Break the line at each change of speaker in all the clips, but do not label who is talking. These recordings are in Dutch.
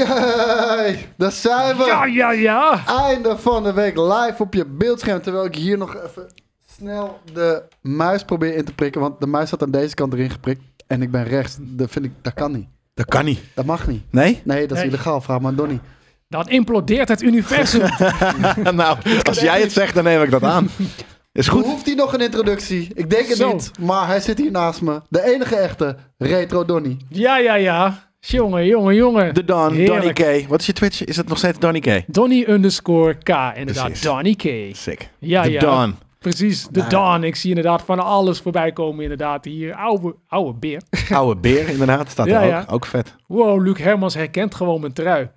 Jee, daar zijn we.
Ja, ja, ja.
Einde van de week live op je beeldscherm. Terwijl ik hier nog even snel de muis probeer in te prikken. Want de muis zat aan deze kant erin geprikt. En ik ben rechts. Dat vind ik, dat kan niet.
Dat kan niet.
Dat mag niet.
Nee?
Nee, dat is
Nee.
illegaal. Vraag maar aan Donnie.
Dan implodeert het universum.
nou, als jij het zegt, dan neem ik dat aan. Is goed.
Hoeft hij nog een introductie? Ik denk het
Zo.
niet. Maar hij zit hier naast me. De enige echte Retro Donnie.
ja, ja, ja. Jongen, jongen, jongen.
De Don,
Heerlijk.
Donny K. Wat is je Twitch? Is het nog steeds Donny K?
Donny underscore K, inderdaad.
Precies.
Donny K.
Sick.
Ja,
de
ja.
Don. Nou
Precies, de Dawn. Ik zie inderdaad van alles voorbij komen, inderdaad. Hier, ouwe, ouwe beer.
Oude beer, inderdaad. Staat
Ja,
er ook.
ja.
Ook vet.
Wow, Luc Hermans herkent gewoon mijn trui.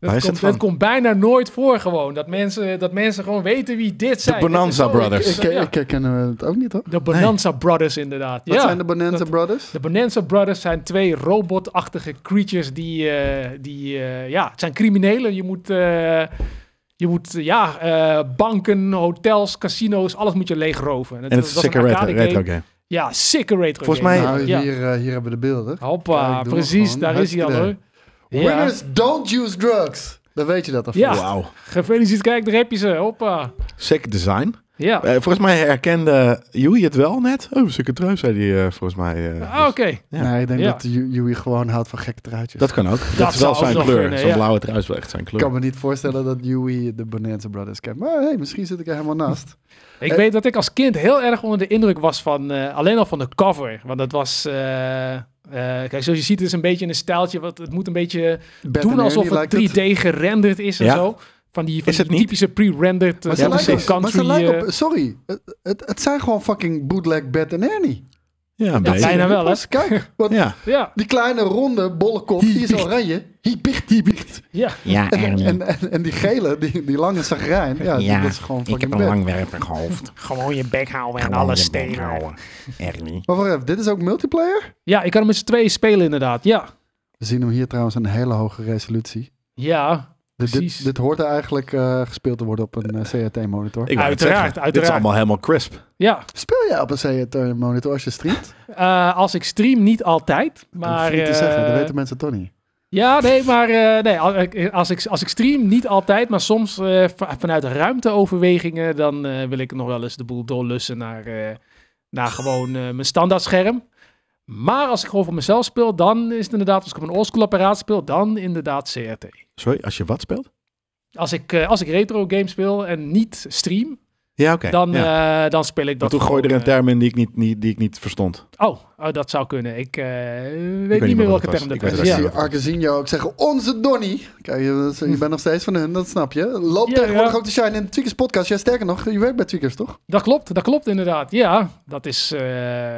Dat,
Waar is
komt,
het van?
dat komt bijna nooit voor gewoon. Dat mensen, dat mensen gewoon weten wie dit zijn. Dat is
Bonanza
zo-
Brothers.
Ik,
ik- ja.
ik herken hem het ook niet hoor.
De Bonanza Brothers inderdaad.
Wat
ja.
zijn de Bonanza
dat-
Brothers?
De Bonanza Brothers zijn twee robotachtige creatures die, eh, die eh, ja, het zijn criminelen. Je moet, eh, je moet eh, ja, eh, banken, hotels, casino's, alles moet je leegroven.
En het is een sick
een
retro,
arcade game.
retro game.
Ja, sikke retro
Volgens
game.
mij-
Nou,
ja.
hier, eh, hier hebben we de beelden.
Hoppa,
Kijk, doe maar
precies,
gewoon.
daar is hij al hoor.
Hartstikke
Ja,
Winners don't use drugs. Dan weet je dat alvast.
Ja.
Wauw.
gefeliciteerd, kijk, daar heb je ze. Hoppa.
Sick design.
Ja,
Eh, volgens mij herkende Joey het wel net. Oh, sick trui, zei hij eh, volgens mij. eh,
Ah, oké.
dus Ja.
Nee, ik denk
Ja.
dat Ju- Joey gewoon houdt van gekke truitjes.
Dat kan ook. Dat, is wel
zou ook
zijn
nog
kleur.
kunnen,
Zo'n
ja.
blauwe trui is wel echt zijn
ik
kleur.
kan me niet voorstellen dat Joey de Bonanza Brothers kent. Maar hey, misschien zit ik er helemaal naast.
Ik
Eh,
weet dat ik als kind heel erg onder de indruk was van eh, alleen al van de cover. Want dat was. eh, eh, kijk, zoals je ziet, het is een beetje een stijltje. Wat, het moet een beetje
Bert en
doen alsof
Ernie
het
lijkt
3D gerenderd is en
Ja.
zo. Van die, van
Is
die
het niet?
typische pre-rendered. eh,
Maar ze,
Ja,
soort
lijken,
precies.
maar ze
country,
lijken
eh,
op... Sorry, het, het, het zijn gewoon fucking bootleg Bert en Ernie.
Ja, een
Ja,
beetje.
bijna wel, hè?
Pas, Kijk, want
Ja.
Ja,
die kleine ronde bolle kop, die is oranje. Hier bicht, hier bicht.
ja.
Ja,
En,
Ernie.
en, en, en die gele, die, die lange zagrijn, ja, die-
Ja,
dat is gewoon
ik heb
fucking
een
Bert.
langwerpig hoofd.
Gewoon je bek houden en
Gewoon
alles
je bek
stelen.
houden. Ernie.
Maar wacht even, dit is ook multiplayer?
Ja, ik kan hem met z'n tweeën spelen, inderdaad. Ja.
We zien hem hier trouwens een hele hoge resolutie.
Ja,
Dit,
Precies.
dit, dit hoort er eigenlijk eh, gespeeld te worden op een CRT-monitor.
Ik wou het
Uiteraard,
zeggen. Dit is
uiteraard.
allemaal helemaal crisp.
ja.
Speel jij op een CRT-monitor als je streamt?
Eh, als ik stream, niet altijd.
Maar,
Maar.
dat hoef je niet te zeggen, dat
eh,
weten mensen toch niet.
Ja, nee, maar eh, nee, al- ik- als, ik, als ik stream, niet altijd, maar soms eh, va- vanuit ruimteoverwegingen, dan eh, wil ik nog wel eens de boel doorlussen naar, eh, naar gewoon eh, mijn standaard scherm. Maar als ik gewoon voor mezelf speel, dan is het inderdaad, als ik op een oldschool apparaat speel, dan inderdaad CRT.
Sorry, als je wat speelt?
Als ik, eh, als ik retro games speel en niet stream,
Ja, oké.
dan,
ja.
eh, dan speel ik
Maar
dat.
toen gooi je er een
gewoon,
term in die ik niet, niet, die ik niet verstond.
eh, oh, oh, dat zou kunnen. Ik eh, weet
meer
niet meer
wat
welke
het was.
term dat
Ik weet
is.
het
Ik
ook
Ja.
niet.
zie Arcasinho ook zeggen, onze Donnie. Kijk, je, dat is- je bent nog steeds van hun, dat snap je. Loop
Ja,
tegenwoordig
ja.
ook te shine in de Tweakers podcast. Jij sterker nog, je werkt bij Tweakers, toch?
Dat klopt, dat klopt inderdaad. Ja, dat is. eh,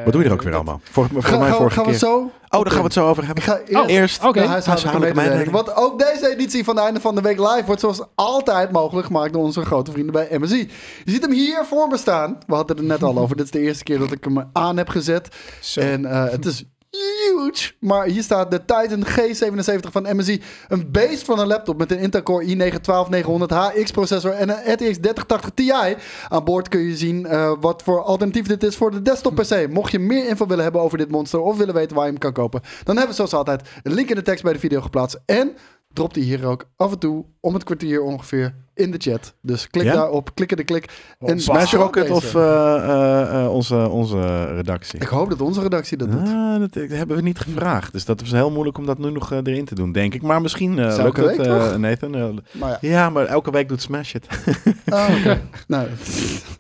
Wat doe je er ook weer allemaal? Voor, voor
Ga-
mij
gaan we-
vorige
gaan we
keer.
het zo?
Oh, daar gaan we het zo over hebben.
Ik ga eerst...
Oh,
Eerst.
Oké.
de huishoudelijke
Huishoudelijke
mededeling.
mededeling.
Want ook deze editie van de einde van de week live wordt zoals altijd mogelijk gemaakt door onze grote vrienden bij MSI. Je ziet hem hier voor me staan. We hadden het er net al over. Dit is de eerste keer dat ik hem aan heb gezet.
Zo.
En eh, het is huge. Maar hier staat de Titan G77 van MSI. Een beest van een laptop met een Intel Core i9-12900 HX processor en een RTX 3080 Ti. Aan boord kun je zien eh, wat voor alternatief dit is voor de desktop PC. Mocht je meer info willen hebben over dit monster of willen weten waar je hem kan kopen, dan hebben we zoals altijd een link in de tekst bij de video geplaatst. En dropt hij hier ook af en toe om het kwartier ongeveer in de chat. Dus klik
Ja?
daarop, klikken de klik. En
Smash
download
Rocket
deze.
of eh, eh, eh, onze, onze redactie?
Ik hoop dat onze redactie dat doet.
Ah, dat, dat hebben we niet gevraagd. Dus dat is heel moeilijk om dat nu nog eh, erin te doen, denk ik. Maar misschien eh
Elke
lukt het,
week,
eh,
toch?
Nathan. Eh,
Maar ja.
ja, maar elke week doet Smash het.
Ah, oké. nou,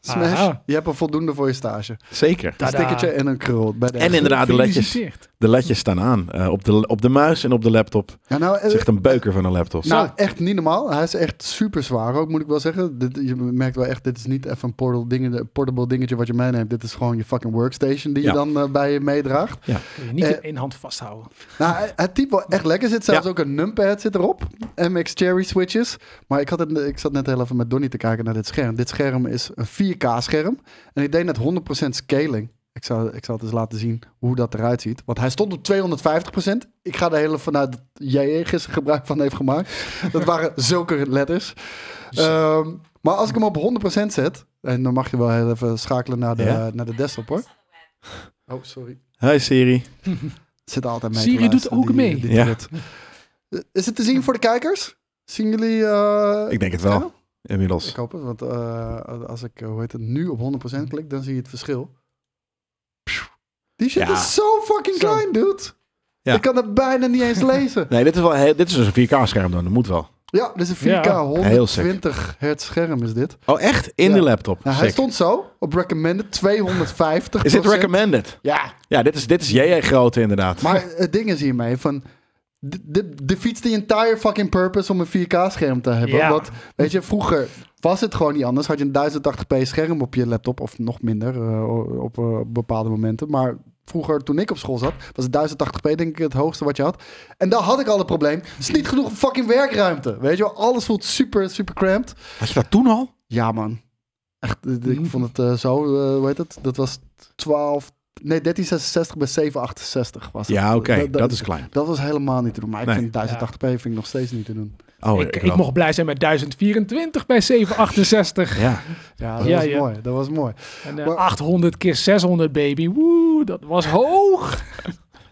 smash.
Aha.
Je hebt er voldoende voor je stage.
Zeker.
Een
Tada.
stickertje en een krul. Bij de
En inderdaad, de ledjes,
Gefeliciteerd.
de ledjes staan aan. Eh, op, de, op de muis en op de laptop.
Ja, nou,
Het
eh,
is echt een beuker van een laptop.
nou, echt niet normaal. Hij is echt super zwaar ook, moet ik wel zeggen. Dit, je merkt wel echt, dit is niet even een portal dingetje, portable dingetje wat je meeneemt. Dit is gewoon je fucking workstation die
Ja.
je dan eh, bij je meedraagt.
Kun je Niet
Eh,
in één hand vasthouden.
Nou, hij- het type wel echt lekker zit. Zelfs
Ja.
ook een numpad zit erop. MX Cherry switches. Maar ik, had het, ik zat net heel even met Donnie te kijken naar dit scherm. Dit scherm is een 4K scherm. En ik deed net 100% scaling. Ik zal, ik zal het eens laten zien hoe dat eruit ziet. Want hij stond op 250%. Ik ga er heel even vanuit dat jij er gisteren gebruik van heeft gemaakt. Dat waren zulke letters. Ehm, maar als ik hem op 100% zet... En dan mag je wel heel even schakelen naar de,
Ja?
naar de desktop hoor. Oh, sorry.
Hi Siri.
Het zit altijd mee te
Siri doet
luisteren,
ook
die-
mee.
die
Ja.
trut. Is het te zien voor de kijkers? Zien jullie... eh,
Ik denk het wel,
schermen?
inmiddels.
Ik hoop het, want eh, als ik, eh, hoe heet het, nu op 100% klik, dan zie je het verschil. Pssch. Die shit
Ja.
is zo fucking
Zo.
klein, dude.
Ja.
Ik kan het bijna niet eens lezen.
Nee, dit is, wel, he- dit is dus een 4K-scherm dan, dat moet wel.
Ja, dit is een 4K,
Ja.
Heel sick.
120 hertz scherm is dit.
Oh, echt? In
Ja.
de laptop.
Nou, hij
Sick.
stond zo, op recommended, 250
Is dit recommended?
Ja,
Ja, dit is, dit is JJ-grootte inderdaad.
maar het ding is hiermee van... de- De, de fiets die entire fucking purpose om een 4K-scherm te hebben.
Ja.
Want, weet je, vroeger was het gewoon niet anders. Had je een 1080p scherm op je laptop, of nog minder eh, op, eh, op bepaalde momenten. Maar vroeger, toen ik op school zat, was het 1080p denk ik het hoogste wat je had. En daar had ik al het probleem. Het is niet genoeg fucking werkruimte. Weet je wel, alles voelt super, super cramped.
Had je dat toen al?
Ja, man. Echt, eh, ik vond het eh, zo, eh, hoe heet het? Dat was 12, nee, 1366 bij 768 was het.
Ja, oké.
Da- da-
Dat is klein.
Dat was helemaal niet te doen. Maar ik
Nee.
vind 1080p vind ik nog steeds niet te doen.
Oh,
ik, ik,
wel.
mocht blij zijn met 1024 bij 768.
Ja.
Ja, dat
Ja,
was
ja.
mooi. Dat was mooi.
En, eh,
Maar-
800 keer 600, baby. Woe, dat was hoog.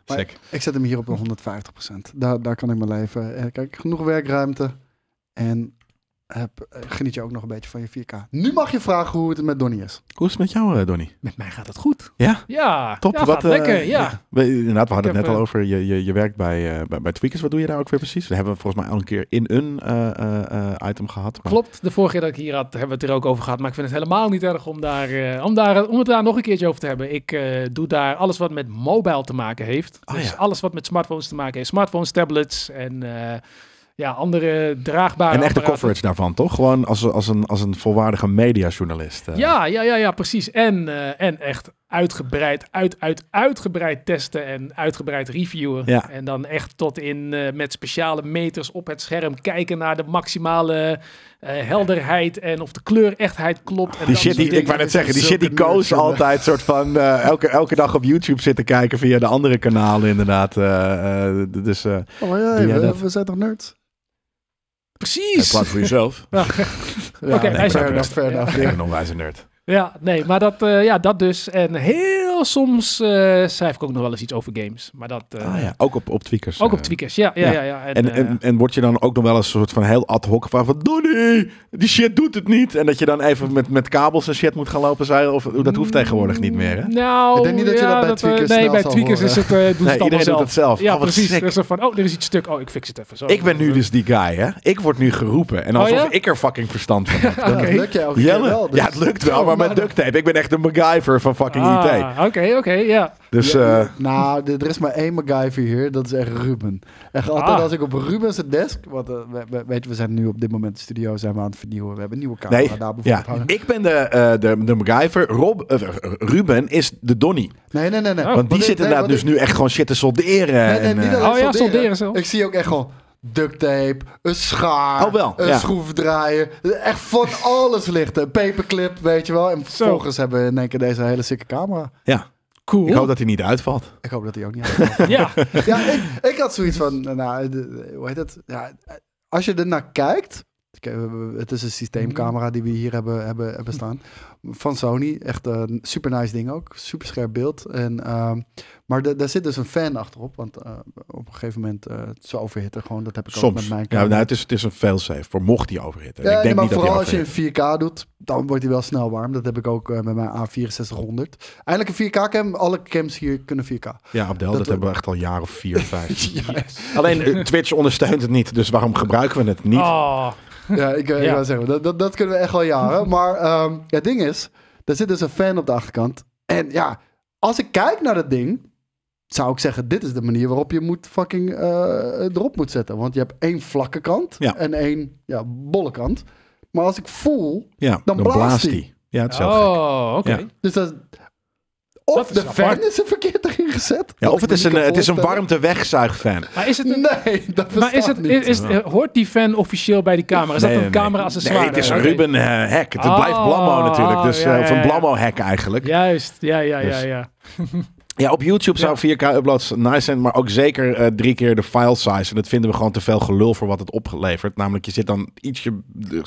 Maar
Sick.
Ik zet hem hier op een 150%. Daar, daar kan ik mijn leven. Eh, Kijk, genoeg werkruimte. En heb, eh, geniet je ook nog een beetje van je 4K. Nu mag je vragen hoe het met Donnie is.
Hoe is het met jou, eh, Donnie?
Met mij gaat het goed.
Ja?
Ja,
Top.
ja,
wat,
gaat
eh,
lekker. Ja.
We, inderdaad, we hadden
Ik heb,
het net al
eh,
over je, je, je werk bij, eh bij, bij Tweakers. Wat doe je daar ook weer precies? We hebben volgens mij al een keer in een eh, eh, eh, item gehad. maar-
Klopt, de vorige keer dat ik hier had, hebben we het er ook over gehad. Maar ik vind het helemaal niet erg om, daar, eh, om, daar, om het daar nog een keertje over te hebben. Ik eh, doe daar alles wat met mobile te maken heeft.
Ah,
dus
ja.
alles wat met smartphones te maken heeft. Smartphones, tablets en eh, ja, andere draagbare
En echt de
apparaten.
coverage daarvan, toch? Gewoon als, als, een, als een volwaardige mediajournalist. eh.
Ja, ja, ja, ja, precies. En, eh, en echt uitgebreid, uit, uit, uitgebreid testen en uitgebreid reviewen.
Ja.
En dan echt tot in eh, met speciale meters op het scherm kijken naar de maximale eh, helderheid en of de kleurechtheid klopt. En
Die
dat
shit, die,
soort
ik wou net zeggen, die shit die Koos altijd soort van eh, elke, elke dag op YouTube zitten kijken via de andere kanalen inderdaad. eh, eh, dus eh,
Oh, maar ja,
Doe jij
we,
dat?
we zijn toch nerds?
Precies.
plaat voor jezelf.
Ja,
Oké,
hij is ook
fair enough,
nerds.
fair
Ja.
enough.
Ik ben een onwijze nerd.
Ja, nee, maar dat, eh, ja, dat dus. En heel soms eh, schrijf ik ook nog wel eens iets over games. Maar dat eh,
Ah, ja. Ook op, op tweakers.
ook op
eh.
Tweakers. Ja, ja,
Ja.
ja. ja. En,
En,
eh,
en, en word je dan ook nog wel eens een soort van heel ad hoc gevraagd van... Donnie, die shit doet het niet. En dat je dan even met, met kabels en shit moet gaan lopen zeilen. Of, dat hoeft tegenwoordig niet meer, hè?
Nou,
Ik denk niet dat je dat
ja,
bij
eh,
tweakers
Nee,
snel
bij
zal
tweakers is het, eh doet
Nee,
het allemaal
iedereen doet
zelf.
het zelf.
Ja,
Oh, wat
precies.
sick.
Dus dan van, oh, er is iets stuk. Oh, ik fix het even zo.
Ik ben nu dus die guy, hè? Ik word nu geroepen. En alsof
Oh, ja?
ik er fucking verstand van heb.
Ja, dat lukt jij ook
Jelle?
wel. dus-
Ja, het lukt wel, maar met duct tape. Ik ben echt een MacGyver van fucking IT.
Ah, Oké, oké, ja.
Dus
Ja,
eh,
Nou, d- er is maar één MacGyver hier. Dat is echt Ruben. Echt altijd
Ah.
als ik op Ruben's desk... Want eh, we- we- weet je, we zijn nu op dit moment in de studio zijn we aan het vernieuwen. We hebben een nieuwe camera
nee,
daar bijvoorbeeld
ja.
hangen.
ik ben de, eh, de, de MacGyver. Rob, eh, Ruben is de Donnie.
Nee, nee, nee. nee.
Oh.
Want die
dit-
zit
nee,
inderdaad
want
dus nu echt gewoon shit te solderen.
Nee, nee,
en,
niet
eh,
alleen
Oh ja, solderen zelfs.
Ik zie ook echt gewoon duct tape, een schaar,
Oh, wel,
een
ja.
schroefdraaier. Echt van alles ligt. Een paperclip, weet je wel. En vervolgens hebben we in één keer deze hele sikke camera.
ja.
Cool.
Ik hoop dat hij niet uitvalt.
Ik hoop dat hij ook niet uitkomt.
Ja,
ja, ik, ik had zoiets van, nou, de- hoe heet het? Ja, als je er naar kijkt, Oké, we- we- het is een systeemcamera die we hier hebben, hebben, hebben staan van Sony, echt een super nice ding ook, super scherp beeld. En, ehm, maar da- daar zit dus een fan achterop, want eh, op een gegeven moment eh ze overhitten gewoon. Dat heb ik ook
Soms.
met mijn
Ja, nou, het, is, het is een failsafe voor mocht hij overhitten.
ja,
ik denk
maar
niet dat hij
vooral als je
overhit.
in 4K doet, dan wordt hij wel snel warm. Dat heb ik ook eh, met mijn A6400. Eindelijk een 4K-cam. Alle cams hier kunnen 4K.
Ja, Abdel, dat,
dat-
hebben we echt al jaren of vier, vijf.
Yes.
Alleen eh, Twitch ondersteunt het niet, dus waarom gebruiken we het niet?
Oh,
Ja, ik, eh, ik
Ja.
wou zeggen, dat, dat, dat kunnen we echt wel jaren. Maar ehm, ja, het ding is, er zit dus een fan op de achterkant. En ja, als ik kijk naar dat ding, zou ik zeggen, dit is de manier waarop je moet fucking eh, erop moet zetten. Want je hebt één vlakke kant
Ja.
en één ja, bolle kant. Maar als ik voel,
Ja, dan,
blaast
blaast
hij.
hij. Ja, het is heel gek.
oh oké.
Ja.
dus dat... Of
Dat is
de fan
apart.
is er verkeerd erin gezet.
Ja,
Dat
of
ik
het
me
is
niet
een, eh,
kan
het is een
voorstellen.
warmte wegzuig fan.
Maar is het een...
Nee, dat bestaat
Maar is het,
niet.
is, is- hoort die fan officieel bij die camera? Is dat een camera-accessoire?
Nee, het is een
Oké.
Ruben eh hek. Het
Oh,
blijft Blammo natuurlijk. Dus,
ja,
eh, of een
ja, ja.
Blammo hek eigenlijk. Ja.
Juist, ja, ja, ja,
Dus-
ja.
op YouTube zou 4K uploads nice zijn, maar ook zeker eh, drie keer de file size. En dat vinden we gewoon te veel gelul voor wat het opgeleverd. Namelijk, je zit dan ietsje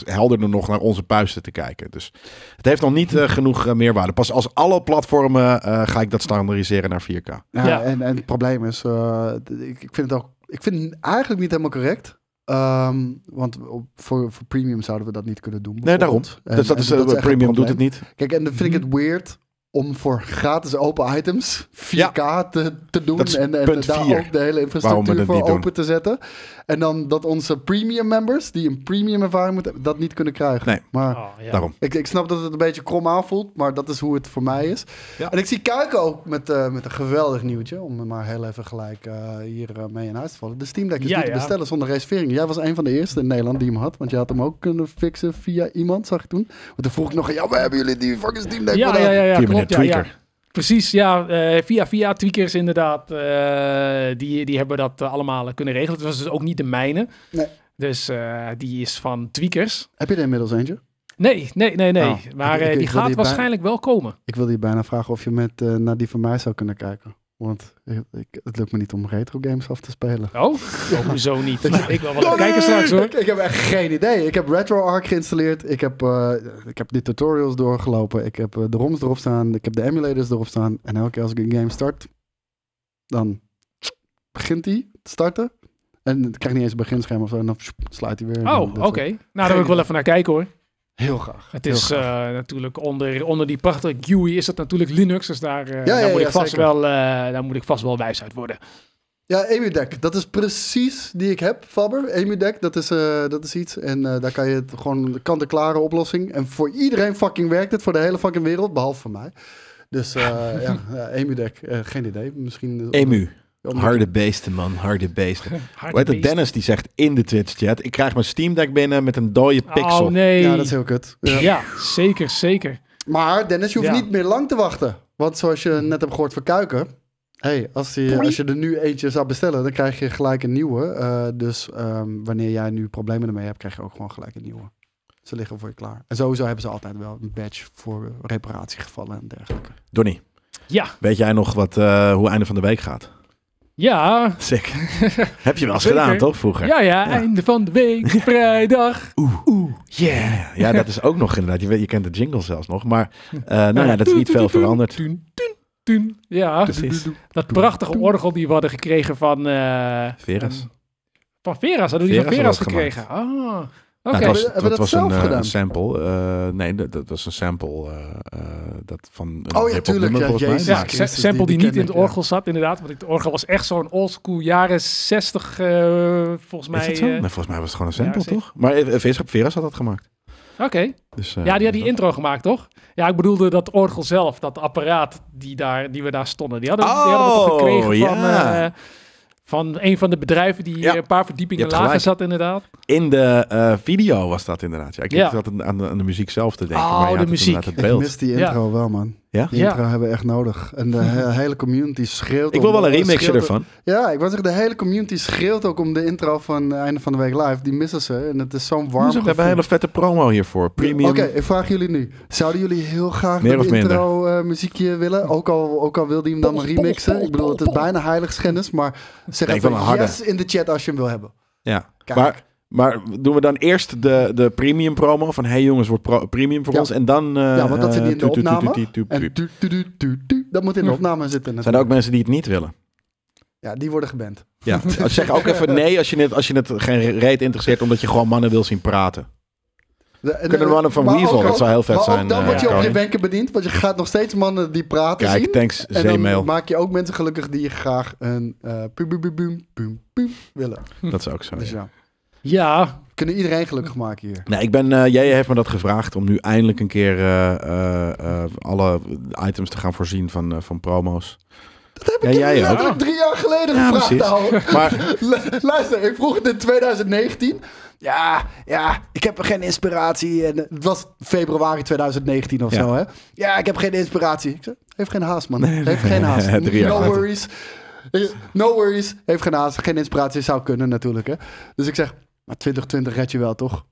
helderder nog naar onze puisten te kijken. Dus het heeft nog niet eh, genoeg eh, meerwaarde. Pas als alle platformen eh, ga ik dat standaardiseren naar 4K.
Ja,
Ja.
En, en het probleem is, eh, d- ik, ik vind het ook Ik vind het eigenlijk niet helemaal correct. Ehm, want op- voor, voor premium zouden we dat niet kunnen doen.
Nee, daarom.
bijvoorbeeld. En-
Dus dat
en
is, eh,
echt een
premium doet
probleem.
het niet. Mhm.
Kijk, en dan vind ik het weird om voor gratis open items 4K te, te doen.
Dat is
en en
punt
daar
vier.
ook de hele
Waarom we
infrastructuur
dat
voor
niet
open
doen.
te zetten. En dan dat onze premium members, die een premium ervaring moeten hebben, dat niet kunnen krijgen.
Nee.
Maar
Oh, ja.
Daarom.
ik, ik snap dat het een beetje krom aanvoelt, maar dat is hoe het voor mij is.
Ja.
En ik zie Kuiken ook met, eh, met een geweldig nieuwtje, om maar heel even gelijk eh, hier eh, mee in huis te vallen. De Steam Deck is
Ja,
niet te
ja.
bestellen zonder reservering. Jij was een van de eerste in Nederland die hem had, want je had hem ook kunnen fixen via iemand, zag ik toen. Want toen vroeg ik nog, ja, waar hebben jullie die fucking Steam Deck
Ja,
vandaan?"
ja, ja, ja,
Via
klopt.
meneer
Ja, ja.
Tweaker.
Precies, ja. eh, via via tweakers inderdaad. eh, die, die hebben dat eh, allemaal kunnen regelen. Het was dus ook niet de mijne.
Nee.
Dus eh, die is van tweakers.
Heb je er inmiddels eentje?
Nee, nee, nee, nee.
Oh,
maar
ik-
eh,
ik- ik
die
wil
gaat
die bij-
waarschijnlijk wel komen.
Ik wilde je bijna vragen of je met, eh, naar die van mij zou kunnen kijken. Want ik, ik- het lukt me niet om retro games af te spelen.
Oh, sowieso niet. Nou, ik wil wel even
Sorry!
kijken straks hoor.
Ik, ik heb echt geen idee. Ik heb RetroArch geïnstalleerd. Ik heb, eh, ik heb die tutorials doorgelopen. Ik heb eh, de ROMs erop staan. Ik heb de emulators erop staan. En elke keer als ik een game start, dan begint die te starten. En ik krijg niet eens een beginscherm of zo. En dan sluit hij weer. En
Oh,
dat
oké.
soort-
Nou, daar wil ik wel even naar kijken hoor.
Heel graag.
Het
Heel
is
graag.
eh, natuurlijk onder, onder die prachtige GUI is dat natuurlijk Linux. Dus daar, eh, daar,
ja,
moet
ja,
ik vast
zeker.
wel, eh, daar moet ik vast wel wijs uit worden.
Ja, EmuDeck. Dat is precies die ik heb, Faber. EmuDeck, dat is, eh, dat is iets. En eh, daar kan je het gewoon de kant-en-klare oplossing. En voor iedereen fucking werkt het. Voor de hele fucking wereld, behalve voor mij. Dus eh, ja, ja, EmuDeck. eh, geen idee. Misschien... eh,
Emu.
om-
Harde beesten, man. Harde beesten. Weet
Harde
het, Dennis die zegt in de Twitch-chat... ik krijg mijn Steam Deck binnen met een dode
beest.
pixel.
Oh nee.
Ja, dat is heel kut. Ja.
Ja, zeker, zeker.
Maar Dennis, je hoeft
Ja.
niet meer lang te wachten. Want zoals je net hebt gehoord voor Kuiken... hey, als, die- als je er nu eentje zou bestellen, dan krijg je gelijk een nieuwe. Eh, dus ehm, wanneer jij nu problemen ermee hebt, krijg je ook gewoon gelijk een nieuwe. Ze liggen voor je klaar. En sowieso hebben ze altijd wel een badge voor reparatiegevallen en dergelijke.
Donnie,
Ja,
weet jij nog wat, eh, hoe einde van de week gaat?
ja,
Sick. Heb je wel eens
Zeker.
gedaan, toch, vroeger?
ja, ja, einde van de week,
Nou,
vrijdag.
Yeah. Ja, dat is ook nog inderdaad. Je, weet- je kent de jingle zelfs nog. Maar eh, nou ja, dat is niet veel veranderd. Dus
Toen, toen, toen. Ja,
Precies.
dat prachtige orgel die we hadden gekregen van... eh,
Veras. Nou,
Van, van Veras, hadden we die van Veras
Veras had dat
gekregen. Ah, oké.
Nou,
Hebben-
het was,
hebben
dat
dat
was
zelf
een, eh,
gedaan?
een sample. Eh, nee, dat, dat was een sample eh, eh, dat van een
Oh ja,
hip-hop
tuurlijk,
nummer,
ja,
volgens mij.
jezus.
Ja,
Maar-
Christus,
sa-
die-
sample
die
die,
ken
niet in
ik,
het
ja.
orgel zat, inderdaad. Want het orgel was echt zo'n oldschool jaren 60, eh, volgens mij.
Is dat zo?
eh,
Nee, volgens mij was het gewoon een sample,
ja, zeker.
toch? Maar eh, Veras, Veras had dat gemaakt.
Oké.
Dus, eh,
Ja, die had
dus
die intro gemaakt, toch? Ja, ik bedoelde dat orgel zelf, dat apparaat die, daar, die we daar stonden. Die hadden, die hadden we toch
Oh,
gekregen van,
ja.
eh, van een van de bedrijven die eh,
Ja.
een paar verdiepingen
Je hebt
lager
gelijk.
zat, inderdaad.
dat- In de eh, video was dat inderdaad. Ja, ik
Ja.
zat aan, aan de- aan de muziek zelf te denken.
Oh,
maar je
de
had het
muziek.
inderdaad Het
Ik
beeld.
mis die
Ja.
intro wel, man.
Ja?
Die
Ja.
intro hebben we echt nodig. En de he- hele community schreeuwt...
Ik wil
om-
wel een remixje
schreeuwt-
ervan.
Ja, ik wou zeggen, de hele community schreeuwt ook om de intro van eh, Einde van de Week Live. Die missen ze. En het is zo'n warm
We hebben een hele vette promo hiervoor. Premium.
Oké, ik vraag jullie nu. Zouden jullie heel graag
Meer
een
of minder?
intro eh, muziekje willen? Ook al, ook al wil die hem dan
Pol, pol,
remixen.
pol,
ik bedoel, het is
pol, pol.
bijna heiligschennis, maar zeg
Nee, ik
even
wil een harde.
yes in de chat als je hem wil hebben.
Ja.
Kijk.
Maar, maar doen we dan eerst de, de premium promo van hey jongens, wordt pro- premium voor
Ja.
ons en dan... eh,
ja, want dat zit
eh,
niet in de
toet, toet,
opname.
toet, toet, toet,
En
toet.
tu, tu, tu, tu, tu, dat moet in de
Hm.
opname zitten.
Zijn er ook mensen die het niet willen?
Ja, die worden geband.
Ja. Oh, zeg ook even nee als je, het, als je het geen reet interesseert omdat je gewoon mannen wil zien praten.
De- en- eh,
Kunnen we mannen van
maar
Weasel,
ook-
dat zou heel vet
maar ook
zijn,
dan
eh,
word je op
Koning.
je wenken bediend, want je gaat nog steeds mannen die praten zien.
Kijk, thanks
En dan
Zeemail.
maak je ook mensen gelukkig die graag een eh pum, pum, pum, pum, pum, pum willen.
Dat is ook zo.
Dus
Oh, ja.
ja,
Ja,
we kunnen iedereen gelukkig maken hier.
Nee, ik ben, eh, jij heeft me dat gevraagd om nu eindelijk een keer eh, eh, eh, alle items te gaan voorzien van, eh, van promo's.
Dat heb
Ja,
ik ja,
jij ook.
letterlijk drie jaar geleden
Ja,
gevraagd,
precies.
ouwe.
Maar
Lu- Luister, ik vroeg het in 2019. Ja, ja, ik heb geen inspiratie. En het was februari 2019 of
Ja.
zo, hè? Ja, ik heb geen inspiratie. Ik zei, heeft geen haast, man.
Nee,
heeft geen haast.
nee, drie jaar
no
later.
worries. Eh, No worries. Heeft geen haast. Geen inspiratie zou kunnen natuurlijk, hè? Dus ik zeg, maar 2020 red je wel, toch?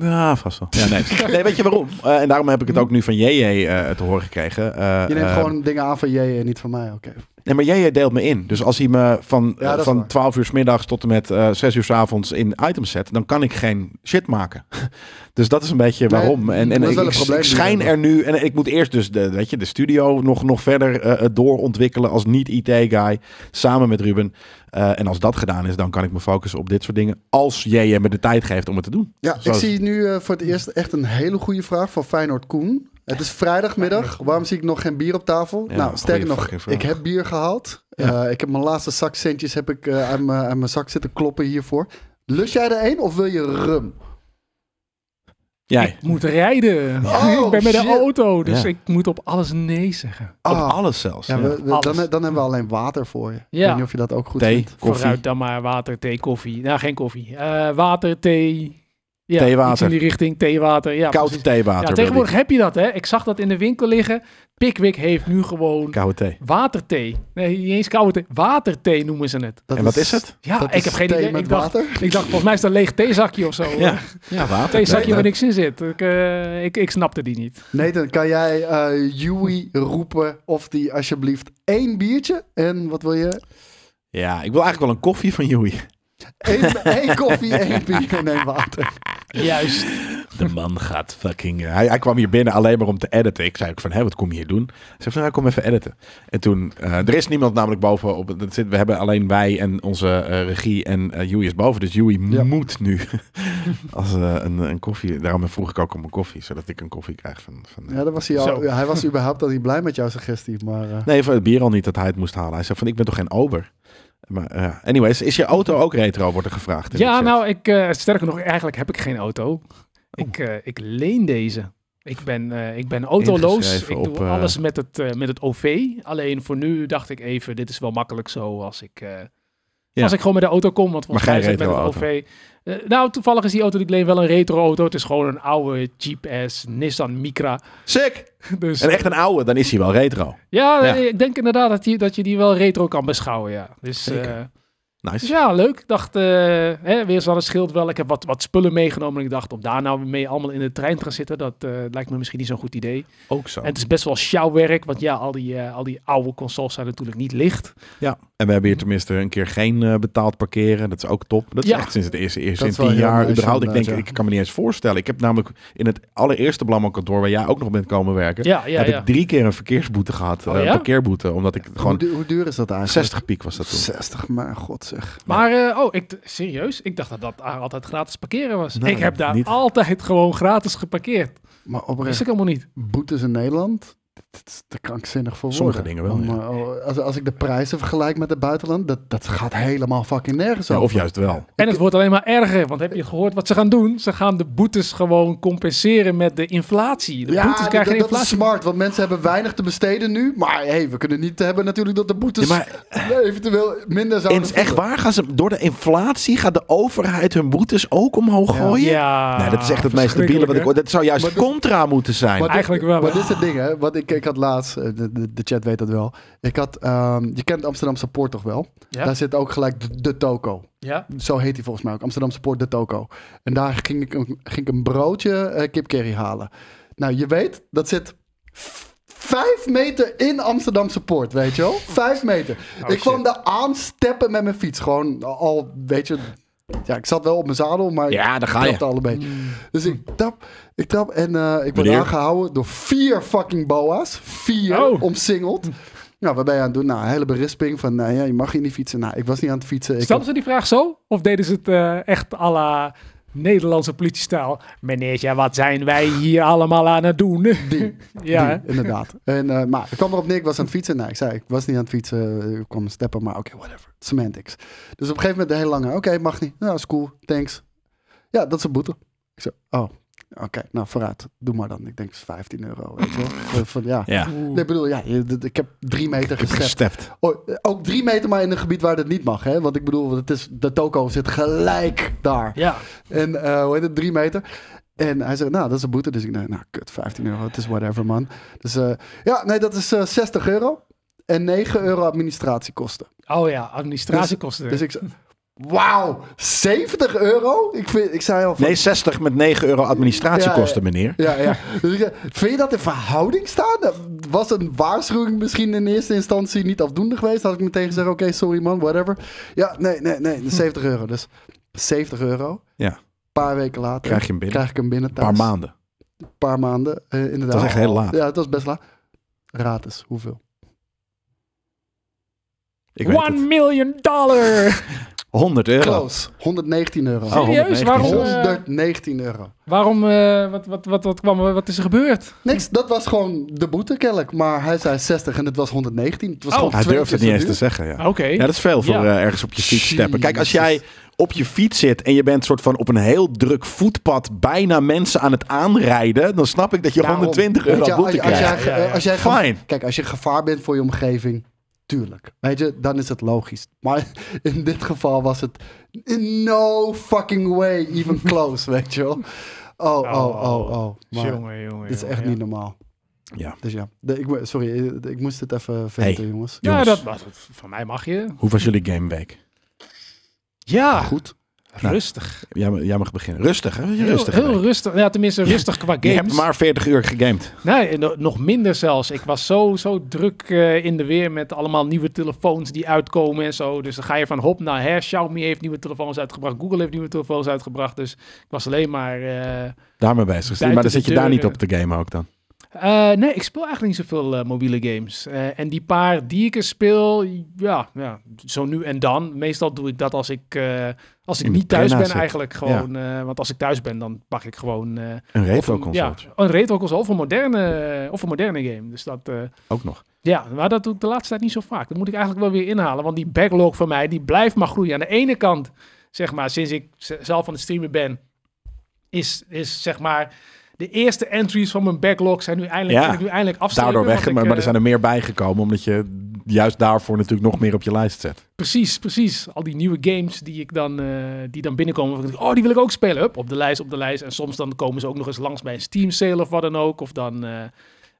Ja, vast wel. Ja, nee. nee, weet je waarom? Eh, en daarom heb ik het ook nu van JJ eh, te horen gekregen. Eh,
Je neemt
eh,
gewoon dingen aan van jij en niet van mij, oké.
Nee, maar jij deelt me in. Dus als hij me van,
Ja, dat is
van
waar.
12 uur s middags tot en met eh 6 uur s avonds in items zet, dan kan ik geen shit maken. dus dat is een beetje
Nee,
waarom. En,
dat
en
is
ik,
wel een
ik
probleem die we
schijn er nu. En ik moet eerst dus de, weet je, de studio nog, nog verder eh, doorontwikkelen als niet-IT-guy. Samen met Ruben. Eh, en als dat gedaan is, dan kan ik me focussen op dit soort dingen. Als jij me de tijd geeft om het te doen.
Ja, ik
Zoals-
zie nu eh, voor het eerst echt een hele goede vraag van Feyenoord Koen. Het is vrijdagmiddag. Waarom zie ik nog geen bier op tafel?
Ja,
nou, sterker
goeie
nog,
fucking vraag.
ik heb bier gehaald.
Ja.
Eh, ik heb mijn laatste zak centjes heb ik, eh, aan, mijn, aan mijn zak zitten kloppen hiervoor. Lust jij er een of wil je rum?
Jij.
Ik moet rijden.
Oh,
ik ben met de
shit.
auto, dus
Ja.
ik moet op alles nee zeggen.
Op
Ah.
alles zelfs.
Ja,
Ja.
we- we- dan,
alles.
dan hebben we alleen water voor je. Ik
Ja.
weet niet of je dat ook goed
Thee,
vindt.
koffie.
Vooruit dan maar water, thee, koffie. Nou, geen koffie. Eh, water, thee. Ja,
Theewater.
iets in die richting, theewater. Ja,
Koud
precies.
theewater.
Ja,
wil
tegenwoordig heb je dat, hè. Ik zag dat in de winkel liggen. Pickwick heeft nu
ik.
gewoon
Koude thee.
waterthee. Nee, niet eens koude thee. Waterthee noemen ze het.
Dat
en wat is het?
Ja,
dat
ik
is
heb geen
thee
idee.
met
Ik dacht,
water?
ik dacht, volgens mij is dat een leeg theezakje of zo.
Ja, ja
Een
water.
theezakje
Nee,
waar
dat-
niks in zit. Ik, eh, ik, ik snapte die niet.
Nathan, kan jij eh Yui roepen of die alsjeblieft één biertje? En wat wil je?
Ja, ik wil eigenlijk wel een koffie van Joey.
Eén, één koffie, één bier en één water.
Juist.
De man gaat fucking... eh, Hij, hij kwam hier binnen alleen maar om te editen. Ik zei ook van, hé, wat kom je hier doen? Hij zei van, nou, kom even editen. En toen, eh, er is niemand namelijk boven op het... dat zit- We hebben alleen wij en onze eh, regie en eh Joey is boven. Dus Joey
Ja.
moet nu als eh, een, een koffie... Daarom vroeg ik ook om een koffie, zodat ik een koffie krijg van... van eh,
Ja, dat was hij, al,
Zo.
hij was überhaupt al niet blij met jouw suggestie. Maar eh,
Nee, van het bier al niet dat hij het moest halen. Hij zei van, ik ben toch geen ober? Maar ja, anyways, is je auto ook retro, wordt er gevraagd. in de
Ja,
chat.
nou, ik, eh, sterker nog, eigenlijk heb ik geen auto.
Oh.
Ik, eh, ik leen deze. Ik ben, eh, ik ben autoloos.
Ingeschreven
Ik
op,
doe
eh,
alles met het, eh, met het OV. Alleen voor nu dacht ik even, dit is wel makkelijk zo als ik, eh,
Ja.
als ik gewoon met de auto kom. Want volgens
Maar
mij
geen
is het met het OV.
retro-auto.
Eh, nou, toevallig is die auto die ik leen wel een retro-auto. Het is gewoon een oude Jeep S Nissan Micra.
Sick!
Dus
En echt een oude, dan is hij wel retro.
ja,
Ja.
eh, ik denk inderdaad dat, die, dat je die wel retro kan beschouwen. Ja. Dus,
Zeker.
eh,
Nice.
dus ja, leuk. Ik dacht, eh, hè, weer zal het schild wel. Ik heb wat, wat spullen meegenomen. En ik dacht, om daar nou mee allemaal in de trein te gaan zitten, dat eh, lijkt me misschien niet zo'n goed idee.
Ook zo.
En het is best wel sjouwwerk, want ja, al die, eh, al die oude consoles zijn natuurlijk niet licht.
Ja, en we hebben hier tenminste een keer geen eh, betaald parkeren. Dat is ook top. Dat is
Ja.
echt sinds het eerste,
Dat
eerste in
is wel
tien
heel
jaar
nice
überhaupt. Ik denk,
inderdaad,
ik kan me niet eens voorstellen. Ik heb namelijk in het allereerste Blammo kantoor waar jij ook nog bent komen werken,
Ja, ja,
heb
ja.
ik drie keer een verkeersboete gehad.
Oh,
eh,
ja?
parkeerboete, omdat ik
hoe,
gewoon
du- hoe duur is dat eigenlijk?
60 piek was dat toen.
60, maar god zeg.
Maar, eh, oh, ik, serieus? Ik dacht dat dat daar altijd gratis parkeren was.
Nee,
ik heb daar
niet.
altijd gewoon gratis geparkeerd.
Maar
Dat is
oprecht,
ik allemaal niet.
boetes in Nederland, dat is te krankzinnig voor
Sommige
woorden.
dingen wel,
Om, eh, als, als ik de prijzen vergelijk met het buitenland, dat, dat gaat helemaal fucking nergens
Ja,
over.
of juist wel.
En het wordt alleen maar erger, want heb je gehoord wat ze gaan doen? Ze gaan de boetes gewoon compenseren met de inflatie. De
ja,
boetes
dat,
krijgen geen
dat is
inflatie.
smart, want mensen hebben weinig te besteden nu. Maar hey, we kunnen niet hebben natuurlijk dat de boetes
Ja, maar-
eventueel minder
En
zouden
het is echt
vallen.
waar gaan ze door de inflatie gaat de overheid hun boetes ook omhoog
Ja.
gooien?
Ja,
Oh Nee, dat is echt het meest stabiele wat ik
verschrikkelijk,
ooit- Dat zou juist
Maar dat-
contra moeten zijn.
Maar dit-
Eigenlijk wel,
Maar
hè?
dit is het ding, hè? Want ik, ik had laatst, eh, de, de, de chat weet dat wel. Ik had, ehm, je kent Amsterdamse Poort toch wel?
Ja.
Daar zit ook gelijk de, de toko.
hè? Ja.
Zo heet hij volgens mij ook. Amsterdamse Poort de toko. En daar ging ik een, ging ik een broodje eh kipcurry halen. Nou, je weet, dat zit v- vijf meter in Amsterdamse Poort, weet je wel? Vijf meter.
Oh,
ik kwam
shit.
daar aansteppen met mijn fiets. Gewoon al, weet je... Ja, ik zat wel op mijn zadel, maar
Ja, daar ga
ik
je.
trapte al een beetje. Dus ik trap, ik trap en eh, ik word
Meneer?
aangehouden door vier fucking boa's. Vier
Oh.
omsingeld. Nou, wat ben je aan het doen? Nou, een hele berisping van, nou ja, je mag hier niet fietsen. Nou, ik was niet aan het fietsen. Ik
Stelden ze die vraag zo? Of deden ze het eh, echt à la Nederlandse politiestaal? Meneertje, wat zijn wij hier allemaal aan het doen?
die,
ja, hè?
die, inderdaad. En, eh, maar ik kwam erop neer, ik was aan het fietsen. Nou, ik zei, ik was niet aan het fietsen. eh, Ik kwam steppen, maar oké, whatever. Semantics. Dus op een gegeven moment de hele lange, oké, mag niet. Nou, is cool, thanks. Ja, dat is een boete. Ik zei, oh, oké, nou vooruit. Doe maar dan. Ik denk, het is 15 euro. Weet je wel. Van- Van, ja.
Ja,
Nee, ik bedoel, ja, je- d- ik heb drie meter
ik heb
gestept.
gestept.
Oh, eh, ook drie meter maar in een gebied waar dat niet mag. Hè? Want ik bedoel, het is, de toko zit gelijk daar.
Ja,
En eh, hoe heet het? Drie meter. En hij zegt, nou, dat is een boete. Dus ik denk, nou, kut, 15 euro. Het is whatever, man. Dus eh, ja, nee, dat is eh, 60 euro. En 9 euro administratiekosten.
oh ja, administratiekosten.
Dus ik zeg, Wauw, 70 euro? Ik, vind, ik zei al van...
Nee, 60 met 9 euro administratiekosten,
Ja, ja.
meneer.
Ja, ja. Dus ik zei, vind je dat in verhouding staan? Was een waarschuwing misschien in eerste instantie niet afdoende geweest? Had ik meteen gezegd, oké, sorry man, whatever. Ja, nee, nee, nee, 70 euro. Dus 70 euro. Een
Ja, een
paar weken later
Krijg je hem binnen.
krijg ik hem binnen thuis.
paar maanden.
Een paar maanden, eh, inderdaad.
Dat is echt heel laat.
Ja, dat was best laat. Raad eens, hoeveel?
Ik weet
One
het.
million dollar!
100 euro.
Close, 119 euro.
Oh.
Serieus?
119.
Waarom, eh,
119 euro.
waarom eh, wat, wat, wat, wat, kwam, er- wat is er gebeurd?
Niks, dat was gewoon de boete kennelijk. Maar hij zei 60 en het was 119. Het was
Oh.
gewoon
Hij
twee
durft het
keer
niet
zo
eens te
duur.
zeggen, ja.
Oké.
Ja, dat is veel voor
Ja.
eh, ergens op je fiets steppen. Kijk, als jij op je fiets zit en je bent soort van op een heel druk voetpad bijna mensen aan het aanrijden, dan snap ik dat je
Daarom.
120
Weet
euro
je,
boete
als, als
krijgt.
jij,
Ja, ja, ja.
als jij
Fine.
gevaar- Kijk, als je gevaar bent voor je omgeving, tuurlijk. Weet je, dan is het logisch. Maar in dit geval was het in no fucking way even close, weet je wel. Oh, oh, oh, oh. Maar
jongen, jongen.
dit is
jongen,
echt
ja.
niet normaal.
Ja.
Dus ja, de- ik, mo- sorry, eh, ik moest dit even venten, jongens.
Ja,
Jongens.
dat was het. Van mij mag je.
Hoe was jullie gameweek? Ah,
Ja,
Goed.
rustig.
Jij, ma- jij mag beginnen. Rustig, hè?
Heel
rustig.
rustig.
geweest.
Heel rustig. Ja, tenminste, rustig qua
Je hebt
games.
maar 40 uur gegamed.
Nee, en no- nog minder zelfs. Ik was zo, zo druk eh, in de weer met allemaal nieuwe telefoons die uitkomen en zo. Dus dan ga je van hop naar her. Xiaomi heeft nieuwe telefoons uitgebracht. Google heeft nieuwe telefoons uitgebracht. Dus ik was alleen maar... eh,
Daarmee bezig.
Buiten
maar dan
de
zit je daar niet
deuren.
op te gamen ook dan.
Eh, nee, ik speel eigenlijk niet zoveel eh, mobiele games. Eh, en die paar die ik er speel, ja, ja, zo nu en dan. Meestal doe ik dat als ik, eh, als ik
In de
niet thuis
arena
ben
zit.
eigenlijk gewoon. eh, want als ik thuis ben, dan pak ik gewoon... eh,
Een
of een-
retro-console.
Ja, een retro console of een moderne, of een moderne game. Dus dat... eh,
Ook nog.
ja, maar dat doe ik de laatste tijd niet zo vaak. Dat moet ik eigenlijk wel weer inhalen. Want die backlog van mij, die blijft maar groeien. Aan de ene kant, zeg maar, sinds ik z- zelf aan het streamen ben, is, is zeg maar, de eerste entries van mijn backlog zijn nu eindelijk,
Ja,
kan ik nu eindelijk afstrepen.
Daardoor weg,
want
maar,
ik,
maar er
eh,
zijn er meer bijgekomen, omdat je juist daarvoor natuurlijk nog meer op je lijst zet.
Precies, precies. Al die nieuwe games die ik dan, eh, die dan binnenkomen. waarvan ik denk, Oh, die wil ik ook spelen. Hup, op de lijst, op de lijst. En soms dan komen ze ook nog eens langs bij een Steam sale of wat dan ook. Of dan... eh,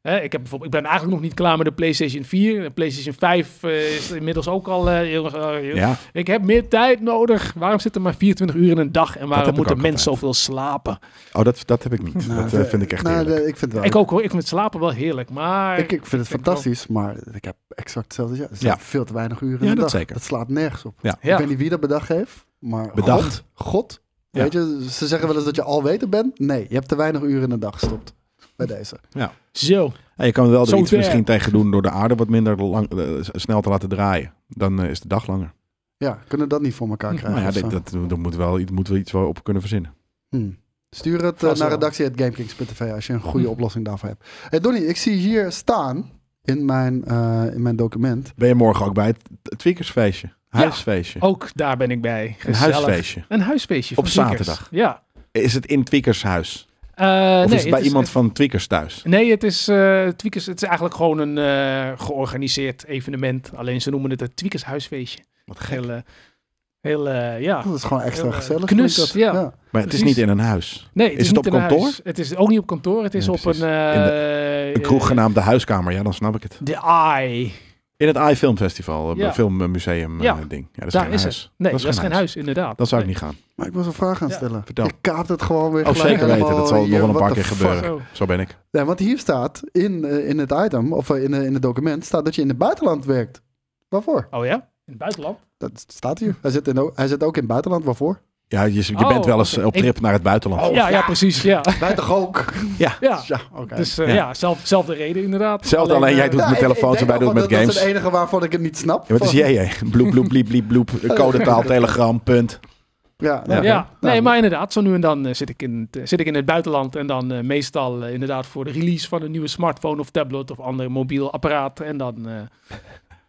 hè, ik, heb bijvoorbeeld, ik ben eigenlijk nog niet klaar met de PlayStation 4. De PlayStation 5 eh, is inmiddels ook al... eh, jongens, eh, jongens,
Ja,
Ik heb meer tijd nodig. Waarom zitten maar 24 uur in een dag? En
heb ik
waarom moeten
ook
mensen zoveel
altijd.
slapen?
oh, dat, dat heb ik niet. dat eh, vind ik echt
Nou,
heerlijk.
de- ik vind het wel.
Ik ook hoor. Ik vind slapen wel heerlijk. Maar
Ik, ik vind het
vind ik
fantastisch, maar ik heb exact hetzelfde. Ja, er zijn
Ja.
veel te weinig uren in
Ja,
de
dat
dag.
zeker.
Dat slaat nergens op.
ja,
Ik weet niet wie dat bedacht heeft, maar
Bedacht.
God. God.
Ja.
Weet je, ze zeggen wel eens dat je alwetend bent. Nee, je hebt te weinig uren in de dag gestopt. Bij deze.
zo.
Ja, je kan er wel er
Zo
iets
ver.
misschien tegen doen door de aarde wat minder lang, eh, s- snel te laten draaien. Dan eh, is de dag langer.
Ja, kunnen dat niet voor elkaar krijgen.
nou ja,
of zo.
dat, dat, daar moet wel, iets- moeten we iets wel op kunnen verzinnen.
Hmm. Stuur het eh,
Vast
naar
wel.
redactie.gamekings.tv als je een goede
Hm.
oplossing daarvoor hebt. Hey Donnie, ik zie hier staan in mijn, eh, in mijn document.
Ben je morgen ook bij het t- tweakersfeestje? Huisfeestje?
Ook daar ben ik bij.
een
Oh, Gezellig.
huisfeestje.
Een huisfeestje.
Op
van Tweakers.
zaterdag.
Ja.
Is het in tweakershuis?
Eh,
Of
nee,
is het bij iemand
het-
van tweakers thuis?
Nee, het is, eh Tweakers, het is eigenlijk gewoon een eh, georganiseerd evenement. Alleen ze noemen het het Tweakers huisfeestje.
Wat
Heel, eh, heel eh, ja.
Dat is gewoon extra
Heel, eh,
gezellig.
knus,
vind ik dat.
ja.
Maar het is
precies.
niet in een huis.
Nee, het
Is
is,
het
niet
op
in een
kantoor?
huis. Het is ook niet op kantoor. Het is
Ja,
op een...
precies.
eh,
Een kroeg
eh,
genaamd de huiskamer. Ja, dan snap ik het.
De AI.
In het AI Film Festival.
Ja.
Een filmmuseum eh,
Ja.
ding. Ja, dat is
Daar
geen
is
huis.
het. Nee, dat is, geen huis, inderdaad.
Dan zou ik
Nee.
niet gaan.
Maar ik wil een vraag gaan
Ja.
stellen.
Vertel.
Ik kaap het gewoon weer
Oh,
gelijk
zeker weten.
helemaal
Dat zal
hier.
nog wel een
What
paar
the
keer
fuck?
gebeuren.
Oh.
Zo ben ik.
Nee, want hier staat in, eh, in het item, of eh, in, eh, in het document, staat dat je in het buitenland werkt. Waarvoor?
Oh ja? In het buitenland?
Dat staat hier. Hij zit, in, o- hij zit ook in het buitenland. Waarvoor?
Ja, je, je
Oh,
bent wel eens eh,
oké. Oh.
op trip naar het buitenland.
ja, ja, precies. Ja,
Wij toch ook?
ja.
Ja, oké.
dus eh,
Ja.
ja, zelf, zelfde reden inderdaad.
Zelfde, alleen jij
eh,
doet- met
ik- ik
telefoons
denk
en wij
al
doen
van
het met
dat- Dat is
games.
het enige waarvan ik het niet snap.
Ja, wat
Oh.
is
Van-
JJ? Bloep, bloep, bliep, bliep, bloep. Codetaal, telegram, punt.
Ja,
Ja.
oké.
Ja,
Nou,
nee, maar inderdaad, zo nu en dan eh, zit, ik in het, eh, zit ik in het buitenland en dan eh, meestal eh, inderdaad voor de release van een nieuwe smartphone of tablet of ander mobiel apparaat en dan... eh,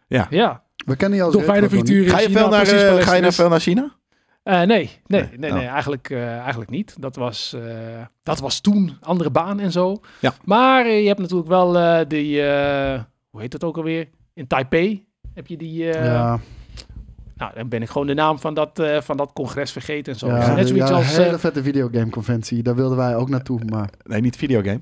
Ja.
Ja,
We kennen jou als
door fijne
retro, Donnie.
frituur in
Ga je
China,
veel naar,
precies
eh,
voor
ga je naar,
SNS.
veel naar China?
Eh, nee, nee,
Nee,
nee, nee,
oh.
eigenlijk, eh, eigenlijk niet. Dat was, eh, dat was toen, andere baan en zo.
Ja.
Maar eh, je hebt natuurlijk wel eh, die, eh, hoe heet dat ook alweer? In Taipei heb je die, eh,
Ja,
Nou, dan ben ik gewoon de naam van dat, eh, van dat congres vergeten en zo.
Ja,
Dus net
de-
zoiets
ja,
als...
een
eh,
hele vette videogameconventie. Daar wilden wij ook naartoe. Maar...
Nee, niet videogame.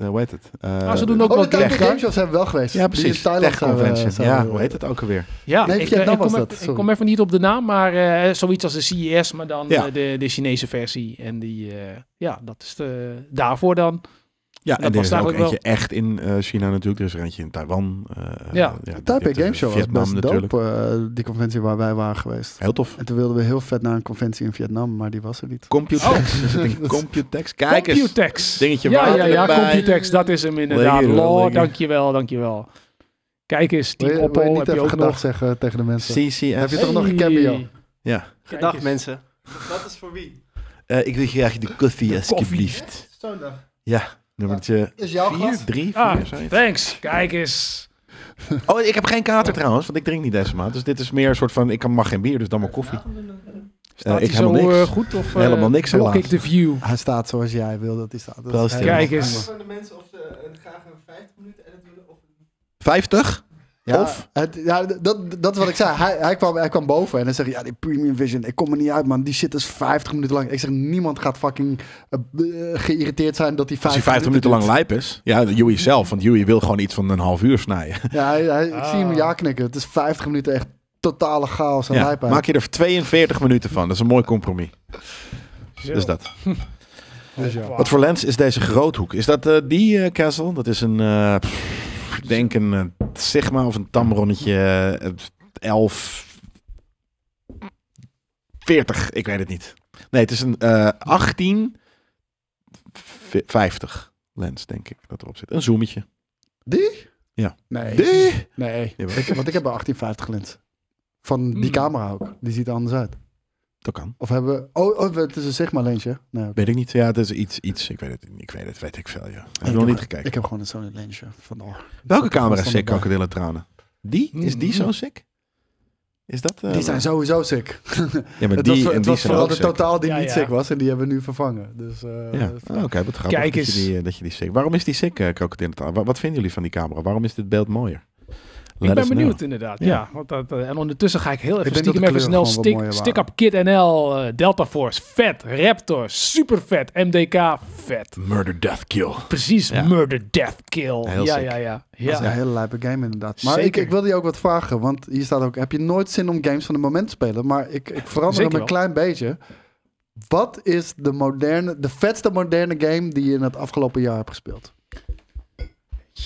Eh, hoe heet het? Eh,
Maar Ah, ze doen ook
oh,
wel
de Tokyo
games,
Game Shows zijn we wel geweest.
Ja,
Die
precies.
in Thailand
Tech
zijn we-
eh,
Convention.
zijn we-
ja, hoe heet het ook alweer?
ja,
Nee,
ik, eh,
Vietnam
ik, kom
was
even-
dat,
ik kom
sorry.
even niet op de naam, maar eh, zoiets als de CES, maar dan
Ja.
eh, de, de Chinese versie. En die, eh, ja, dat is de, daarvoor dan.
Ja,
Dat
en er
was
is er ook
eigenlijk wel-
eentje echt in eh, China natuurlijk. Er is er eentje in Taiwan. eh,
Ja.
De Taipei
dit-
Game Show was
Vietnam
best
natuurlijk.
dope, eh, die conventie waar wij waren geweest.
Heel tof.
En toen wilden we heel vet naar een conventie in Vietnam, maar die was er niet.
Computex. Is het een Computex? Kijk eens.
Computex.
Dingetje
ja,
water
ja, ja,
erbij.
Computex, dat is hem inderdaad.
Lekker,
Lord,
lekker.
dankjewel, dankjewel. Kijk eens,
Wil
Team
je- wil je
Oppo
niet
heb je
even
ook
gedag
nog.
zeggen tegen de mensen? Heb
CCF.
je toch nog een cameo?
Ja.
Kijk
Dag
eens.
mensen. Dat is voor wie?
Eh, ik wil graag de koffie, alsjeblieft. Ja, nummertje
Is jouw
vier, drie,
Ah,
vier, zoiets.
thanks. Kijk eens.
Oh, ik heb geen kater trouwens, want ik drink niet deze maand. Dus dit is meer een soort van, ik kan- mag geen bier, dus dan maar koffie.
Staat
ik
hij zo
helemaal niks.
eh, goed of eh,
Helemaal niks,
blok
helaas.
ik de view?
Hij staat zoals jij wil dat hij staat. Dat is
Proost,
helemaal
Kijk
prima.
eens.
Van de mensen of ze een, graag een 50 minuten edit willen of
50?
Ja,
Of?
Het, ja, dat, dat is wat ik zei. Hij, hij, kwam, hij kwam boven en hij zegt, ja, die Premium Vision, ik kom er niet uit, man. Die shit is 50 minuten lang. Ik zeg, niemand gaat fucking eh, eh, geïrriteerd zijn dat die 50,
Als hij 50 minuten lang
duurt.
lijp is. Ja, Joey zelf, want Joey wil gewoon iets van een half uur snijden.
Ja, hij, hij- ik
Ah.
zie hem ja knikken. Het is 50 minuten echt totale chaos en
Ja,
lijpheid.
maak je er 42 minuten van, dat is een mooi compromis. Dus dat.
Dus ja.
Wat voor lens is deze groothoek? Is dat eh, die eh, Kessel? Dat is een, eh, pff, ik denk een eh, Sigma of een Tamronnetje eh, 11, 40, ik weet het niet. Nee, het is een eh 18, v- 50 lens, denk ik, dat erop zit. Een zoometje.
Die?
Ja.
Nee.
Die?
Nee.
Jawel.
Ik, want ik heb een 1850 lens. Van die
Hmm.
camera ook. Die ziet er anders uit.
Dat kan.
Of hebben we... Oh, oh het is een Sigma lensje. Nee, oké.
Weet ik niet. Ja, het is iets, iets. Ik weet het, ik weet het, weet ik veel, ja. Ik heb
Ik
nog
heb-
niet gekeken.
Ik heb gewoon een Sony lensje. Van, oh.
Welke camera is
Standaard.
sick, krokodillentranen? Die? Is die zo sick? Is dat... eh,
Die zijn sowieso sick.
Ja, maar
het
die
was,
en
het
die
was
zijn
vooral
ook
de
sick.
totaal die
Ja,
niet
ja.
sick was. En die hebben we nu vervangen. Dus, eh,
Ja,
dat-
Ah, oké, wat grappig
Kijk
dat,
eens.
Je die, eh, dat je die sick... Waarom is die sick, uh, Wat, wat vinden jullie van die camera? Waarom is dit beeld mooier?
Ik
Let
ben
us
benieuwd
know.
inderdaad.
Ja.
Ja. want dat, eh, en ondertussen ga ik heel even
denk dat
stiekem
de
even
kleuren
snel
gewoon wat
stick,
mooier
stick
waren.
up Kid NL, eh, Delta Force, vet, Raptor, super vet, MDK, vet.
Murder, death, kill.
Precies,
Ja.
murder, death, kill.
Heel
ja,
sick.
ja, ja,
Dat is
ja.
een hele lijpe game inderdaad. Maar ik,
Zeker.
ik wilde je ook wat vragen. Want hier staat ook... Heb je nooit zin om games van het moment te spelen? Maar ik, ik verander
Zeker
hem een
wel.
klein beetje. Wat is de, moderne, de vetste moderne game die je in het afgelopen jaar hebt gespeeld?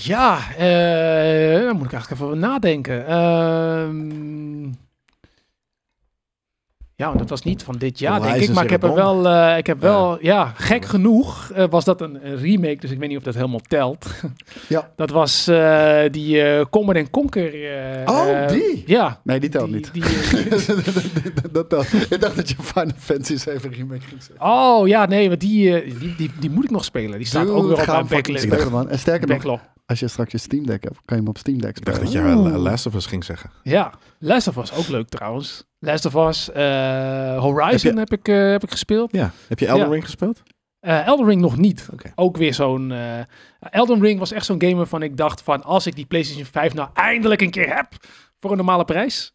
Ja, eh, dan moet ik eigenlijk even nadenken. Ehm, ja, want dat was niet van dit jaar, denk ik.
Horizon
Maar ik heb er
Zero Dawn.
wel, eh, ik heb wel ja, gek genoeg eh, was dat een, een remake, dus ik weet niet of dat helemaal telt.
Ja.
Dat was eh, die eh Common en Conquer. eh,
Oh,
eh,
die?
Ja.
Nee, die telt
die-
niet.
die, eh,
dat telt. Ik dacht dat je Final Fantasy 7 remake ging zeggen.
oh, ja, nee, maar die, eh, die, die, die moet ik nog spelen. Die staat ook
Dude,
weer op
ga
mijn
hem fucking
backlist.
spelen, man. En sterker nog,
backlog.
als je straks je Steam Deck hebt, kan je hem op Steam Deck
Ik
spelen.
dacht dat je eh,
Oh.
Last of Us ging zeggen.
Ja, Last of Us ook leuk trouwens. Last of Us, eh, Horizon heb, ik, eh, heb ik gespeeld.
Ja. Heb je Elden
Ja.
Ring gespeeld?
Eh, Elden Ring nog niet.
Oké.
Ook weer zo'n... eh, Elden Ring was echt zo'n game waarvan ik dacht van... als ik die PlayStation 5 nou eindelijk een keer heb... voor een normale prijs...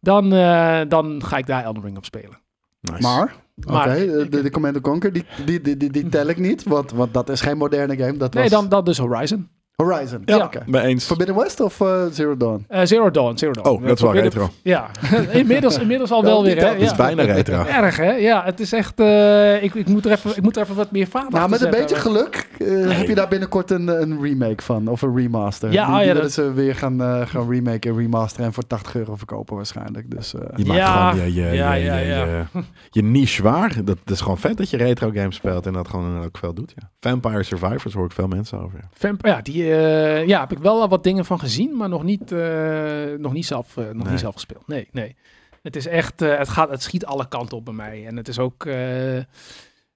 dan, eh, dan ga ik daar Elden Ring op spelen.
Nice.
Maar, oké, eh,
Maar-
de, de Command Conquer, die, die, die, die, die tel ik niet, want, want dat is geen moderne game. Dat
Nee,
was
dan, dan dus Horizon.
Horizon.
Ja.
oké.
Bij eens.
Forbidden West of eh, Zero Dawn?
Eh, Zero Dawn, Zero Dawn.
Oh, dat is wel
Forbidden-
retro.
Ja, inmiddels, inmiddels al wel
die
weer.
telt
hè.
Dat is
Ja.
bijna retro.
Erg, hè? Ja, het is echt... eh, ik, ik, moet er even, ik moet er even wat meer vaat
Nou,
achter
met een
zetten.
beetje geluk eh, heb je daar binnenkort een, een remake van, of een remaster.
Ja,
die,
oh ja,
die
dat-
willen ze weer gaan, eh, gaan remake en remasteren en voor 80 euro verkopen waarschijnlijk. Dus, eh,
Je maakt
Ja.
gewoon je, je,
Ja,
je,
ja,
je-
ja.
je- je niche waar. Dat, dat is gewoon vet dat je retro games speelt en dat gewoon ook veel doet. Ja. Vampire Survivors hoor ik veel mensen over. ja.
Vamp- ja, die, eh, ja, heb ik wel al wat dingen van gezien, maar nog niet, eh, nog niet, zelf, eh, nog
Nee.
niet zelf gespeeld. Nee, nee. Het is echt, eh, het, gaat, het schiet alle kanten op bij mij. En het is ook, eh,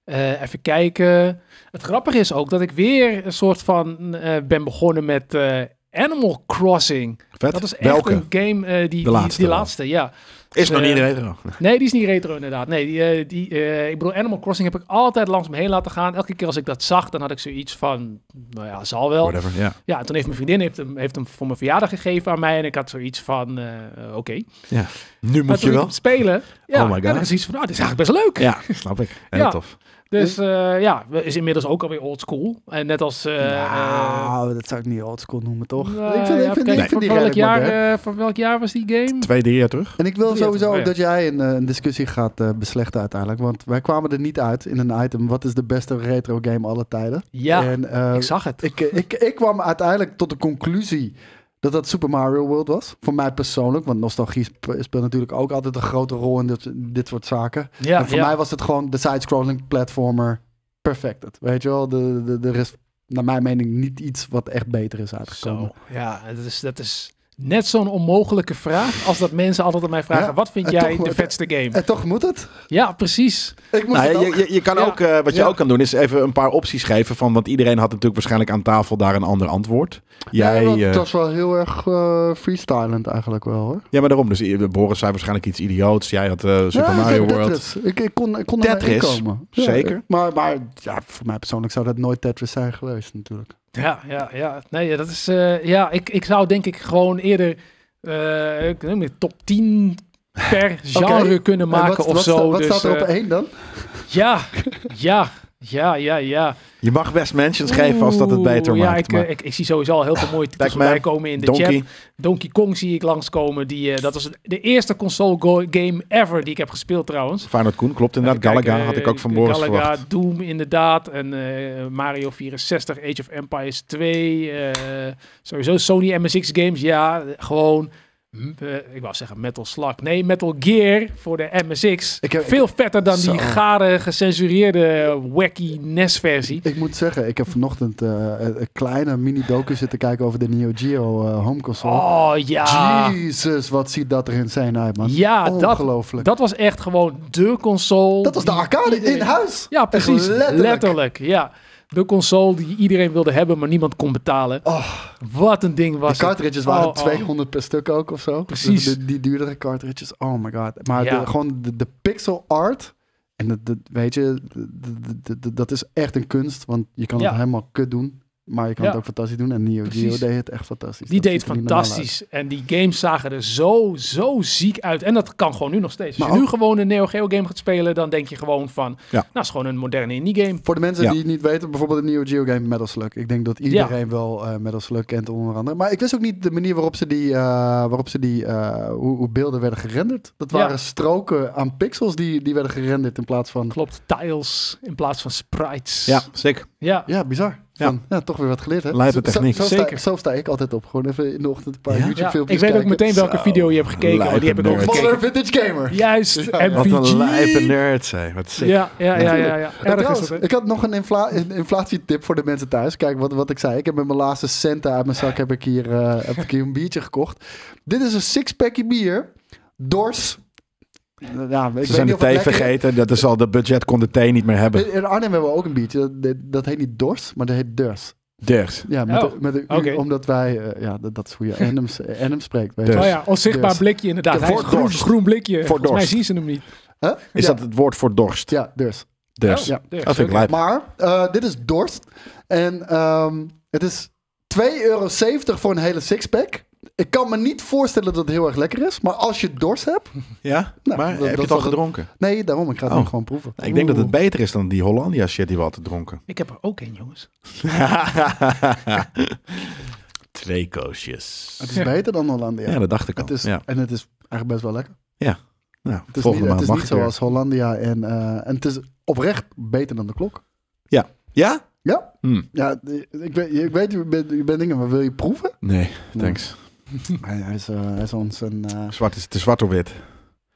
eh, even kijken. Het grappige is ook dat ik weer een soort van eh, ben begonnen met eh, Animal Crossing.
Vet.
Dat is echt
Welke?
een game, eh, die, die,
laatste
die
wel.
laatste, ja.
Is nog
eh,
niet retro.
Nee, die is niet retro inderdaad. Nee, die, eh, die, eh, ik bedoel, Animal Crossing heb ik altijd langs me heen laten gaan. Elke keer als ik dat zag, dan had ik zoiets van, nou ja, zal wel.
Whatever, ja.
Ja, en toen heeft mijn vriendin heeft hem, heeft hem voor mijn verjaardag gegeven aan mij. En ik had zoiets van, eh, eh, oké.
Nu
Maar toen
moet je
ik
wel.
hem spelen, ja,
Oh my
en
God.
dan zoiets van, nou, dit is eigenlijk best leuk.
Ja, snap ik. Heel
Ja.
tof.
Dus eh, ja, we- is inmiddels ook alweer old school. En net als... eh, eh,
nou, dat zou ik niet oldschool noemen, toch?
nou,
ik vind,
ja,
ik vind, ik
kijk,
vind
van
die
welk
redelijk
jaar,
modern.
eh, Van welk jaar was die game?
Twee, drie jaar terug.
En ik wil
Drie,
sowieso
oh ja.
dat jij een, eh, een discussie gaat eh, beslechten uiteindelijk. Want wij kwamen er niet uit in een item. Wat is de beste retro game alle tijden?
Ja,
en, eh,
ik zag het.
ik, ik, ik kwam uiteindelijk tot de conclusie dat dat Super Mario World was. Voor mij persoonlijk, want nostalgie sp- speelt natuurlijk ook altijd een grote rol in dit, dit soort zaken.
Ja,
en voor
ja.
mij was het gewoon de side-scrolling platformer perfected. Weet je wel, de, de, de, er is naar mijn mening niet iets wat echt beter is uitgekomen.
Zo. Ja, dat is, dat is net zo'n onmogelijke vraag als dat mensen altijd aan mij vragen.
Ja,
wat vind
en
jij
toch- eh,
de vetste game?
En toch moet het.
Ja, precies.
Ik moest
Nou,
het
je,
ook.
je, je kan
Ja.
ook, eh, wat je
Ja.
ook kan doen, is even een paar opties geven. Van, want iedereen had natuurlijk waarschijnlijk aan tafel daar een ander antwoord. Jij,
ja, dat
eh,
was wel heel erg eh freestylend eigenlijk wel hoor.
ja, maar daarom. Dus i- Boris zei waarschijnlijk iets idioots. Jij had eh, Super
Ja,
Mario
ik zei
World.
Tetris. Ik, ik kon, ik kon er
Tetris?
komen.
Zeker.
Maar, maar ja, voor mij persoonlijk zou dat nooit Tetris zijn geweest natuurlijk.
Ja, ja, ja. Nee, ja, dat is, eh, ja ik, ik zou denk ik gewoon eerder eh, ik noem het, top 10 per genre
Oké.
kunnen
En
maken
wat,
of
wat sta-
zo.
Wat
dus,
staat er op
eh,
één dan?
ja, ja, ja, ja, ja.
Je mag best mentions geven als dat het beter
Oeh, ja,
maakt.
ik,
maar
eh, ik, ik zie sowieso al heel veel mooie titels
Pac-Man,
voorbij komen in de chat.
Donkey,
Donkey Kong zie ik langskomen. Die, eh, dat was de eerste console go- game ever die ik heb gespeeld trouwens.
Feyenoord Koen, klopt inderdaad.
Even
Galaga
kijken,
had ik
eh,
ook van Boris
Galaga,
verwacht.
Doom inderdaad. En eh, Mario 64, Age of Empires 2. eh, sowieso Sony MSX games. Ja, gewoon... m- eh, ik wou zeggen Metal Slug. Nee, Metal Gear voor de MSX.
Ik heb-
Veel vetter dan
Zo.
die gare, gecensureerde, wacky E NES-versie.
Ik moet zeggen, ik heb vanochtend eh, een een kleine mini-docu zitten kijken over de Neo Geo eh, home console.
Oh ja.
Jezus, wat ziet dat er insane uit, man.
Ja, dat,
Ongelooflijk.
dat was echt gewoon de console.
Dat was de
die
arcade in
iedereen-
huis.
Ja, precies.
letterlijk.
Letterlijk. ja. De console die iedereen wilde hebben, maar niemand kon betalen.
Oh,
Wat een ding
de
was het.
cartridges waren
Oh, oh.
200 per stuk ook of zo. Dus
Precies.
De- de- die duurdere cartridges, oh my god. Maar
Ja.
de- gewoon de, de pixel art, en dat- dat- weet je, d- d- d- d- dat is echt een kunst. Want je kan het
Ja.
helemaal kut doen, maar je kan het
Ja.
ook fantastisch doen. En Neo Geo
Precies.
deed het echt fantastisch.
Die
Dat
deed
ziet er niet normaal uit.
fantastisch. En die games zagen er zo, zo ziek uit. En dat kan gewoon nu nog steeds.
Maar
Als je
ook-
nu gewoon een Neo Geo game gaat spelen, dan denk je gewoon van...
Ja.
Nou, is gewoon een moderne indie game.
Voor de mensen
Ja.
die het niet weten, bijvoorbeeld de Neo Geo game Metal Slug. Ik denk dat iedereen wel eh Metal Slug kent onder andere. Maar ik wist ook niet de manier waarop ze die, eh, waarop ze die eh, hoe, hoe beelden werden gerenderd. Dat
Ja.
waren stroken aan pixels die, die werden gerenderd in plaats van...
Klopt, tiles in plaats van sprites.
Ja, sick.
Ja,
Ja, bizar.
Ja.
Van, ja, toch weer wat geleerd, hè?
Lijpe
Zo- zo-
techniek.
Zo, sta-
Zeker.
Zo sta ik altijd op. Gewoon even in de ochtend een paar
Ja?
Ja, Ik
YouTube-filmpjes
weet ook meteen welke
Zo.
video je hebt gekeken. want die heb ik ook
Lijpe nerd.
Modern
gekeken.
Vintage Gamer.
Juist,
Ja,
MVG.
Wat een lijpe nerd, zei. Wat sick.
Ja, ja, ja, ja. ja.
Ja,
Erg is
trouwens,
dat, hè?
ik had nog een, infla- een inflatietip voor de mensen thuis. Kijk wat, wat ik zei. Ik heb met mijn laatste centen uit mijn zak heb ik hier, eh, heb ik hier een biertje gekocht. Dit is een sixpackje bier. Dors. Ja, ik weet
Ze zijn
niet
de
of het
thee
lekker is. Eh,
vergeten. Dat is al, dat budget kon de thee niet meer hebben.
In Arnhem hebben we ook een biertje. Dat- Dat, dat heet niet Dors, maar dat heet Durs.
Durs.
Ja, met,
Oh,
een- met een U,
oké.
omdat wij... eh, ja, dat, dat is hoe je Arnhem, Arnhem spreekt. Weet je.
Dus.
oh ja, onzichtbaar
Dus.
blikje inderdaad.
Ja,
Hij
voor
is groen,
dorst.
groen blikje. Volgens mij
dorst.
zien ze hem niet.
Huh?
Is
ja,
dat het woord voor dorst?
Ja, Oh, Durs.
Durs.
Ja.
dus
Dat vind ik lijp.
Maar eh, dit is Dorst. En ehm, het is 2,70 euro voor een hele sixpack. Ik kan me niet voorstellen dat het heel erg lekker is. Maar als je dorst hebt...
Ja?
Nou,
maar
dat-
heb je
dat
het al
was het.
gedronken?
Nee, daarom. Ik ga het
Oh.
nu gewoon proeven.
Nou, ik denk dat het
Oeh.
beter is dan die Hollandia shit die we altijd dronken.
Ik heb er ook één, jongens.
Twee koosjes.
Het is beter dan Hollandia.
Ja, dat dacht ik al.
het is,
ja.
En het is eigenlijk best wel lekker.
Nou,
Het is
volgende
niet,
maand
het is
mag
niet
ik weer.
zoals Hollandia. En, eh, en het is oprecht beter dan de klok.
Ja?
Ja.
Hm,
Ja, ik weet, ik weet u bent, u bent dingen, maar wil je proeven?
nee, thanks.
Hij, hij is, eh, hij is ons een... eh,
Zwart is, het is zwart of wit.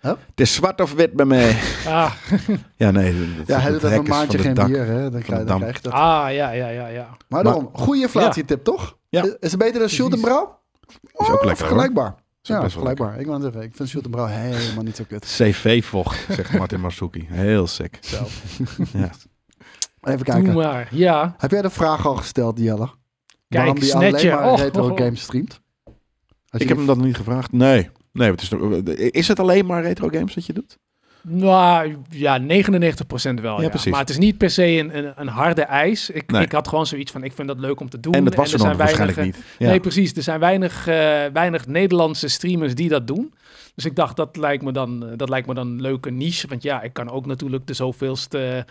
Huh?
Het is zwart of wit bij mij.
Ah,
Ja, nee. dat-
ja, hij
dat
doet even een
hek is van
maandje
het
geen
dak.
bier. Hè? Dan, krijg, dan
dam.
krijg je dat.
ah, ja, ja, ja, ja.
Maar daarom, goede inflatietip, toch?
Ja.
Is- Is het beter dan Sjoerd en
Precies.
Brouw? Oh,
Is ook lekker hoor.
Vergelijkbaar.
Is ook
Ja,
best wel lekker.
vergelijkbaar. Ik wou net zeggen, ik vind Sjoerd en Brouw helemaal niet zo kut.
CV-vocht, zegt Martin Marzuki. Heel sick. Ja.
Even
Doe
kijken.
maar. Ja.
Heb jij de vraag al gesteld, Jelle?
Kijk,
Waarom die
Snatcher.
alleen maar
Oh,
retro
oh, oh.
games streamt? Als
Ik
je-
heb hem dat nog niet gevraagd. Nee. Nee, het is, is het alleen maar retro games dat je doet?
Nou ja, 99% wel.
Ja,
Ja,
precies.
Maar het is niet per se een, een, een harde eis. Ik,
Nee.
ik had gewoon zoiets van: ik vind dat leuk om te doen.
En dat was er
er
dan
zijn weinig,
waarschijnlijk
eh,
niet. Ja.
Nee, precies. Er zijn weinig, eh, weinig Nederlandse streamers die dat doen. Dus ik dacht, dat lijkt me dan, eh, dat lijkt me dan een leuke niche. Want ja, ik kan ook natuurlijk de zoveelste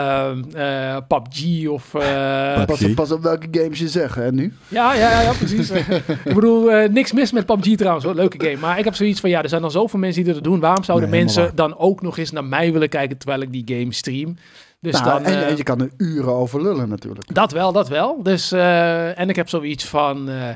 eh, eh, PUBG of... eh,
PUBG.
Pas op, pas op welke games je zegt, hè, nu?
ja, ja, ja, ja, precies. ik bedoel, eh, niks mis met PUBG trouwens. Hoor. Leuke game. Maar ik heb zoiets van, ja, er zijn al zoveel mensen die dat doen. Waarom zouden
Nee, helemaal
mensen dan ook nog eens naar mij willen kijken terwijl ik die game stream? Dus
Nou,
dan,
en,
eh,
en je kan er uren over lullen, natuurlijk.
dat wel, dat wel. Dus, eh, en ik heb zoiets van, eh,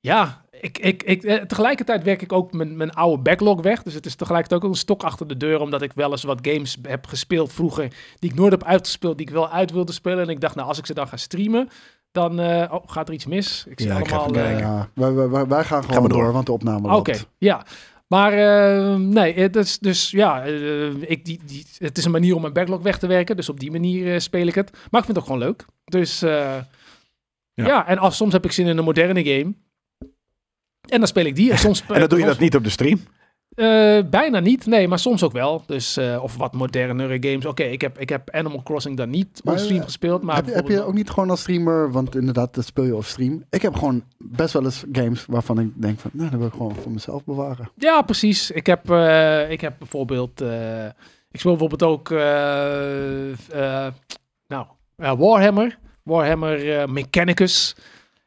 ja, ik, ik, ik, eh, tegelijkertijd werk ik ook mijn, mijn oude backlog weg. Dus het is tegelijkertijd ook een stok achter de deur, omdat ik wel eens wat games heb gespeeld vroeger, die ik nooit heb uitgespeeld, die ik wel uit wilde spelen. En ik dacht, nou, als ik ze dan ga streamen, dan eh, oh, gaat er iets mis. Ik zie
Ja, ik ga
allemaal... eh,
even kijken.
Ja, wij, wij- wij- wij gaan gewoon
maar door.
door. want de opname
Oké,
loopt.
ja. Maar eh, nee, het is dus ja, eh, ik, die, die, het is een manier om mijn backlog weg te werken. Dus op die manier eh, speel ik het. Maar ik vind het ook gewoon leuk. Dus eh,
Ja.
ja. en als, soms heb ik zin in een moderne game. En dan speel ik die. En, soms
En dan doe je dat niet op de stream?
eh, bijna niet, nee, maar soms ook wel. Dus, eh, of wat modernere games. Oké, ik, heb, ik heb Animal Crossing dan niet
Maar,
onstream
eh,
gespeeld. Maar
heb, je- heb je
bijvoorbeeld-
ook niet gewoon als streamer, want inderdaad, dat speel je op stream. Ik heb gewoon best wel eens games waarvan ik denk van, nou, dat wil ik gewoon voor mezelf bewaren.
Ja, precies. Ik heb, eh, ik heb bijvoorbeeld. eh, ik speel bijvoorbeeld ook. eh, eh, nou, eh, Warhammer. Warhammer eh, Mechanicus.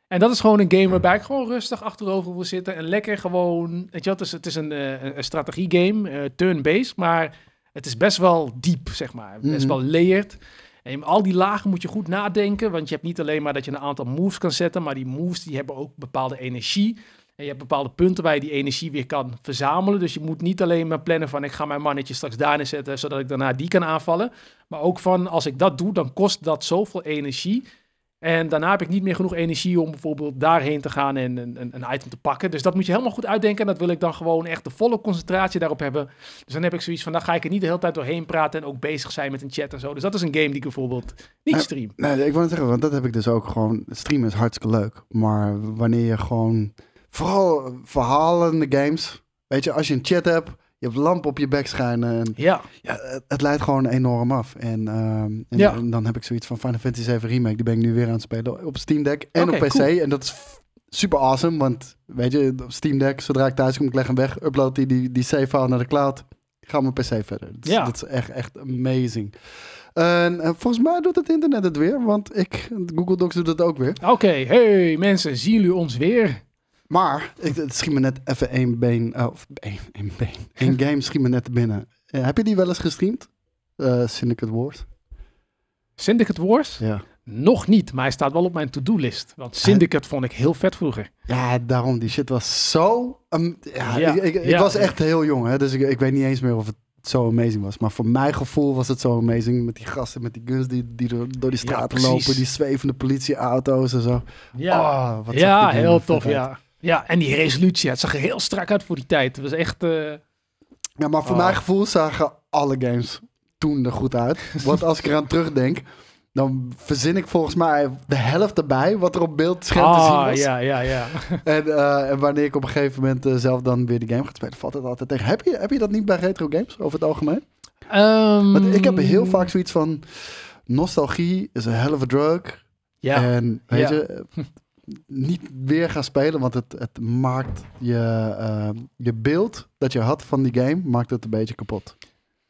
En dat is gewoon een game waarbij ik gewoon rustig achterover wil zitten. En lekker gewoon. Weet je, wat, het is, het is een, eh, een- een strategiegame, eh, turn-based. Maar het is best wel diep, zeg maar. Best
Mhm.
wel layered. En in al die lagen moet je goed nadenken. Want je hebt niet alleen maar dat je een aantal moves kan zetten. Maar die moves die hebben ook bepaalde energie. En je hebt bepaalde punten waar je die energie weer kan verzamelen. Dus je moet niet alleen maar plannen van ik ga mijn mannetje straks daarin zetten, zodat ik daarna die kan aanvallen. Maar ook van als ik dat doe, dan kost dat zoveel energie. En daarna heb ik niet meer genoeg energie om bijvoorbeeld daarheen te gaan en een, een, een item te pakken. Dus dat moet je helemaal goed uitdenken. En dat wil ik dan gewoon echt de volle concentratie daarop hebben. Dus dan heb ik zoiets van, dan ga ik er niet de hele tijd doorheen praten en ook bezig zijn met een chat en zo. Dus dat is een game die ik bijvoorbeeld niet
Eh,
stream.
Nee, ik wil het zeggen, want dat heb ik dus ook gewoon. Streamen is hartstikke leuk. Maar wanneer je gewoon. Vooral verhalende games. Weet je, als je een chat hebt. Je hebt lamp op je bek schijnen. En,
Ja,
ja, het, het leidt gewoon enorm af. En, ehm, en,
Ja.
en dan heb ik zoiets van Final Fantasy VII Remake. Die ben ik nu weer aan het spelen op Steam Deck en
Oké,
op PC.
cool.
En dat is f- super awesome. Want weet je, op Steam Deck, zodra ik thuis kom, ik leg hem weg. Upload die, die, die save-file naar de cloud. Ik ga op mijn PC verder. Dat is,
Ja.
dat is echt, echt amazing. En, eh, volgens mij doet het internet het weer. Want ik, Google Docs doet het ook weer.
oké. Hey mensen, zien jullie ons weer?
Maar ik, het schiet me net even één been. eh, Of één, één been. Één game schiet me net binnen. Eh, heb je die wel eens gestreamd? Eh Syndicate Wars.
Syndicate Wars?
Ja.
Nog niet, maar hij staat wel op mijn to-do-list. Want Syndicate vond ik heel vet vroeger.
Ja, daarom. Die shit was zo... am- ja,
Ja,
ik, ik, ik
ja.
was echt heel jong, hè, dus ik, ik weet niet eens meer of het zo amazing was. Maar voor mijn gevoel was het zo amazing. Met die gasten, met die guns die, die door, door die
Ja,
straten
precies.
lopen. Die zwevende politieauto's en zo.
Oh,
Ah, wat zag
ja
die game
heel
er
tof,
vet uit.
ja. Ja, en die resolutie, het zag er heel strak uit voor die tijd. Het was echt... eh,
Ja, maar voor
Oh.
mijn gevoel zagen alle games toen er goed uit. Want als ik eraan terugdenk, dan verzin ik volgens mij de helft erbij wat er op beeldscherm te zien
ah,
was.
ja, ja, ja.
En, eh, en wanneer ik op een gegeven moment eh, zelf dan weer die game gaat spelen, valt het altijd tegen. Heb je, heb je dat niet bij retro games over het algemeen?
Ehm,
Want ik heb heel vaak zoiets van, nostalgie is een hell of a drug.
Ja,
En weet
Ja.
je, eh, niet weer gaan spelen, want het, het maakt je, eh, je beeld dat je had van die game, maakt het een beetje kapot.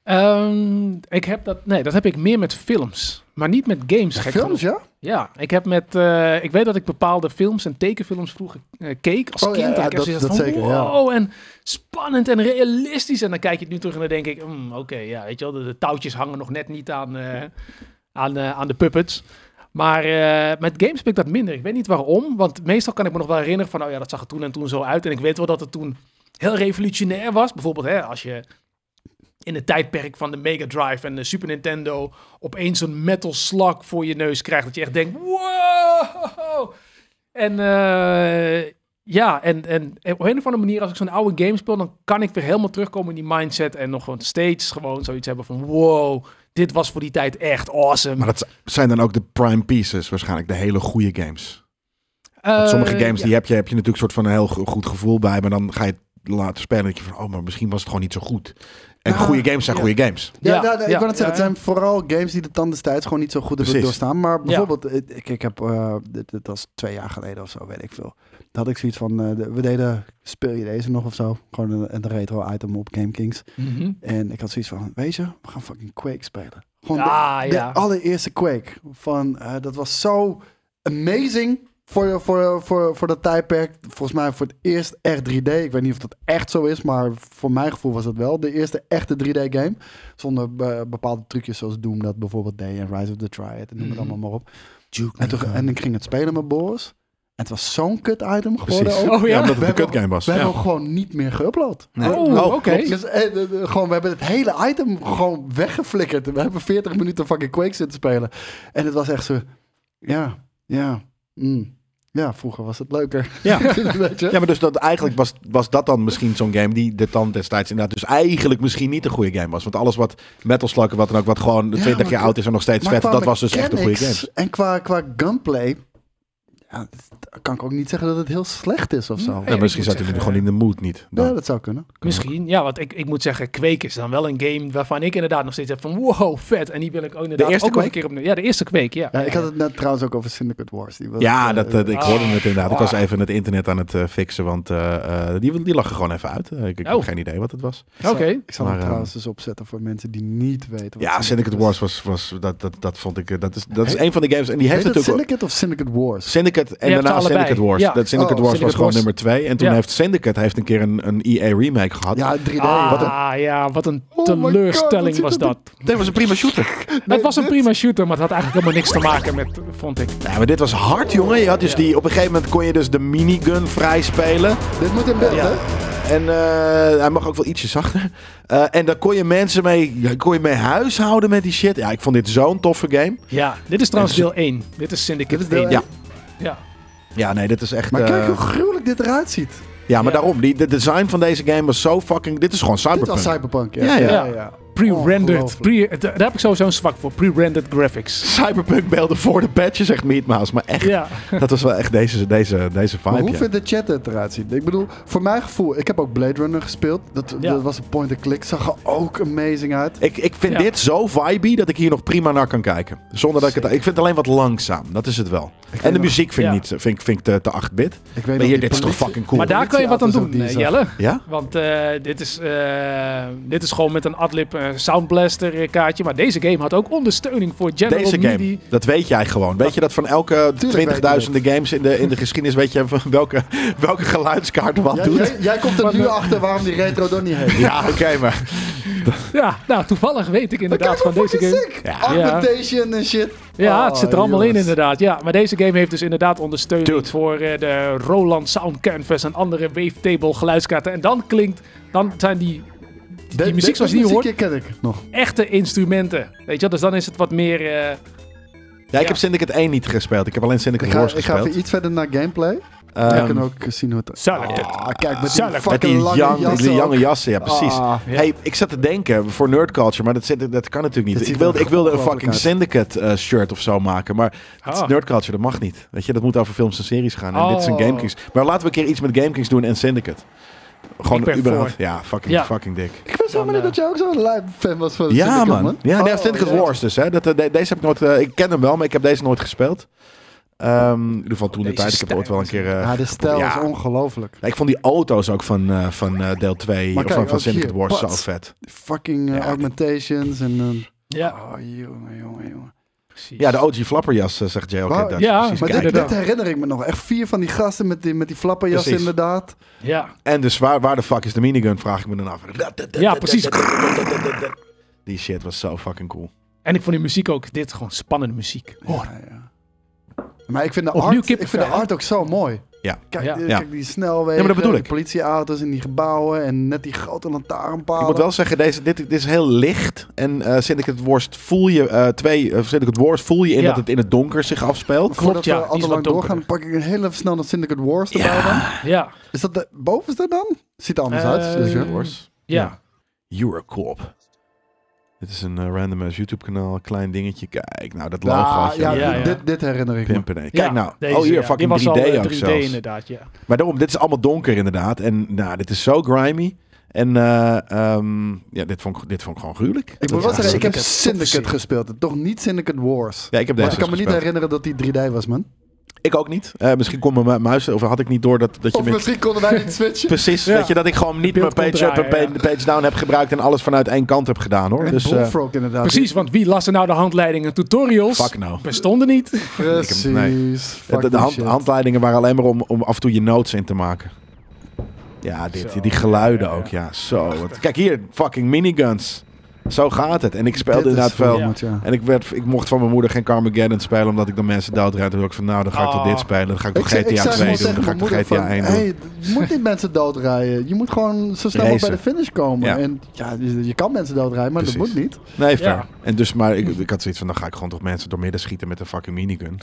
Eh.
Ehm, ik heb dat... Nee, dat heb ik meer met films. Maar niet met games, gek
Films,
genoeg.
ja?
Ja, ik heb met... eh, ik weet dat ik bepaalde films en tekenfilms vroeger eh, keek als
Oh, ja,
kind.
ja,
en ik heb
dat-
zoiets
dat
van,
zeker, ja.
wow, en spannend en realistisch. En dan kijk je het nu terug en dan denk ik, mm, oké, ja, weet je wel, de, de touwtjes hangen nog net niet aan, eh, aan, eh, aan de puppets. Maar eh, met games ben ik dat minder. Ik weet niet waarom, want meestal kan ik me nog wel herinneren van, oh ja, dat zag er toen en toen zo uit. En ik weet wel dat het toen heel revolutionair was. Bijvoorbeeld, hè, als je in het tijdperk van de Mega Drive en de Super Nintendo opeens een metal slug voor je neus krijgt, dat je echt denkt, wow! En eh, ja, en, en op een of andere manier, als ik zo'n oude game speel, dan kan ik weer helemaal terugkomen in die mindset en nog gewoon steeds gewoon zoiets hebben van, wow, dit was voor die tijd echt awesome.
Maar dat zijn dan ook de prime pieces waarschijnlijk, de hele goede games. Want sommige
Eh,
games
ja.
die heb je, heb je natuurlijk een soort van een heel go- goed gevoel bij, maar dan ga je laten spelen. Dat je van, oh, maar misschien was het gewoon niet zo goed. En
Ja.
goede games zijn
Ja.
goede games.
Ja,
Ja,
nou, nou, ik
ja,
kan het zeggen.
ja.
Het zijn vooral games die de tand des tijds gewoon niet zo goed hebben
Precies.
doorstaan. Maar bijvoorbeeld, eh, ik, ik heb, eh, dit, dit was twee jaar geleden of zo, weet ik veel. Dat had ik zoiets van, eh, de- we deden, speel je deze nog of zo? Gewoon een, een retro item op GameKings.
Mhm.
En ik had zoiets van, weet je, we gaan fucking Quake spelen. Gewoon
Ah,
de,
ja.
de allereerste Quake. Van, eh, dat was zo amazing voor, voor, voor, voor dat tijdperk. Volgens mij voor het eerst echt 3D. Ik weet niet of dat echt zo is, maar voor mijn gevoel was dat wel. De eerste echte 3D game. Zonder eh, bepaalde trucjes zoals Doom dat bijvoorbeeld deed. En Rise of the Triad en noem het
Mhm.
allemaal maar op. En, toen, en ik ging het spelen met Boris. En het was zo'n kut item geworden
Precies.
ook.
Oh, ja?
omdat het
We
een
hebben-
kutgame was.
We hebben
Ja.
hem gewoon niet meer geüpload.
Nee.
Oh,
Oh,
oké.
Klopt. Dus, eh, de- de- gewoon, we hebben het hele item gewoon weggeflikkerd. We hebben 40 minuten fucking Quake zitten spelen. En het was echt zo... Ja, ja, mm, ja, vroeger was het leuker.
Ja.
Weet je?
Ja, maar dus dat, eigenlijk was, was dat dan misschien zo'n game die de tand destijds inderdaad dus eigenlijk misschien niet een goede game was. Want alles wat Metal Slug, en wat dan ook, wat gewoon 20
maar
jaar
qua-
oud is en nog steeds
Maar
vet,
qua
dat was dus echt een goede
mechanics
game.
En qua, qua gunplay... Ja, dat kan ik ook niet zeggen dat het heel slecht is of zo.
Nee.
Ja,
ik
misschien
moet
zaten jullie
zeggen,
gewoon in de mood niet. Dan.
Ja, dat zou kunnen.
Misschien, ja, want ik, ik moet zeggen, Quake is dan wel een game waarvan ik inderdaad nog steeds heb van wow, vet. En die wil ik ook inderdaad
eerste
ook nog een
Quake?
keer opnieuw. Ja, de eerste Quake, ja.
Ja, ik had het net trouwens ook over Syndicate Wars. Die was,
Ja,
eh,
dat, eh, ik
Ah.
hoorde het inderdaad. Ik was
Ah.
even het internet aan het eh, fixen, want eh, eh, die, die lag er gewoon even uit. Eh, ik ik
Oh.
heb geen idee wat het was.
ik zal-
Oké.
Ik zal
Maar,
hem
eh,
trouwens dus opzetten voor mensen die niet weten wat
Ja, Syndicate
is.
Wars was, was dat, dat, dat vond ik, eh, dat is, dat is een van de games. En die heeft
Heet het
natuurlijk...
Syndicate of Syndicate Wars?
Syndicate en
Je hebt
daarna
ze allebei.
Syndicate Wars.
Ja.
Dat Syndicate
Oh,
Wars was
Syndicate
gewoon
Wars.
nummer 2. En toen
Ja.
heeft Syndicate heeft een keer een, een EA remake gehad.
Ja, 3D. Wat een-
Ah, ja, wat een
Oh my God, wat
teleurstelling
zit
was
er te-
dat.
Dat was een prima shooter.
het was een prima shooter, maar het had eigenlijk helemaal niks te maken met, vond ik.
Ja, maar dit was hard, jongen. Je had dus die, op een gegeven moment kon je dus de minigun vrij spelen.
Dit moet in beeld, hè?
En eh, hij mag ook wel ietsje zachter. Eh, en daar kon je mensen mee, ja, kon je mee huishouden met die shit. Ja, ik vond dit zo'n toffe game.
Ja, dit is trouwens
En-
deel 1. Dit is Syndicate
Dit is deel
1.
één.
Ja.
Ja.
Ja, nee, dit is echt...
Maar
eh,
kijk hoe gruwelijk dit eruit ziet.
ja, maar
Ja.
daarom. Die, de design van deze game was zo fucking... Dit is gewoon
Dit
cyberpunk.
was Cyberpunk, ja.
Ja, ja.
Pre-rendered.
Ongelooflijk.
Pre, da- daar heb ik sowieso een zwak voor. Pre-rendered graphics.
cyberpunk beelden voor de patches, zegt Meatmouse. Maar echt,
Ja.
dat was wel echt deze, deze, deze
Maar
vibe.
hoe
ja.
vindt de chat het eruit zien? Ik bedoel, voor mijn gevoel, ik heb ook Blade Runner gespeeld. Dat,
Ja.
dat was een point-and-click. Zag er ook amazing uit.
Ik, ik vind
Ja.
dit zo vibey dat ik hier nog prima naar kan kijken. Zonder dat ik het. Ik vind het alleen wat langzaam. Dat is het wel. en de
nog-
muziek vind
Ja.
ik niet. Vind, ik- vind ik te, te 8-bit.
Ik weet
Maar
nog,
hier,
die
dit is toch
politie-
fucking cool.
Maar daar kan je wat aan doen,
Politieauto's
eh,
ook die
Jelle.
Ja?
Want eh, dit, is, eh, dit is gewoon met een Adlib eh, Soundblaster eh, kaartje. Maar deze game had ook ondersteuning voor General
Deze game,
MIDI.
dat weet jij gewoon. Weet je dat van elke
weet ik
20.000 games in de, in de geschiedenis weet je van welke, welke geluidskaart wat
Ja,
doet?
jij, jij komt er nu achter waarom die retro door niet heet.
Ja, oké, maar
Ja, nou toevallig weet ik inderdaad
Kijk
van
hoe
deze
fucking
game.
sick!
Ja.
Augmentation en shit.
Ja,
Oh,
het zit er allemaal in
jongens.
inderdaad. Ja, maar deze game heeft dus inderdaad ondersteuning
Dude.
voor eh, de Roland Sound Canvas en andere wavetable geluidskaarten. En dan klinkt, dan zijn die
De-
muziek
dit
zoals je die
muziekje
hoort-
ken ik nog.
echte instrumenten. Weet je wel, dus dan is het wat meer... eh,
ja, ik
Ja.
heb Syndicate 1 niet gespeeld. Ik heb alleen
Ik
Syndicate
ga,
Wars
ik ga
gespeeld.
even iets verder naar gameplay.
Ehm,
We kunnen ook zien hoe het...
Solid.
Ah, kijk, met
Solid.
die
Met
met
fucking
die
lange
young-
jas
die
ook.
lange jassen, ja precies.
Ah.
Ja.
Hey, ik zat te denken voor nerd culture, maar dat, zit, dat kan natuurlijk
Dit
niet. Ik
ziet
wilde,
er
ik wilde een
ongelooflijk
fucking Syndicate eh, shirt of zo maken, maar het is
Ah.
nerd culture, dat mag niet. Weet je, dat moet over films en series gaan. En dit is een
Oh.
GameKings. Maar laten we een keer iets met GameKings doen en Syndicate. Gewoon
Ik ben
überhaupt. Ja, fucking,
Ja.
fucking dik.
Ik wist helemaal
Dan, eh,
niet dat jij ook zo'n lijp fan was van
Ja,
Syndicate,
man. Ja, nee,
Oh,
Syndicate
jeetje.
Wars dus. Hè. Dat, eh, de- deze heb ik nooit. eh, ik ken hem wel, maar ik heb deze nooit gespeeld. Ehm, in ieder geval toen de
Deze
tijd. Ik heb
stijl
ooit wel een keer. eh,
Ja, de stijl
Ja.
is ongelooflijk.
ik vond die auto's ook van, eh, van eh, deel 2
Maar
of
kijk,
van, van
ook hier,
Syndicate Wars zo
pats.
vet.
Fucking eh,
Ja.
augmentations en... eh,
ja,
Oh, jongen, jongen, jongen.
precies.
Ja, de OG flapperjas, eh, zegt JLK
Wow.
Dutch.
Ja,
Precies,
Maar
kijk.
dit,
inderdaad.
dit herinner ik me nog. Echt vier van die gasten met die, met die flapperjas
Precies.
inderdaad.
ja.
En dus waar, waar de fuck is de minigun, vraag ik me dan af.
Ja, precies.
Die shit was zo fucking cool.
En ik vond die muziek ook, dit gewoon spannende muziek.
Oh,
Ja, ja. Maar ik vind, de
Opnieuw
art, ik
kippenvel,
vind de
hè?
art ook zo mooi.
Ja.
Kijk,
Ja.
eh,
Ja.
kijk die snelwegen,
Ja, maar dat bedoel
die
ik.
politieauto's en die gebouwen en net die grote lantaarnpalen.
Ik moet wel zeggen, deze, dit, dit is heel licht. En eh Syndicate Wars voel je, eh twee, eh, Syndicate Wars voel je in
Ja.
dat het in het donker zich afspeelt.
Voordat
ja,
we
die
al
is
te
wat
lang doorgaan,
donkerder.
pak ik heel even snel nog Syndicate Wars erbij dan.
Ja, Ehm,
Is dat de
dus
dus bovenste dan? Ziet er anders uit.
Eh,
Dus ja.
ja.
Eurocorp. Dit is een eh, random ass YouTube kanaal, klein dingetje. Kijk, nou dat
Ja,
logootje.
ja,
Ja, ja.
Dit, dit herinner ik me.
Pimpen, nee. Kijk
Ja,
nou.
deze,
oh, hier,
ja. Die
fucking
was
3D,
al, eh,
ook
3D
zelfs.
inderdaad, ja.
Maar daarom, dit is allemaal donker inderdaad. En nou, dit is zo grimy. En eh, ehm, ja, dit vond, ik- dit vond ik gewoon gruwelijk.
Ik
Dat
moet wel
is
zeggen, ik heb
Syndicate,
Syndicate
topverzin.
gespeeld. en Toch niet Syndicate Wars.
Ja, ik heb
Maar
deze
ik kan me niet
gespeeld.
herinneren dat die 3D was, man.
Ik ook niet. Eh, misschien kon mijn mu- muis, of had ik niet door dat, dat je...
Of
met-
misschien konden wij niet switchen.
Precies,
Ja.
dat, je, dat ik gewoon niet mijn
Beeld kon
page up en
draaien,
page, page down heb gebruikt en alles vanuit één kant heb gedaan hoor.
En
Dus eh,
Bullfrog inderdaad.
Precies, want wie las er nou de handleidingen en tutorials?
fuck nou.
Bestonden niet.
Precies.
Ik heb- De,
Fuck
de
die
hand-
shit.
handleidingen waren alleen maar om, om af en toe je notes in te maken. Ja, dit,
Zo,
die geluiden
ja, ja, ja.
ook. Ja, zo. Wat- Kijk hier, fucking miniguns. Zo gaat het. En ik
Dit
speelde
is
inderdaad
wel
veel.
goed, ja.
En ik, werd, ik mocht van mijn moeder geen Carmageddon spelen, omdat ik dan mensen doodrijd. Toen dacht ik van, nou, dan ga ik toch
Ah.
dit spelen. Dan ga ik
Oh. Ik
toch
zei, ik
GTA
zei
2
gewoon
doen. Dan
tegen
ga
mijn
ik toch
moeder van,
GTA 1 doen.
hey, je moet niet mensen doodrijden. Je moet gewoon zo snel mogelijk bij de
Racen.
finish komen.
Ja.
En ja, je, je kan mensen doodrijden, maar dat
Precies.
moet niet.
Nee, fair.
Ja.
En dus, maar ik, ik had zoiets van, dan ga ik gewoon toch mensen doormidden schieten met een fucking minigun.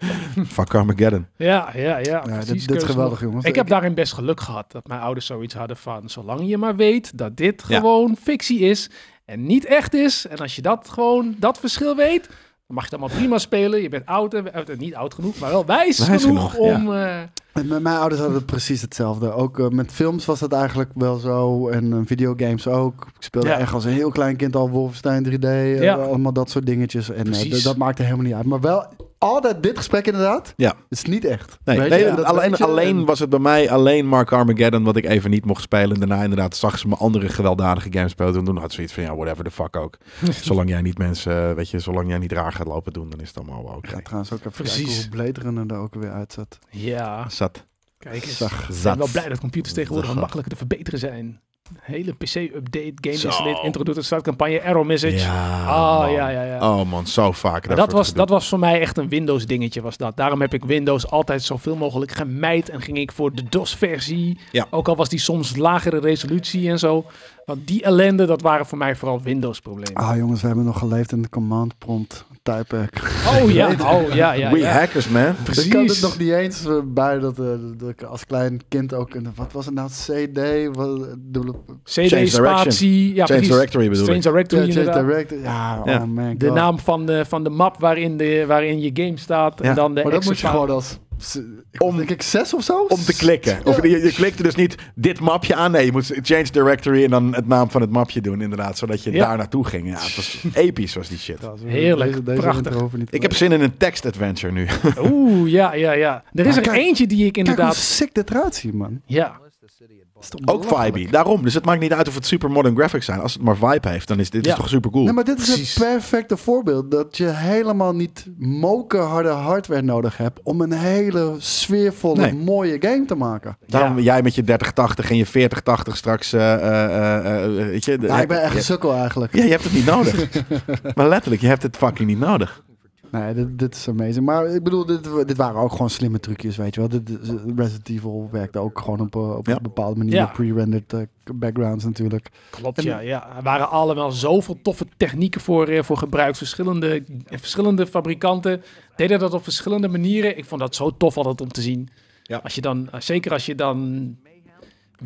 Fuck Carmageddon.
Ja, ja, ja.
Ja,
precies,
dit, dit is
keuze
geweldig,
nog.
jongens.
Ik heb daarin best geluk gehad dat mijn ouders zoiets hadden van... zolang je maar weet dat dit
Ja.
gewoon fictie is en niet echt is... en als je dat gewoon, dat verschil weet... dan mag je het allemaal prima spelen. Je bent oud, en, eh, niet oud genoeg, maar wel wijs,
Wijs
genoeg,
genoeg, ja.
om... eh,
En Met mijn ouders hadden het precies hetzelfde. Ook eh, met films was dat eigenlijk wel zo. En eh, videogames ook. Ik speelde
Ja.
echt als een heel klein kind al Wolfenstein 3D. eh,
Ja.
Allemaal dat soort dingetjes. En eh,
Precies.
d- dat maakte helemaal niet uit. Maar wel altijd dit gesprek inderdaad.
Ja.
Het is niet echt.
Nee,
Weet
nee,
je, en dat
alleen,
weet je.
alleen was het bij mij alleen Mark Armageddon wat ik even niet mocht spelen. En daarna inderdaad zag ze mijn andere gewelddadige games spelen. En toen had ze zoiets van, ja, whatever the fuck ook. zolang jij niet mensen, eh, weet je, zolang jij niet raar gaat lopen doen, dan is het allemaal wel oké.
Ik ga trouwens ook even
Precies.
kijken hoe Blade Runner er ook weer uitzat.
ja,
Zat.
kijk eens.
Zag.
Ik
Zat.
ben wel blij dat computers tegenwoordig
Zat.
makkelijker te verbeteren zijn. Hele PC-update, game
Zo.
installate, intro doet een startcampagne, error message.
Ja,
Ah,
man.
ja, ja, ja.
Oh man, zo vaak.
Maar dat,
soort
was,
gedoe.
dat was voor mij echt een Windows-dingetje, was dat. Daarom heb ik Windows altijd zoveel mogelijk gemijd en ging ik voor de DOS-versie.
Ja.
Ook al was die soms lagere resolutie en zo. Want die ellende, dat waren voor mij vooral Windows-problemen.
Ah jongens, we hebben nog geleefd in de command prompt typehack.
Oh ja, oh ja, ja.
Ah, We
ja.
hackers, man.
Precies.
Ik kan het nog niet eens eh, bij dat, eh, dat ik als klein kind ook... een- Wat was het nou? CD? Wat, dubbele-
Change
CD, spatie. Ja,
Change
precies.
Directory bedoel
Change
ik.
Directory,
Ja, Change
inderdaad.
Direct. Ja,
Ja.
oh man
De
God.
naam van de, van de map waarin, de, waarin je game staat.
Ja,
En dan de
Maar dat moet je
exit
gewoon als... Om,
Om-
denk ik zes of zo?
Om te klikken. Of je, je klikte dus niet dit mapje aan. Nee, je moest change directory en dan het naam van het mapje doen, inderdaad. Zodat je
Ja.
daar naartoe ging. Ja, het was episch, was die shit.
Ja, zo-
Heerlijk,
deze- deze
prachtig.
intro hoeven niet te
Ik heb
maken.
zin in een text-adventure nu.
paard. Oeh, ja, ja, ja. Er is
Maar
er
kijk-
eentje die ik
Kijk hoe
inderdaad...
sick dit eruit ziet, man.
Ja,
Dat is toch
Ook
belachelijk.
vibey. Daarom. Dus het maakt niet uit of het super modern graphics zijn. Als het maar vibe heeft, dan is dit
Ja.
is toch super cool.
Nee, maar dit is
Precies.
het perfecte voorbeeld dat je helemaal niet mokerharde hardware nodig hebt om een hele sfeervolle,
Nee.
mooie game te maken.
Daarom
Ja.
jij met je 3080 en je 4080 straks. eh, eh, eh, eh, weet je, de-
Ja, ik ben echt
je-
een sukkel eigenlijk.
Ja, je hebt het niet nodig. maar letterlijk, je hebt het fucking niet nodig.
Nee, dit, dit is amazing. Maar ik bedoel, dit, dit waren ook gewoon slimme trucjes, weet je wel. Dit, is- Resident Evil werkte ook gewoon op, eh, op
Ja.
een bepaalde manier
Ja.
met pre-rendered eh, backgrounds natuurlijk.
Klopt,
En-
ja, ja. Er waren allemaal zoveel toffe technieken voor, eh, voor gebruikt. Verschillende, eh, verschillende fabrikanten deden dat op verschillende manieren. Ik vond dat zo tof altijd om te zien.
Ja.
Als je dan, eh, zeker als je dan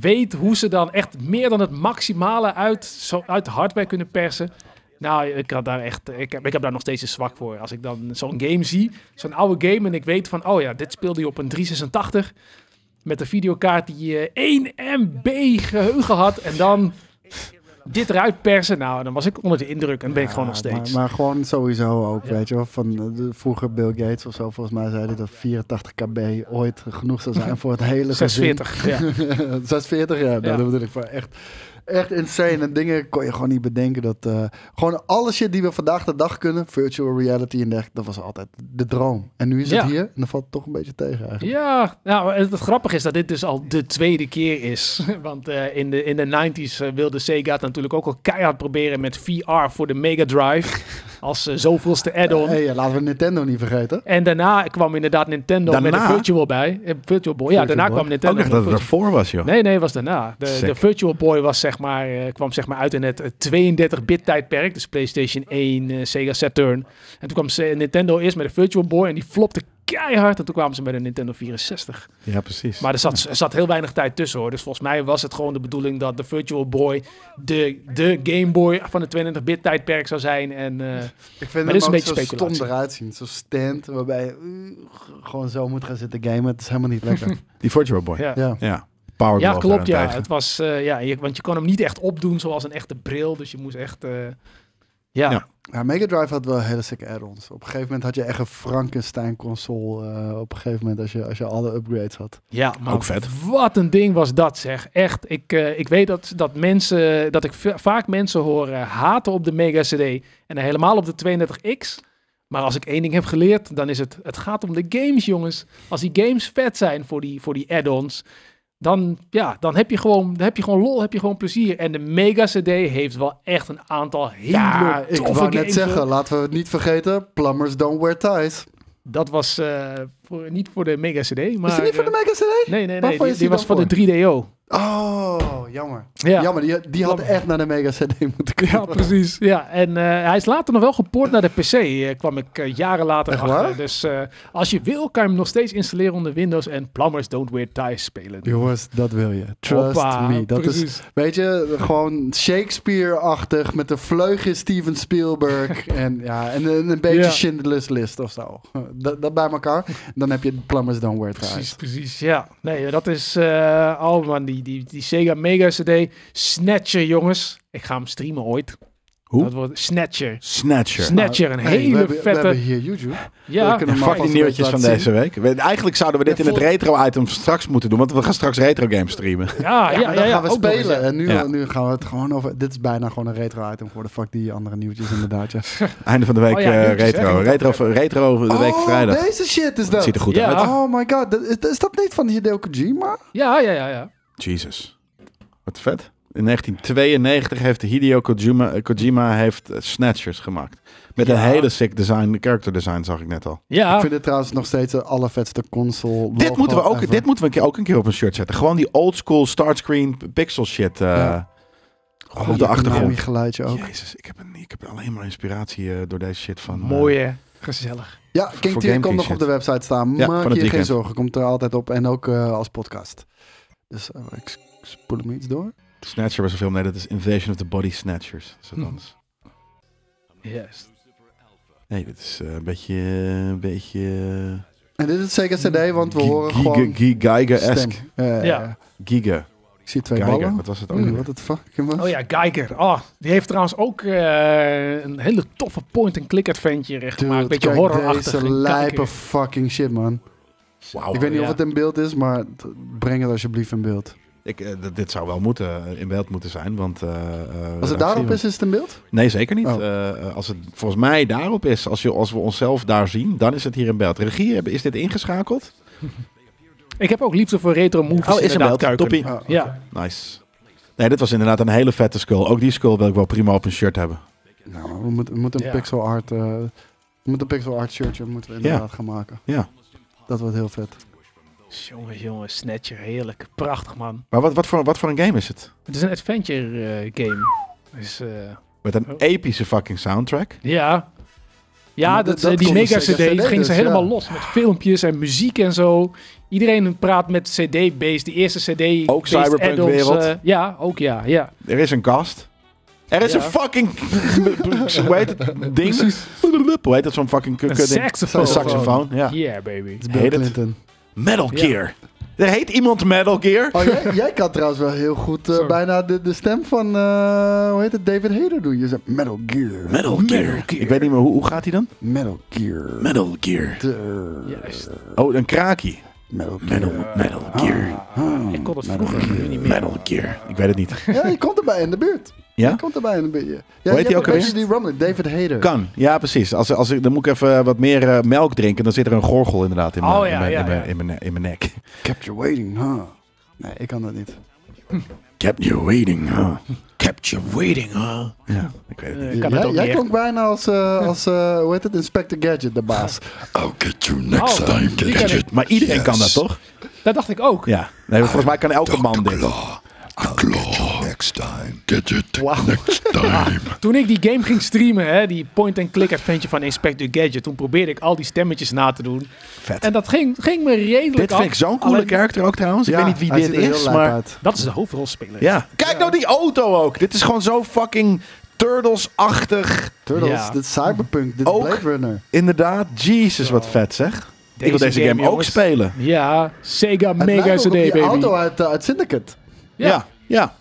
weet hoe ze dan echt meer dan het maximale uit, zo, uit de hardware kunnen persen. Nou, ik, had daar echt, ik, heb, ik heb daar nog steeds een zwak voor. Als ik dan zo'n game zie, zo'n oude game, en ik weet van, oh ja, dit speelde je op een 386 met een videokaart die eh, 1 MB geheugen had. En dan dit eruit persen. Nou, dan was ik onder de indruk en ben ik gewoon nog
Ja,
steeds.
Maar, maar gewoon sowieso ook,
Ja.
weet je wel. Van eh, de- vroeger Bill Gates of zo, volgens mij zei hij dat 84 kb ooit genoeg zou zijn voor het hele gezin.
46. Ja.
46, ja. Nou, Dat
Ja.
bedoel ik. Maar echt, echt insane. En dingen kon je gewoon niet bedenken. Dat, eh, gewoon alle shit die we vandaag de dag kunnen, virtual reality en dergelijke, dat was altijd de droom. En nu is het
Ja.
hier en dan valt het toch een beetje tegen eigenlijk.
Ja, nou, het, het grappige is dat dit dus al de tweede keer is. Want eh, in, de, in de 90s eh, wilde Sega het natuurlijk ook al keihard proberen met VR voor de Mega Drive. Als eh, zoveelste add-on.
Hey, eh, laten we Nintendo niet vergeten.
En daarna kwam inderdaad Nintendo met
Daarna?
een Virtual bij. Eh, Virtual Boy. Ja,
Virtual
daarna
Boy.
kwam Nintendo.
Ook echt
met
dat het
Virtual-
ervoor was, joh.
Nee, nee, was daarna. De,
Sick.
de Virtual Boy was zeg maar, eh, kwam zeg maar uit in het eh, 32-bit tijdperk. Dus PlayStation 1, eh, Sega Saturn. En toen kwam Se- Nintendo eerst met de Virtual Boy en die flopte keihard. En toen kwamen ze bij de Nintendo 64.
Ja, precies.
Maar er zat, er zat heel weinig tijd tussen hoor. Dus volgens mij was het gewoon de bedoeling dat de Virtual Boy de, de Game Boy van het 22-bit tijdperk zou zijn. En eh,
Ik vind
dit
het
is
ook
een
zo
beetje
stom
speculatie.
eruit zien. Zo'n stand waarbij je uh, gewoon zo moet gaan zitten gamen. Het is helemaal niet lekker.
Die Virtual Boy. Ja.
ja.
ja.
Power
Ja,
Glove
klopt. Ja.
daarentegen.
Het was, eh, ja, je- want je kon hem niet echt opdoen zoals een echte bril. Dus je moest echt. eh, ja.
Ja.
Ja, Mega Drive had wel hele sick add-ons. Op een gegeven moment had je echt een Frankenstein-console. eh, op een gegeven moment als je, als je alle upgrades had.
ja, maar
Ook vet.
Wat een ding was dat, zeg. Echt. Ik, eh, ik weet dat, dat, mensen, dat ik va- vaak mensen hoor eh, haten op de Mega CD en helemaal op de 32X. Maar als ik één ding heb geleerd, dan is het: het gaat om de games, jongens. Als die games vet zijn voor die, voor die add-ons, dan, ja, dan heb, je gewoon, dan heb je gewoon lol, heb je gewoon plezier. En de Mega CD heeft wel echt een aantal hele
Ja, ik
toffe
wou net
games,
zeggen,
hoor.
laten we het niet vergeten. Plumbers don't wear ties.
Dat was eh, voor, niet voor de Mega CD, maar.
is het niet voor de
eh,
Mega CD?
Nee, nee, nee.
Waarvoor
Die,
is die
die was
dan
voor de 3DO.
Oh, jammer.
Ja.
Jammer, die, die had
Plumber.
echt naar de Mega CD moeten komen.
Ja, precies. Ja, en eh, hij is later nog wel gepoord naar de PC, eh, kwam ik eh, jaren later
Echt
achter.
waar?
Dus eh, als je wil, kan je hem nog steeds installeren onder Windows en Plumbers Don't Wear Ties spelen.
Jongens, dat wil je. Trust
Hoppa,
me. Dat is,
precies.
weet je, gewoon Shakespeare-achtig met de vleugje Steven Spielberg. en ja, en een, een beetje
Ja.
Schindler's List of zo. Dat, dat bij elkaar. Dan heb je Plumbers Don't Wear Ties.
Precies, precies, ja. Nee, dat is... eh oh man, die, die, die Sega Mega CD. Snatcher, jongens. Ik ga hem streamen ooit.
Hoe?
Dat wordt Snatcher.
Snatcher.
Snatcher, een
Hey, we,
hele
hebben, we
vette...
hebben hier YouTube. we
ja,
kunnen
En
hem
fuck die
alvast
nieuwtjes
een
van
beetje laten
deze week. We- Eigenlijk zouden we dit
Ja,
in het retro-item straks moeten doen, want we gaan straks retro-games streamen.
Ja,
ja, ja,
maar dan
ja, ja,
gaan we
ook nog eens,
spelen.
ja.
En nu,
Ja.
nu gaan we het gewoon over... Dit is bijna gewoon een retro-item geworden. Fuck die andere nieuwtjes inderdaad. Ja.
Einde van de week
Oh ja,
eh,
nieuwtjes,
retro.
hè, die
Retro,
moet ook
retro de week
oh,
vrijdag.
deze shit is
Het
dat.
ziet er goed
Ja.
uit.
Ah.
Oh my god, dat- is, is dat niet van Hideo Kojima?
Ah.
Ja, ja, ja, ja.
Jesus. Wat vet. In 1992 heeft Hideo Kojima, eh, Kojima heeft eh, Snatchers gemaakt. Met een
Ja.
hele sick design, character design zag ik net al.
Ja,
Ik vind dit trouwens nog steeds de allervetste console.
Dit moeten, we ook, dit moeten we een keer, ook een keer op een shirt zetten. Gewoon die old school startscreen pixel shit eh,
Ja.
gewoon op de achtergrond.
geluidje ook.
Jezus, ik heb, een, ik heb alleen maar inspiratie eh, door deze shit van... eh,
mooi hè. Gezellig.
Ja, King
voor
Tier kan
Game King
nog
shit.
op de website staan.
Ja, van
Maak
het
je geen
weekend.
zorgen, komt er altijd op. En ook eh, als podcast. Dus eh, ik spoel hem iets door.
Snatcher was een film. Nee, dat is Invasion of the Body Snatchers. Dat is wat
Hm.
anders.
Yes.
Nee, dit is eh, een beetje... eh, Een beetje eh,
En dit is zeker CD, want we
Gi-
horen
Giga-
gewoon
Gi- Geiger-esque.
stem. Eh,
Ja.
Giga.
Ik zie twee
Geiger.
ballen.
Wat was het ook
Oei,
weer?
wat het fucking was.
Oh ja, Geiger. Oh, die heeft trouwens ook eh, een hele toffe point-and-click adventure
Dude,
gemaakt. Een beetje
kijk Oh,
horrorachtig.
Deze
en
lijpe
kanker.
fucking shit, man.
Wauw.
ik weet niet
ja.
of het in beeld is, maar t- breng het alsjeblieft in beeld.
Ik, eh, d- dit zou wel moeten, eh, in beeld moeten zijn, want... eh, eh,
Als het daarop is, is het in beeld?
Nee, zeker niet.
Oh.
Eh, eh, als het volgens mij daarop is, als, je, als we onszelf daar zien, dan is het hier in beeld. Regie, heb- is dit
Oh,
ingeschakeld?
Ik heb ook liefde voor retro movies.
Oh, is in
inderdaad,
beeld.
Kuiken.
Toppie.
Ah,
Ja,
Nice. Nee, dit was inderdaad een hele vette skull. Ook die skull wil ik wel prima op een shirt hebben.
Nou, we moeten, we moeten een
Ja.
pixel art... eh, we moeten een pixel art shirtje moeten we inderdaad gaan maken.
Ja.
Dat wordt heel vet.
jongens, jongens, Snatcher, heerlijk. Prachtig, man.
Maar wat, wat, voor, wat voor een game is het?
Het is een adventure eh, game. Dus, eh,
Met een
Oh.
epische fucking soundtrack.
ja. Ja,
Maar
dat,
dat- dat
eh, die
komt
mega
dus
CD,
zeker CD
ging ze
dus,
helemaal
ja.
los met filmpjes en muziek en zo. Iedereen praat met CD-based, die eerste CD. eh,
Ook Cyberpunk wereld.
ja, ook ja, ja.
Er is een kast. Er is
Ja.
een fucking... Hoe heet het ding? Hoe heet dat zo'n fucking kut
Een
ding?
saxofoon.
Een saxofoon, ja.
Yeah, baby.
Het is
Heet
Bill
het?
Clinton.
Metal
Ja.
Gear. Er heet iemand Metal Gear.
Oh, jij, jij kan trouwens wel heel goed eh,
Sorry.
bijna de, de stem van, eh, hoe heet het, David Hayter doen. Je zegt Metal Gear,
Metal Gear. Ik weet niet meer, hoe, hoe gaat hij dan?
Metal Gear,
Metal Gear.
Ter-
Juist.
Oh, een kraakie.
Metal Gear. Ah,
Metal, Metal Gear.
Ah. Ik kon
Hmm,
het vroeger nu niet meer.
Metal Gear. Ik weet het niet.
Ja, je komt erbij in de buurt.
Ja?
Je komt erbij in de buurt. Ja,
hij
je hebt
ook
een beetje
alweer?
Die Rumble, David Hayter.
Kan, ja precies. Als, als ik, dan moet ik even wat meer eh, melk drinken. Dan zit er een gorgel inderdaad in mijn-
Oh, ja,
in mijn-
ja,
in mijn-
ja.
in mijn- in mijn nek.
Kept you waiting, huh? Nee, ik kan dat niet.
Kept you waiting, huh? Kept you waiting, huh? Ja, ik weet het niet.
Ik kan het
jij jij
ook niet echt.
klonk bijna als, eh, als eh, hoe heet het, Inspector Gadget, de baas.
I'll get you next
Oh,
time,
die ken ik.
Gadget.
Maar iedereen kan dat toch?
Dat dacht ik ook.
Ja. Nee, volgens mij kan elke man
The
dit.
claw. I'll get you next Next time. Gadget. Next time.
Toen ik die game ging streamen, hè, die point-and-click adventure van Inspector Gadget, toen probeerde ik al die stemmetjes na te doen.
Vet.
En dat ging, ging me redelijk
Dit
af.
vind ik zo'n coole
Alleen-
karakter ook trouwens.
Ja,
ik weet niet
hij
wie dit
ziet er heel
is,
lijp
maar...
uit.
Dat is de hoofdrolspeler.
Ja. Kijk nou die auto ook. Dit is gewoon zo fucking Turtles-achtig.
Turtles,
Ja.
dit is Cyberpunk, dit is
Ook-
Blade Runner.
Inderdaad, Jesus, wat vet zeg. ik wil deze game, ook
jongens.
spelen.
Ja, Sega
Het
Mega
lijkt
CD,
ook op die
baby.
auto uit, eh, uit Syndicate.
Ja.
Ja. ja,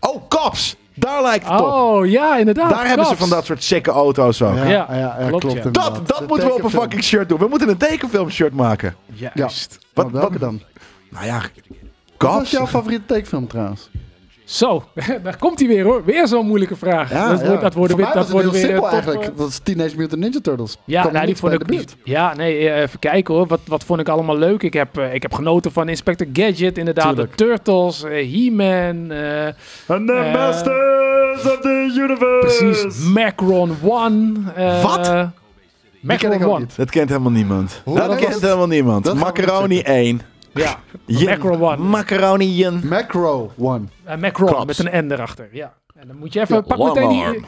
Oh, Cops! Daar lijkt het op.
Oh, ja, inderdaad.
Daar hebben ze
cops.
van dat soort sikke auto's ook.
Ja,
Ja,
ja, ja,
klopt,
klopt.
ja.
inderdaad.
Dat,
De
dat moeten we op een
tekenfilm.
fucking shirt doen. We moeten een tekenfilm shirt maken.
Juist.
Wat,
Wat-
welke
wat-
dan?
Nou ja,
Wat was
Cops.
jouw favoriete tekenfilm trouwens?
Zo, daar komt hij weer hoor. Weer zo'n moeilijke vraag. dat, wordt- dat worden
Voor
weer,
mij
dat
was het
worden
heel
weer
simpel
eh, top,
eigenlijk.
eh,
Dat is Teenage Mutant Ninja Turtles.
Ja,
Kwam
nou, die
niet
vond
bij
ik
de
niet. Ja, nee, eh, even kijken hoor. Wat, wat vond ik allemaal leuk? Ik heb, eh, ik heb genoten van Inspector Gadget, inderdaad.
Tuurlijk.
De Turtles, eh, He-Man. eh,
And
the Eh,
masters of the universe.
precies, Macron One. eh,
Die
Wat?
ken
Macron
ik ook
One.
niet.
Dat kent helemaal niemand.
Hoe
dat
lang
kent
was het?
helemaal niemand.
Dat gaan we
Macaroni 1.
Ja,
Jen-
Macron One.
Macaroni Jen.
Macro One.
Eh, Macron,
Klops.
met een N erachter. Ja. En dan moet je even. pak
long
meteen die.
arm.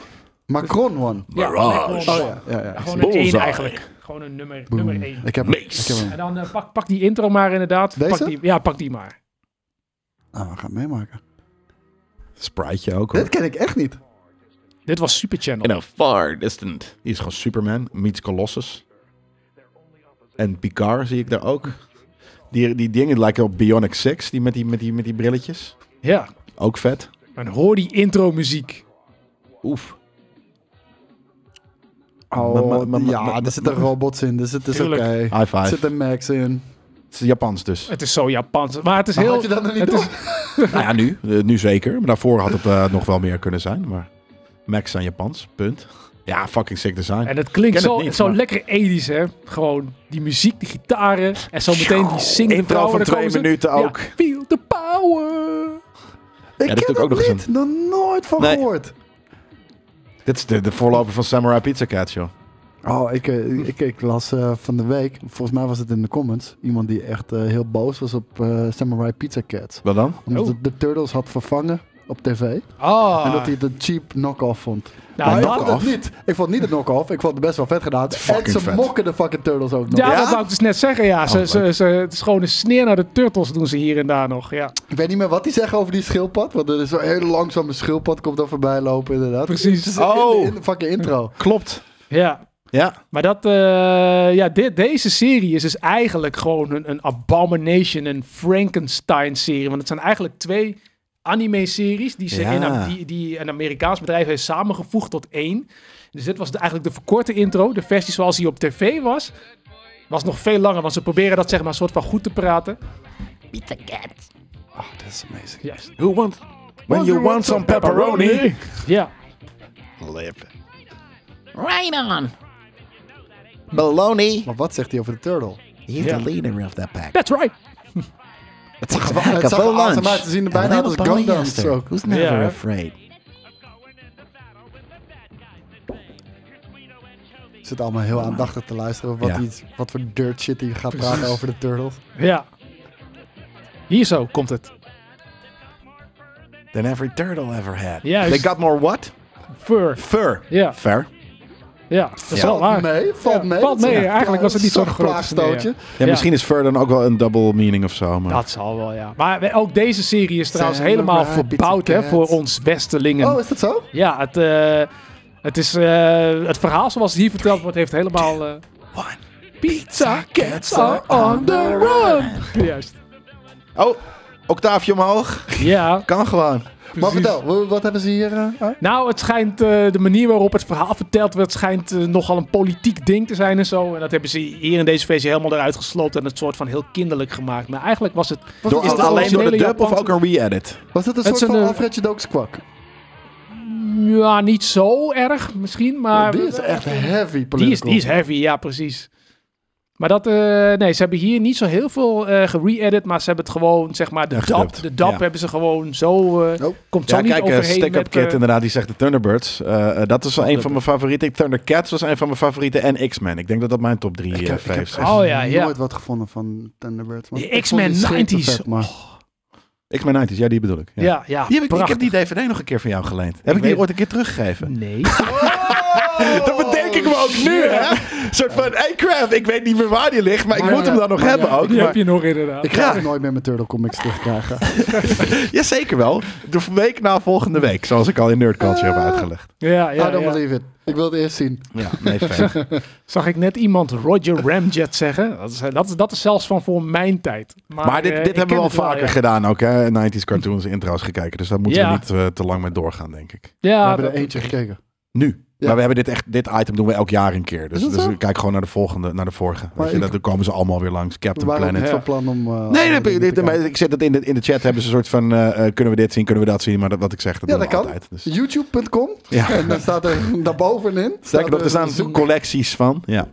Macron One.
Ja,
Mirage.
Macron One.
Ja, ja, Oh, ja.
Gewoon een 1
Bullseye.
eigenlijk. Gewoon een nummer 1. Nummer één.
Ik heb, ik heb hem.
en dan eh, pak, pak die intro maar inderdaad.
Deze?
Pak die, ja, pak die maar.
Nou, we gaan meemaken.
Spriteje ook
Dit
hoor.
ken ik echt niet.
Dit was Super Channel.
In a far distant. Die is gewoon Superman. Meets Colossus. En Picard zie ik daar ook. Die, die dingen lijken op Bionic 6. Die met die, met die, met die brilletjes.
Ja.
Ook vet.
En hoor die intro muziek.
Oef.
Oh,
maar- maar- maar-
ja,
maar-
er zitten robots in, dus het is oké.
Tuurlijk.
High
Er
five.
zitten Max in.
Het is Japans dus.
Het is zo Japans. Maar het is
Maar
heel.
had je dat nog niet
het
door?
is,
nou ja, nu. Eh, Nu zeker. Maar daarvoor had het eh, nog wel meer kunnen zijn. Maar Max zijn Japans. Punt. Ja, fucking sick design.
En het klinkt
Ken het
zo,
niet,
zo
maar-
lekker edisch, hè? Gewoon die muziek, die gitaren en zo meteen die zingende
Intro
vrouwen,
van
dan komen
twee
ze-
minuten
Ja,
ook.
feel the power.
Ik ken
dat is
dat
natuurlijk ook nog eens
niet. Nog nooit van
Nee.
gehoord.
Dit is de, de voorloper van Samurai Pizza Cat, joh.
Oh, ik, eh, ik, ik las eh, van de week, volgens mij was het in de comments, iemand die echt eh, heel boos was op eh, Samurai Pizza Cats.
Wat dan?
Omdat
Oh.
het de Turtles had vervangen op tv.
Ah.
En dat hij het een cheap knock-off vond.
Nou,
maar ik
dat-
vond het niet. Ik vond het niet een knock-off. Ik vond het best wel vet gedaan. En
fucking
ze
vet.
mokken de fucking Turtles ook nog.
ja,
Ja?
dat wou ik dus net zeggen. Ja, ze,
leuk.
ze, ze, het is gewoon een sneer naar de turtles doen ze hier en daar nog. Ja,
Ik weet niet meer wat die zeggen over die schildpad. Want er is zo'n hele langzame schildpad. Komt dan voorbij lopen inderdaad.
Precies.
Het is in de-
Oh.
in de fucking intro.
Klopt.
ja.
Ja.
maar dat, eh, ja, dit, deze serie is dus eigenlijk gewoon een, een Abomination, een Frankenstein-serie. Want het zijn eigenlijk twee anime-series die, ze
Ja.
in- die, die een Amerikaans bedrijf heeft samengevoegd tot één. Dus dit was de- eigenlijk de verkorte intro. De versie zoals die op tv was, was nog veel langer. Want ze proberen dat zeg maar een soort van goed te praten.
Oh, dat is amazing.
Juist.
Who want... When you want some pepperoni...
Ja.
Lip. Baloney.
Maar wat zegt hij over de turtle?
He's
Ja.
the leader of that pack.
That's right.
Het zag
wel- het zag er awesome uit. Ze zien er bijna uit als Gundams ook.
Who's
Ja.
afraid?
Ik zit allemaal heel aandachtig te luisteren. op Wat,
Ja.
iets, wat voor dirt shit hij gaat praten over de turtles.
Ja. Hier zo komt het.
Than every turtle ever had.
Juist.
They got more what?
Fur.
Fur.
Ja.
Fur.
Ja, dat is
Ja.
wel waar.
mee, valt
Ja,
mee.
valt
Dat is
mee.
een
Eigenlijk was het niet zo'n
zacht
groot
plaagstootje.
Ja,
Ja.
misschien is fur dan ook wel een double meaning of zo. Maar...
Dat zal wel, ja. Maar we- ook deze serie is trouwens
Zijn
helemaal
we bij
verbouwd hè,
Pizza Cat?
voor ons Westerlingen.
Oh, is dat zo?
Ja, het, eh, het, is, eh, het verhaal zoals het hier verteld wordt, heeft helemaal... eh,
One.
Pizza cats are on the run! Juist.
Oh, octaafje omhoog.
Ja,
Kan gewoon.
Maar
precies.
vertel, wa- wat hebben ze hier? eh, uit?
Nou, het schijnt, eh, de manier waarop het verhaal verteld werd, schijnt eh, nogal een politiek ding te zijn en zo. En dat hebben ze hier in deze versie helemaal eruit gesloopt en het soort van heel kinderlijk gemaakt. Maar eigenlijk was het...
Was
Door,
dat
het
een-
alleen door de
originele
dub of
Japanse-
ook een re-edit?
was dat een
het
soort
zijn
van
de-
Alfredje Doaks kwak?
Ja, niet zo erg misschien, maar...
Die is echt heavy political.
Ah, Die is, die is heavy, ja, precies. Maar dat, eh, nee, ze hebben hier niet zo heel veel eh gere-edit, maar ze hebben het gewoon, zeg maar, de
Ja,
dap,
gedubt,
de dap
ja.
hebben ze gewoon zo, eh,
Oh.
komt zo
Ja,
niet
kijk, eh,
overheen
Stick Up
met,
Kid
eh,
inderdaad, die zegt de Thunderbirds. Eh, eh, dat is wel een van mijn favorieten. Thundercats was een van mijn favorieten. En X-Men. Ik denk dat dat mijn top drie
Ik
eh,
heb, ik heb
faves
echt
is.
Oh ja, ja.
nooit wat gevonden van Thunderbirds. man.
Die
Ik vond
X-Men Oh,
die schepen
90s.
vet, maar
X-Men 90s, ja, die bedoel ik. Ja.
Ja, ja.
Die heb ik, ik heb
prachtig.
die DVD nog een keer van jou geleend. Heb ik, die
weet-
ooit een keer teruggegeven?
Nee.
dat bedenk ik me ook nu, hè? Een soort van, hey crap, ik weet niet meer waar die ligt, maar ik
Maar
moet
ja,
hem dan nog
maar
hebben
ja,
ook.
Die
Maar,
heb je nog inderdaad.
Ik ga
Ja.
het nooit meer mijn Turtle Comics terugkrijgen.
Ja, zeker wel. De week na volgende week, zoals ik al in Nerdculture
Ah.
heb uitgelegd.
Ja,
I
Ah,
ja, Ah,
don't
ja.
believe it. Ik wil het eerst zien.
Ja, nee, fair.
Zag ik net iemand Roger Ramjet zeggen? Dat is, dat is, dat is zelfs van voor mijn tijd. Maar,
Maar
eh,
dit,
ik
dit
ken
hebben we al
het wel,
vaker
ja.
gedaan ook, hè? 90s cartoons en intro's gekeken, dus daar moeten
Ja.
we niet eh, te lang mee doorgaan, denk ik.
We
Ja,
hebben er
dat-
eentje gekeken.
Nu.
Ja.
Maar we hebben dit, echt, dit item doen we elk jaar een keer. Dus,
Is dat
dus
zo?
kijk gewoon naar de volgende, naar de vorige. Weet je,
ik-
dat- dan komen ze allemaal weer langs.
We
Captain
waren ook niet
Planet.
Ja.
van plan om... eh,
Nee,
andere
nee,
dingen
nee,
te
nee, maar
kijken.
ik zet dat in de, in de chat. Hebben ze een soort van: eh, eh, kunnen we dit zien, kunnen we dat zien? Maar dat, wat ik zeg, dat
Ja,
doen
dat
we
kan.
altijd. Dus,
YouTube.com.
ja.
En dan staat er daarbovenin...
Sterker nog, er
een
staan
zoek-
collecties van. Ja.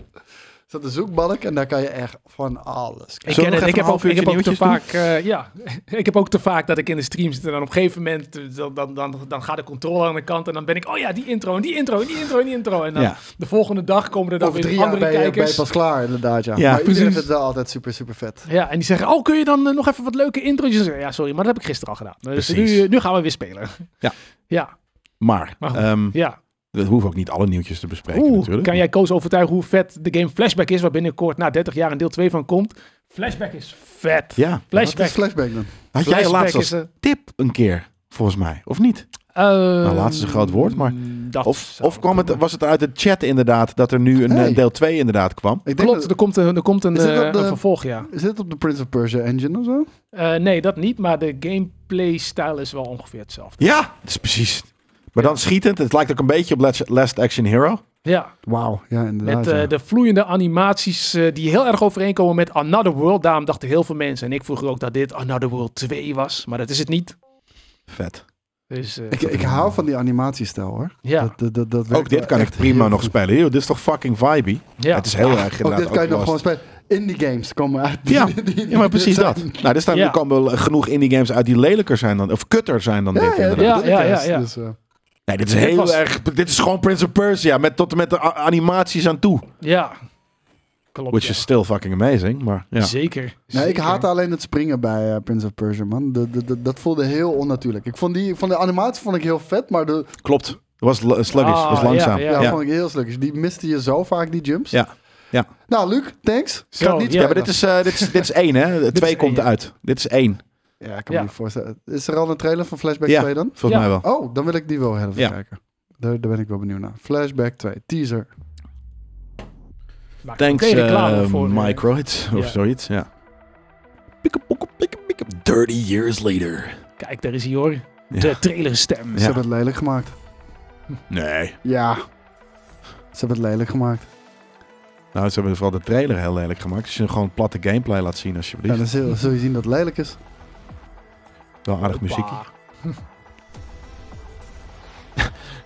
staat een zoekbalk en daar kan je echt van alles kijken.
Ik,
Zullen we
ken
nog
het, ik, heb
even een
ook,
half
ik heb
uurtje
ook te vaak,
nieuwtjes
eh, ja, ik heb ook te vaak dat ik in de stream zit en dan op een gegeven moment eh, dan, dan, dan, dan gaat de controle aan de kant en dan ben ik, oh ja, die intro en die intro en die intro en die intro. En dan
Ja.
de volgende dag komen er dan
Over
weer
drie jaar
andere
ben je, ben je
kijkers.
pas klaar, inderdaad. Ja,
Ja,
maar iedereen
precies.
vindt het wel altijd super, super vet.
Ja, en die zeggen, oh, kun je dan eh, nog even wat leuke introotjes? Ja, sorry, maar dat heb ik gisteren al gedaan. Dus
Precies.
nu, eh, nu gaan we weer spelen.
Ja.
Ja,
Maar,
Maar goed.
ehm,
ja.
dat hoeven ook niet alle nieuwtjes te bespreken
Oeh,
natuurlijk.
kan jij Koos overtuigen hoe vet de game Flashback is, waar binnenkort na 30 jaar een deel 2 van komt? Flashback is vet.
Ja.
Wat is
Flashback.
flashback dan?
Had jij
Flashback
laatst als
is, eh,
tip een keer, volgens mij, of niet?
Nou,
laatst is een groot woord, maar-
mm, Dat
Of,
zou
of kwam het,
kunnen.
was het uit de chat inderdaad dat er nu een
Hey.
eh, deel 2 inderdaad kwam?
Ik denk
Klopt,
dat-
er komt een, er komt een,
Is dit
eh,
op de-
een vervolg, ja.
Is dit op de Prince of Persia engine of zo?
Eh, nee, dat niet, maar de gameplay-stijl is wel ongeveer hetzelfde.
Ja, dat is precies. Maar dan schietend, het lijkt ook een beetje op Last- Last Action Hero.
Ja,
Wauw. Ja, inderdaad.
met eh,
ja.
de vloeiende animaties eh, die heel erg overeenkomen met Another World. Daarom dachten heel veel mensen, en ik vroeger ook, dat dit Another World 2 was. Maar dat is het niet.
Vet.
Dus eh,
Ik, ik hou van die animatiestijl hoor.
ja,
Dat, dat, dat, dat werkt
Ook dit
wel
kan ik
echt heel
prima nog
goed.
spelen. Yo, dit is toch fucking vibey?
ja.
Het is heel erg
Ook
inderdaad.
dit kan je nog
Lost.
gewoon spelen. Indie games komen uit.
Ja,
Die- die-
Ja, maar precies
die-
dat. Nou, er, staan,
Ja.
er komen wel genoeg indie games uit die lelijker zijn dan, of kutter zijn dan
Ja,
dit
ja,
inderdaad.
dat
Ja,
is
ja,
het.
ja, ja.
Dus, eh,
Nee, dit is
Dit
heel
was-
erg, dit is gewoon Prince of Persia, met, tot en met de a- animaties aan toe.
ja. Klopt,
Which
Oh, ja.
is still fucking amazing, maar ja.
Zeker.
nou, ik
zeker.
haat alleen het springen bij eh, Prince of Persia, man. De, de, de- dat voelde heel onnatuurlijk. Ik vond, die, ik vond de animatie vond ik heel vet, maar de,
Klopt. Het was l- sluggish,
Ah,
was langzaam.
ja,
ja,
Ja.
vond ik heel sluggish. Die miste je zo vaak, die jumps.
Ja, ja.
Nou, Luc, thanks.
Zo,
Gaat niet
ja,
Ja,
spelen.
maar dit is, eh, dit, is, dit is één, hè? De
is
twee
één,
komt
ja.
uit. Dit is één.
Ja, ik kan
Ja.
me niet voorstellen. Is er al een trailer van Flashback
Ja.
2 dan?
Volgens
Ja.
mij wel.
Oh, dan wil ik die wel heel even
Ja.
kijken. Daar, daar ben ik wel benieuwd naar. Flashback 2, teaser.
Maak
Thanks,
meteen reclame
eh
voor, eh,
Microid of
ja.
zoiets, ja. Pick up, pick up, pick up, pick up. 30 years later.
Kijk, daar is hij hoor.
Ja.
De trailerstem.
Ze
Ja.
hebben het lelijk gemaakt.
Nee.
Ja. Ze hebben het lelijk gemaakt.
Nou, ze hebben vooral de trailer heel lelijk gemaakt. Als je gewoon platte gameplay laat zien,
Ja,
alsjeblieft.
dan zul, zul je zien dat het lelijk is.
Wel aardig muziek.
Bah.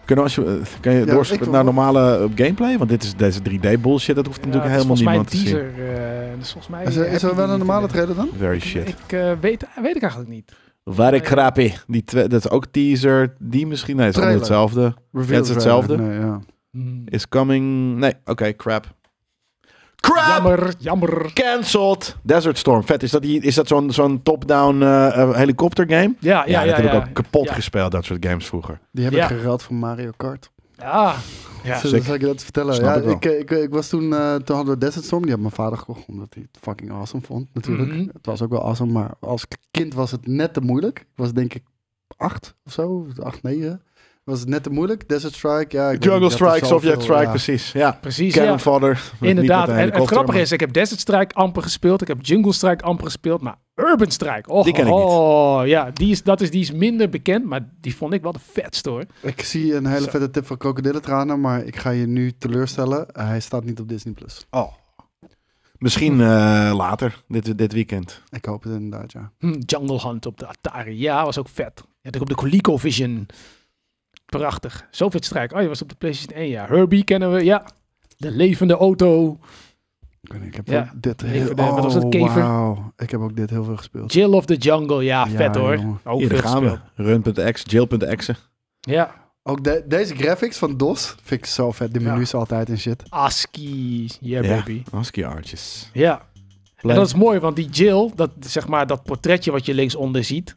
Kunnen we als je, eh, kan je
Ja, ik
doorspelen
wil-
naar normale eh, gameplay? Want dit is deze 3D bullshit. Dat hoeft
Ja,
natuurlijk
het is
helemaal niemand te
volgens mij
zien.
een teaser. eh, dus volgens mij
Is er,
heb
is er wel
je die
een
niet
normale
in de-
trailer dan?
Very shit.
Ik eh, weet, weet ik eigenlijk niet.
Ware krappie. Die twe- dat is ook teaser. Die misschien. Nee, is allemaal
Trailer.
hetzelfde.
Reveal
Ja, het is hetzelfde.
trailer. Nee, ja.
Is coming. Nee, oké, crap. Crap!
Jammer, jammer.
Cancelled! Desert Storm. Vet, is dat, die, is dat zo'n zo'n top-down helikoptergame? helikopter game?
Ja, ja, ja.
dat heb
ja.
ik ook kapot
Ja.
gespeeld, dat soort games vroeger.
Die heb
Ja.
ik gereld voor Mario Kart.
Ja. Ja.
Zal-
zeker.
zal ik je dat vertellen?
Snap
ja,
ik wel.
ik, eh, ik, ik was toen, eh, toen hadden we Desert Storm. Die had mijn vader gekocht, omdat hij het fucking awesome vond natuurlijk.
Mhm.
Het was ook wel awesome, maar als kind was het net te moeilijk. Ik was denk ik acht of zo, acht, negen. Was het net te moeilijk? Desert Strike, ja. ik weet niet,
Jungle
dat er
Strike, Sovjet
zoveel-
Strike,
ja.
precies. Ja,
Precies,
Cannon
ja.
Fodder.
Inderdaad. En het grappige is, ik heb Desert Strike amper gespeeld. Ik heb Jungle Strike amper gespeeld. Maar Urban Strike, oh,
Die ken ik niet.
oh, ja, die is, dat is, die is minder bekend. Maar die vond ik wel de vetste hoor.
Ik zie een hele
Zo.
vette tip van krokodillentranen, maar ik ga je nu teleurstellen. Hij staat niet op Disney+. Plus.
Oh. Misschien eh, later, dit, dit weekend.
Ik hoop het inderdaad, ja.
Hm, Jungle Hunt op de Atari. Ja, was ook vet. Ja, ik op de ColecoVision. Prachtig. Sovjet Strike. Oh, je was op de PlayStation 1, ja. Herbie kennen we, ja. De levende auto.
Ik, weet niet, ik heb
Ja.
ook dit heel... Oh,
Even de- wat was het, kever?
wauw. Ik heb ook dit heel veel gespeeld.
Jill of the Jungle. Ja,
Ja,
vet hoor.
jongen.
Ook
Hier, daar
veel
gaan we.
gespeeld.
Run.exe, jail.exe.
Ja.
Ook de- deze graphics van DOS vind ik zo vet. De
Ja.
menus altijd en shit.
ASCII. Yeah,
Ja.
baby.
ASCII Artjes.
Ja. En
Play.
dat is mooi, want die Jill, dat, zeg maar, dat portretje wat je linksonder ziet,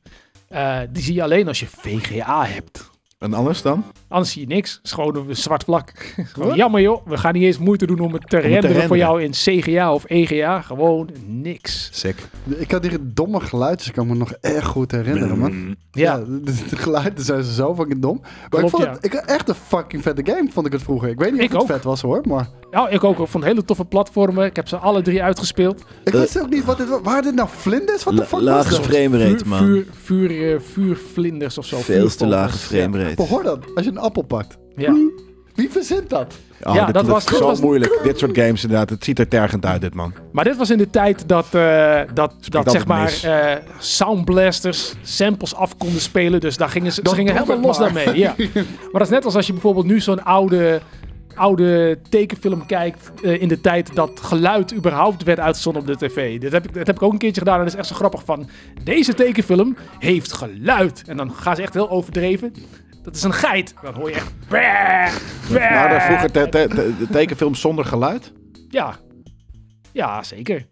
Eh, die zie je alleen als je VGA hebt.
En anders dan?
Anders zie je niks. Is gewoon een zwart vlak. Gewoon,
Wat?
jammer joh, we gaan niet eens moeite doen om het te renderen, voor
renderen.
jou in CGA of EGA. Gewoon niks.
Sick.
Ik had die domme geluidjes, ik kan me nog echt goed herinneren, man.
Mm.
Ja,
Ja,
de, de geluiden zijn zo fucking dom. Maar ik
Klopt,
vond
ja.
het ik, echt een fucking vette game, vond ik het vroeger. Ik weet niet
Ik
of het
ook.
vet was hoor, maar...
nou, ik ook. Ik vond hele toffe platformen. Ik heb ze alle drie uitgespeeld.
Ik wist ook niet wat dit was. Waren dit nou vlinders? Wat de fuck was
lage
dat?
frame
Vuur,
rate, man.
vuur, vuur, eh, vuurvlinders of zo.
Veel te
Vuurvogels.
lage frame rate.
Behoor dat, als je een appel pakt.
Ja.
Wie verzint dat?
Oh,
Ja, dat
dit, dat
was-
was
dat
zo
was-
moeilijk. Dit soort games inderdaad. Het ziet er tergend uit, dit man.
Maar dit was in de tijd dat, eh, dat, dat
altijd
zeg maar,
mis.
eh soundblasters samples af konden spelen. Dus daar gingen ze, ze
Dat
gingen
doet
helemaal los
het maar.
daarmee. Ja. Maar dat is net als als je bijvoorbeeld nu zo'n oude, oude tekenfilm kijkt. eh, in de tijd dat geluid überhaupt werd uitgezonden op de tv. Dat heb, ik, dat heb ik ook een keertje gedaan. En dat is echt zo grappig van. Deze tekenfilm heeft geluid. En dan gaan ze echt heel overdreven. Dat is een geit. Dan hoor je echt. "Bah, bah."
Maar Nou, daar vroeger te, te, te- de tekenfilms zonder geluid.
Ja. ja, zeker.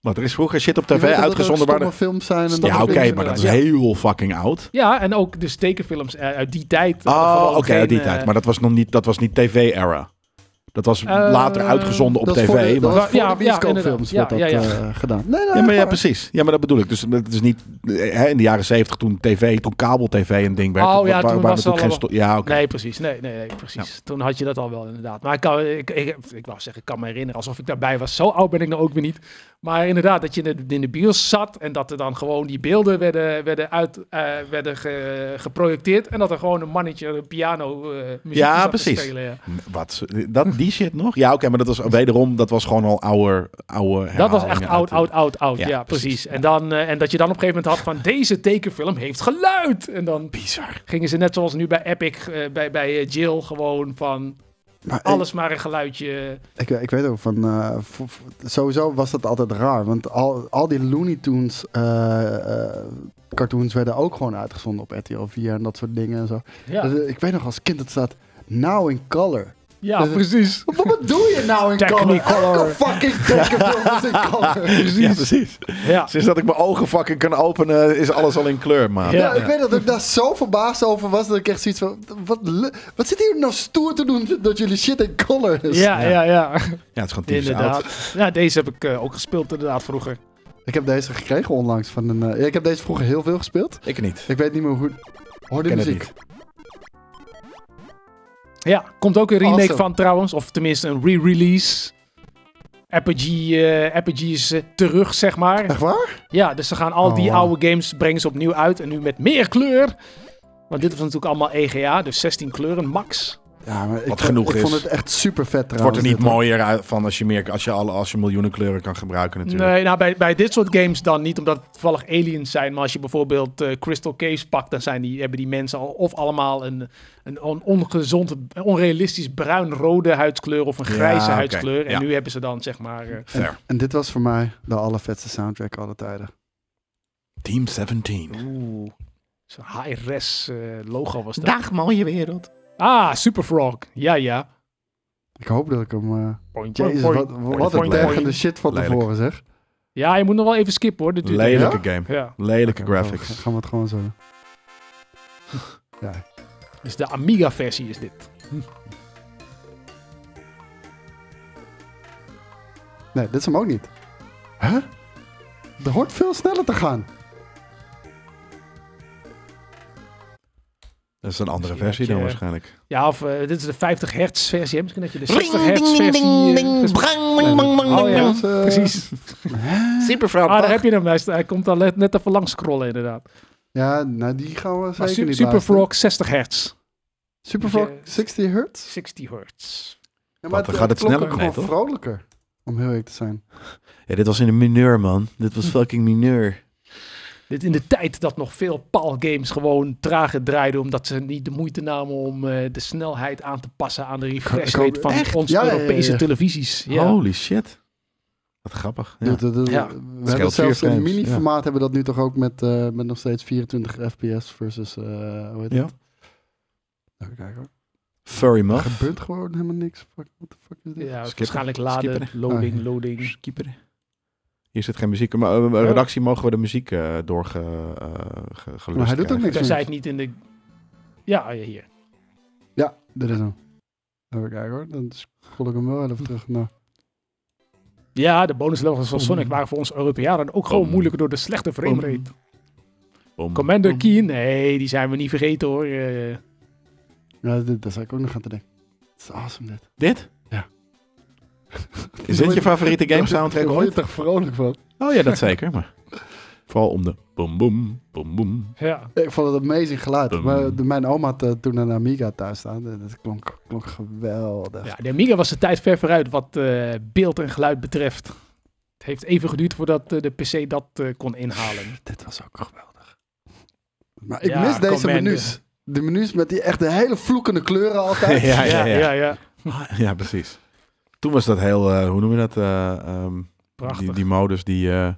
Want er is vroeger shit op
Je weet
tv
dat er ook
uitgezonden waar de...
stomme films zijn. En
Ja,
dat
oké,
soort dingen.
maar dat is
inderdaad,
heel fucking oud.
Ja, en ook dus tekenfilms eh, uit die tijd.
Oh,
Gewoon
oké,
geen,
die
eh,
tijd. Maar dat was nog niet, dat was niet tv-era. Dat was later uitgezonden op
Dat is
tv.
voor de-
maar...
dat was voor
Ja,
de
ja,
bioscoopfilms
inderdaad.
werd
Ja,
dat
ja,
eh, gedaan. Nee, nee,
Ja, maar ja,
maar-
precies. Ja, maar dat bedoel ik. Dus het is niet eh, hè, in de jaren zeventig toen tv, toen kabel-tv een ding werd.
Oh,
wa-
ja,
wa-
toen
waren
was het
natuurlijk geen
allemaal-
sto- Ja, oké.
Nee, precies. Nee, nee, nee, precies. Toen had je dat al wel inderdaad. Maar ik, kan, ik, ik, ik wou zeggen, ik kan me herinneren alsof ik daarbij was. Zo oud ben ik nou ook weer niet. Maar inderdaad, dat je in de, in de bios zat en dat er dan gewoon die beelden werden, werden, uit, eh, werden ge- geprojecteerd. En dat er gewoon een mannetje een piano eh muziek
Ja,
zat te
precies.
spelen, ja.
Wat? Dat, die shit nog? Ja, oké, maar dat was wederom, dat was gewoon al oude, oude
Dat was echt
herhalingen
oud,
uit
oud, oud, oud. Ja,
Ja,
precies.
precies.
En, dan, eh, en dat je dan op een gegeven moment had van deze tekenfilm heeft geluid. En dan
de- Bizar.
gingen ze net zoals nu bij Epic, eh, bij, bij eh, Jill, gewoon van
maar ik-
alles maar een geluidje.
Ik, ik weet ook van. eh, v- v- sowieso was dat altijd raar. Want al, al die Looney Tunes eh, eh, cartoons werden ook gewoon uitgezonden op RTL 4 en dat soort dingen en zo.
Ja,
Dus, eh, ik weet nog als kind dat staat. Now in color.
ja precies.
Wat, wat doe je nou in
Technicolor.
color? Elke fucking tekenfilm was in color.
Ja, precies.
Ja.
Sinds dat ik mijn ogen fucking kan openen, is alles al in kleur, man.
Ja.
Ja, Nou, ik weet dat ik daar zo verbaasd over was dat ik echt zoiets van... Wat, le- wat zit hier nou stoer te doen dat jullie shit in color is?
Ja, ja, ja.
het is gewoon typisch oud.
Inderdaad. Ja, deze heb ik eh, ook gespeeld inderdaad vroeger.
Ik heb deze gekregen onlangs van een... eh, ja, ik heb deze vroeger heel veel gespeeld.
Ik niet.
Ik weet niet meer hoe... Hoor die
Ken het
muziek.
Ja, komt ook een remake
Awesome.
van trouwens. Of tenminste een re-release. Apogee, eh, Apogee is eh, terug, zeg maar.
Echt waar?
Ja, dus ze gaan al
Oh,
die
wauw.
oude games brengen ze opnieuw uit. En nu met meer kleur. Want dit was natuurlijk allemaal EGA, dus 16 kleuren max.
Ja, maar ik,
Wat genoeg
ik
is.
vond het echt super vet trouwens.
Het wordt er niet
dit, hoor.
mooier uit van als je, meer, als, je alle, als je miljoenen kleuren kan gebruiken natuurlijk.
Nee, nou bij, bij dit soort games dan niet, omdat het toevallig aliens zijn. Maar als je bijvoorbeeld eh, Crystal Case pakt, dan zijn die, hebben die mensen al of allemaal een, een on- ongezond, onrealistisch bruin-rode huidskleur of een
Ja,
grijze
oké,
huidskleur. En
ja.
nu hebben ze dan zeg maar... eh,
Fair.
En dit was voor mij de allervetste soundtrack alle tijden.
Team 17.
Oeh, zo'n high-res eh, logo was dat.
Dag mooie wereld.
Ah, Super Frog. Ja, ja.
Ik hoop dat ik hem... eh
Point,
Jezus,
point.
wat, wat een
point,
tergende
point.
shit van
Lelijk.
tevoren zeg.
Ja, je moet nog wel even skippen hoor. Dit duurt-
Lelijke game.
Ja,
Lelijke
Dan
graphics.
gaan we het gewoon zo doen.
dus de Amiga-versie is dit.
Nee, dit is hem ook niet. Huh? Er hoort veel sneller te gaan.
Dat is een andere
Misschien
versie
dat
dan
je-
waarschijnlijk.
Ja, of eh, dit is de 50 hertz versie. hè? Misschien dat je de 60 hertz versie... eh, gespeeld- Oh ja,
Dat is, eh,
precies.
Supervrouw.
Ah, daar heb je hem. Hij, is- hij komt al net, net even langs scrollen inderdaad.
Ja, nou die gaan we
Maar
zeker
Su-
niet
Super
luisteren.
Frog 60 hertz.
Superfrog
Moet je-
60 hertz?
60 hertz.
Ja,
Want dan gaat het
klonk ook
sneller.
gewoon
Nee, toch?
vrolijker. Om heel eerlijk te zijn.
Ja, dit was in de mineur, man. Dit was fucking mineur.
Dit in de tijd dat nog veel PAL-games gewoon trager draaiden... omdat ze niet de moeite namen om eh, de snelheid aan te passen... aan de refresh
Ik hoop-
rate van
echt?
onze
Ja, ja, ja,
Europese
ja. Oh,
televisies. Ja.
Holy shit. Wat grappig. Ja.
Dude, dat- dat-
Ja.
We hebben
scheelt
zelfs
vier
in
frames,
mini-formaat hebben we dat nu toch ook met, eh, met nog steeds 24 fps versus, eh hoe heet
Ja.
het? Even kijken hoor.
Furry
Er
muff.
gebeurt gewoon helemaal niks. Fuck, what the fuck is dit?
Ja,
Skippen.
waarschijnlijk laden,
Skippen.
loading,
Ah, ja.
loading.
Keeper. Hier zit geen muziek. in, Maar eh, redactie mogen we de muziek eh doorge, eh, ge- gelust
Maar hij doet ook
krijgen.
niks.
Zij zei het niet in de... Ja, hier.
Ja, dit is hem. Even kijken hoor. Dan scroll ik hem wel even terug naar...
Ja, de bonuslevels van
Mm.
Sonic waren voor ons Europeanen ook gewoon
Om.
moeilijker door de slechte framerate.
Boom.
Mm.
Commander Keen, nee, die zijn we niet vergeten hoor. Eh,
Ja, dit, daar zou ik ook nog aan te denken. Het is awesome dit.
Dit?
Ja.
Is dit je favoriete game soundtrack
Daar word je
ooit?
toch vrolijk van?
Oh ja, dat zeker. Maar vooral om de boom boom boom boom.
ja.
Ik vond het een amazing geluid.
Dum.
Maar de- mijn oma had eh, toen een Amiga thuis staan. eh, Dat- Dat klonk, klonk geweldig.
ja, de Amiga was de tijd ver vooruit wat eh, beeld en geluid betreft. Het heeft even geduurd voordat eh, de PC dat eh, kon inhalen.
Dit was ook geweldig. Maar ik
Ja,
mis deze
Commander.
menus. De menus met die echt de hele vloekende kleuren altijd.
Ja, ja, ja.
ja.
Ja, precies. Toen was dat heel, eh, hoe noem je dat? eh, ehm,
Prachtig.
die, die modus die... eh,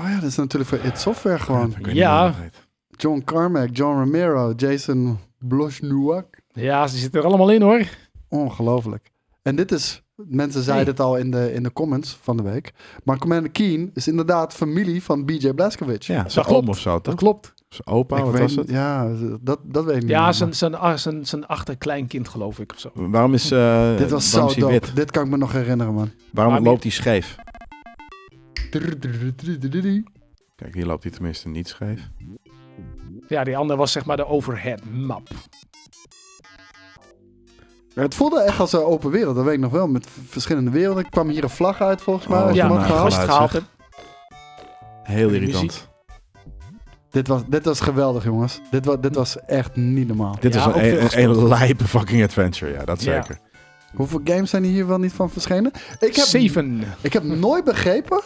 Oh ja, dat is natuurlijk voor It Software gewoon.
ik weet
Ja.
niet hoe dat heet.
John Carmack, John Romero, Jason Blosnuak.
Ja, ze zitten er allemaal in hoor.
Ongelooflijk. En dit is, mensen zeiden het al in de, in de comments van de week. Maar Commander Keen is inderdaad familie van BJ Blazkowicz.
Ja, zijn
klopt.
oom of zo, toch?
Dat klopt.
Zijn opa,
Ik
wat
weet-
was het?
Ja, dat, dat weet ik niet.
Ja,
meer,
zijn, zijn, ah, zijn, zijn achterkleinkind geloof ik of zo.
Waarom is, eh
maar- Dit was
waarom
zo
is hij
dope.
wit?
Dit kan ik me nog herinneren, man.
Waarom
Waarom-
loopt hij scheef? Kijk, hier loopt hij tenminste niet scheef.
Ja, die andere was zeg maar de overhead map.
Het voelde echt als een open wereld, dat weet ik nog wel. Met v- verschillende werelden. Ik kwam hier een vlag uit, volgens mij.
Oh,
als
ja,
je hem
nou,
had
geluid,
gehaald.
als je het gehaald
zeg.
hebt.
Heel
De
irritant.
muziek.
Dit was, dit was geweldig, jongens. Dit was, dit was echt niet normaal.
Dit
Ja,
is
ook
een,
veel
een, een lijpe fucking adventure, ja, dat
Ja.
zeker.
Hoeveel games zijn hier wel niet van verschenen? Ik heb,
Zeven.
ik heb nooit begrepen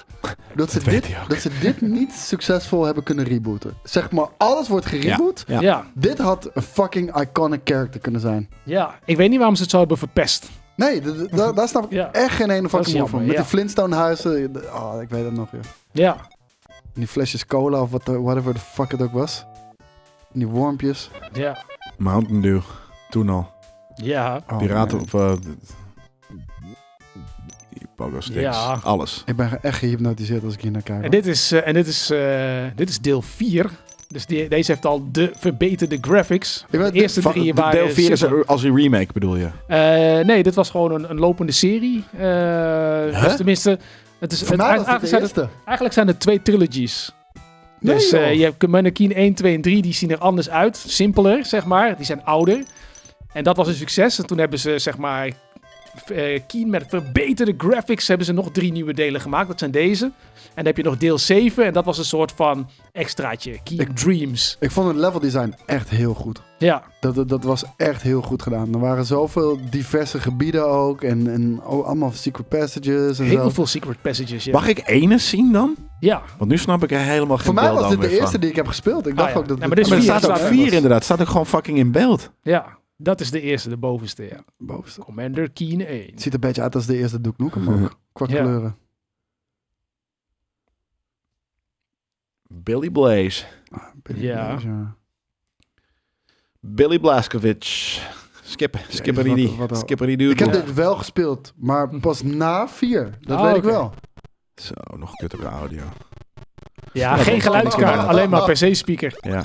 dat ze,
Dat weet
dit,
hij ook.
dat ze dit niet succesvol hebben kunnen rebooten. Zeg maar, alles wordt gereboot.
Ja.
Ja. Ja.
Dit had een fucking iconic character kunnen zijn.
ik weet niet waarom ze het zo hebben verpest.
Nee, d- d- da- daar snap ik
Ja.
echt geen ene
Dat
fucking
is
moe
jammer,
van. Met
ja.
die Flintstone huizen. Oh, ik weet dat nog, joh.
Ja,
En die flesjes cola of wat, de- whatever the fuck het ook was. En die wormpjes.
ja,
Mountain Dew, toen al.
ja.
Oh,
Piraten
man.
op... eh, d- die Pogo sticks,
Ja.
alles.
Ik ben echt gehypnotiseerd als ik hier naar kijk.
En dit is, eh, en dit is, eh, dit is deel 4. Dus die, deze heeft al de verbeterde graphics.
Ik ben-
De eerste
Van-
drie
de-
waren...
deel 4 is
super.
er als een remake, bedoel je?
Eh, nee, dit was gewoon een, een lopende serie. Eh, dus tenminste... Het is,
Voor
het-
mij was dit
eigenlijk,
de
zijn het,
eerste.
eigenlijk zijn er twee trilogies.
Nee,
dus eh,
joh.
je hebt Commander Keen 1, 2 en 3. Die zien er anders uit. Simpeler, zeg maar. Die zijn ouder. En dat was een succes. En toen hebben ze, zeg maar... eh, Keen met verbeterde graphics hebben ze nog drie nieuwe delen gemaakt. Dat zijn deze. En dan heb je nog deel 7. En dat was een soort van extraatje. Keen
Ik-
Dreams.
Ik vond het level design echt heel goed.
Ja.
Dat, dat, dat was echt heel goed gedaan. Er waren zoveel diverse gebieden ook. En, en oh, allemaal secret passages. En
Heel
zo.
veel secret passages. Ja.
Mag ik ene zien dan?
Ja.
Want nu snap ik er helemaal geen
Voor mij
beeld
was
aan
dit de
meer van.
eerste die ik heb gespeeld. Ik dacht
Ah, ja.
ook dat
Ja, maar dit is
Maar er
Vier
staat ook
staat er.
4 inderdaad. Het staat ook gewoon fucking in beeld.
Ja. Dat is de eerste, de bovenste. Ja.
Bovenste.
Commander Keen 1.
Het ziet er een beetje uit als de eerste Duke Nukem ook. Qua
Ja.
kleuren.
Billy Blaze.
Ah,
Ja.
Billy Blaskovic. Skip, skipper die,
wat- wat-
skipper die dude.
Ik heb
Ja.
dit wel gespeeld, maar pas na vier. Dat
Oh,
weet ik
oké.
wel.
Zo, nog kuttere audio.
Ja,
Ja,
geen
dat-
geluidskaart, alleen maar PC-speaker.
Ja,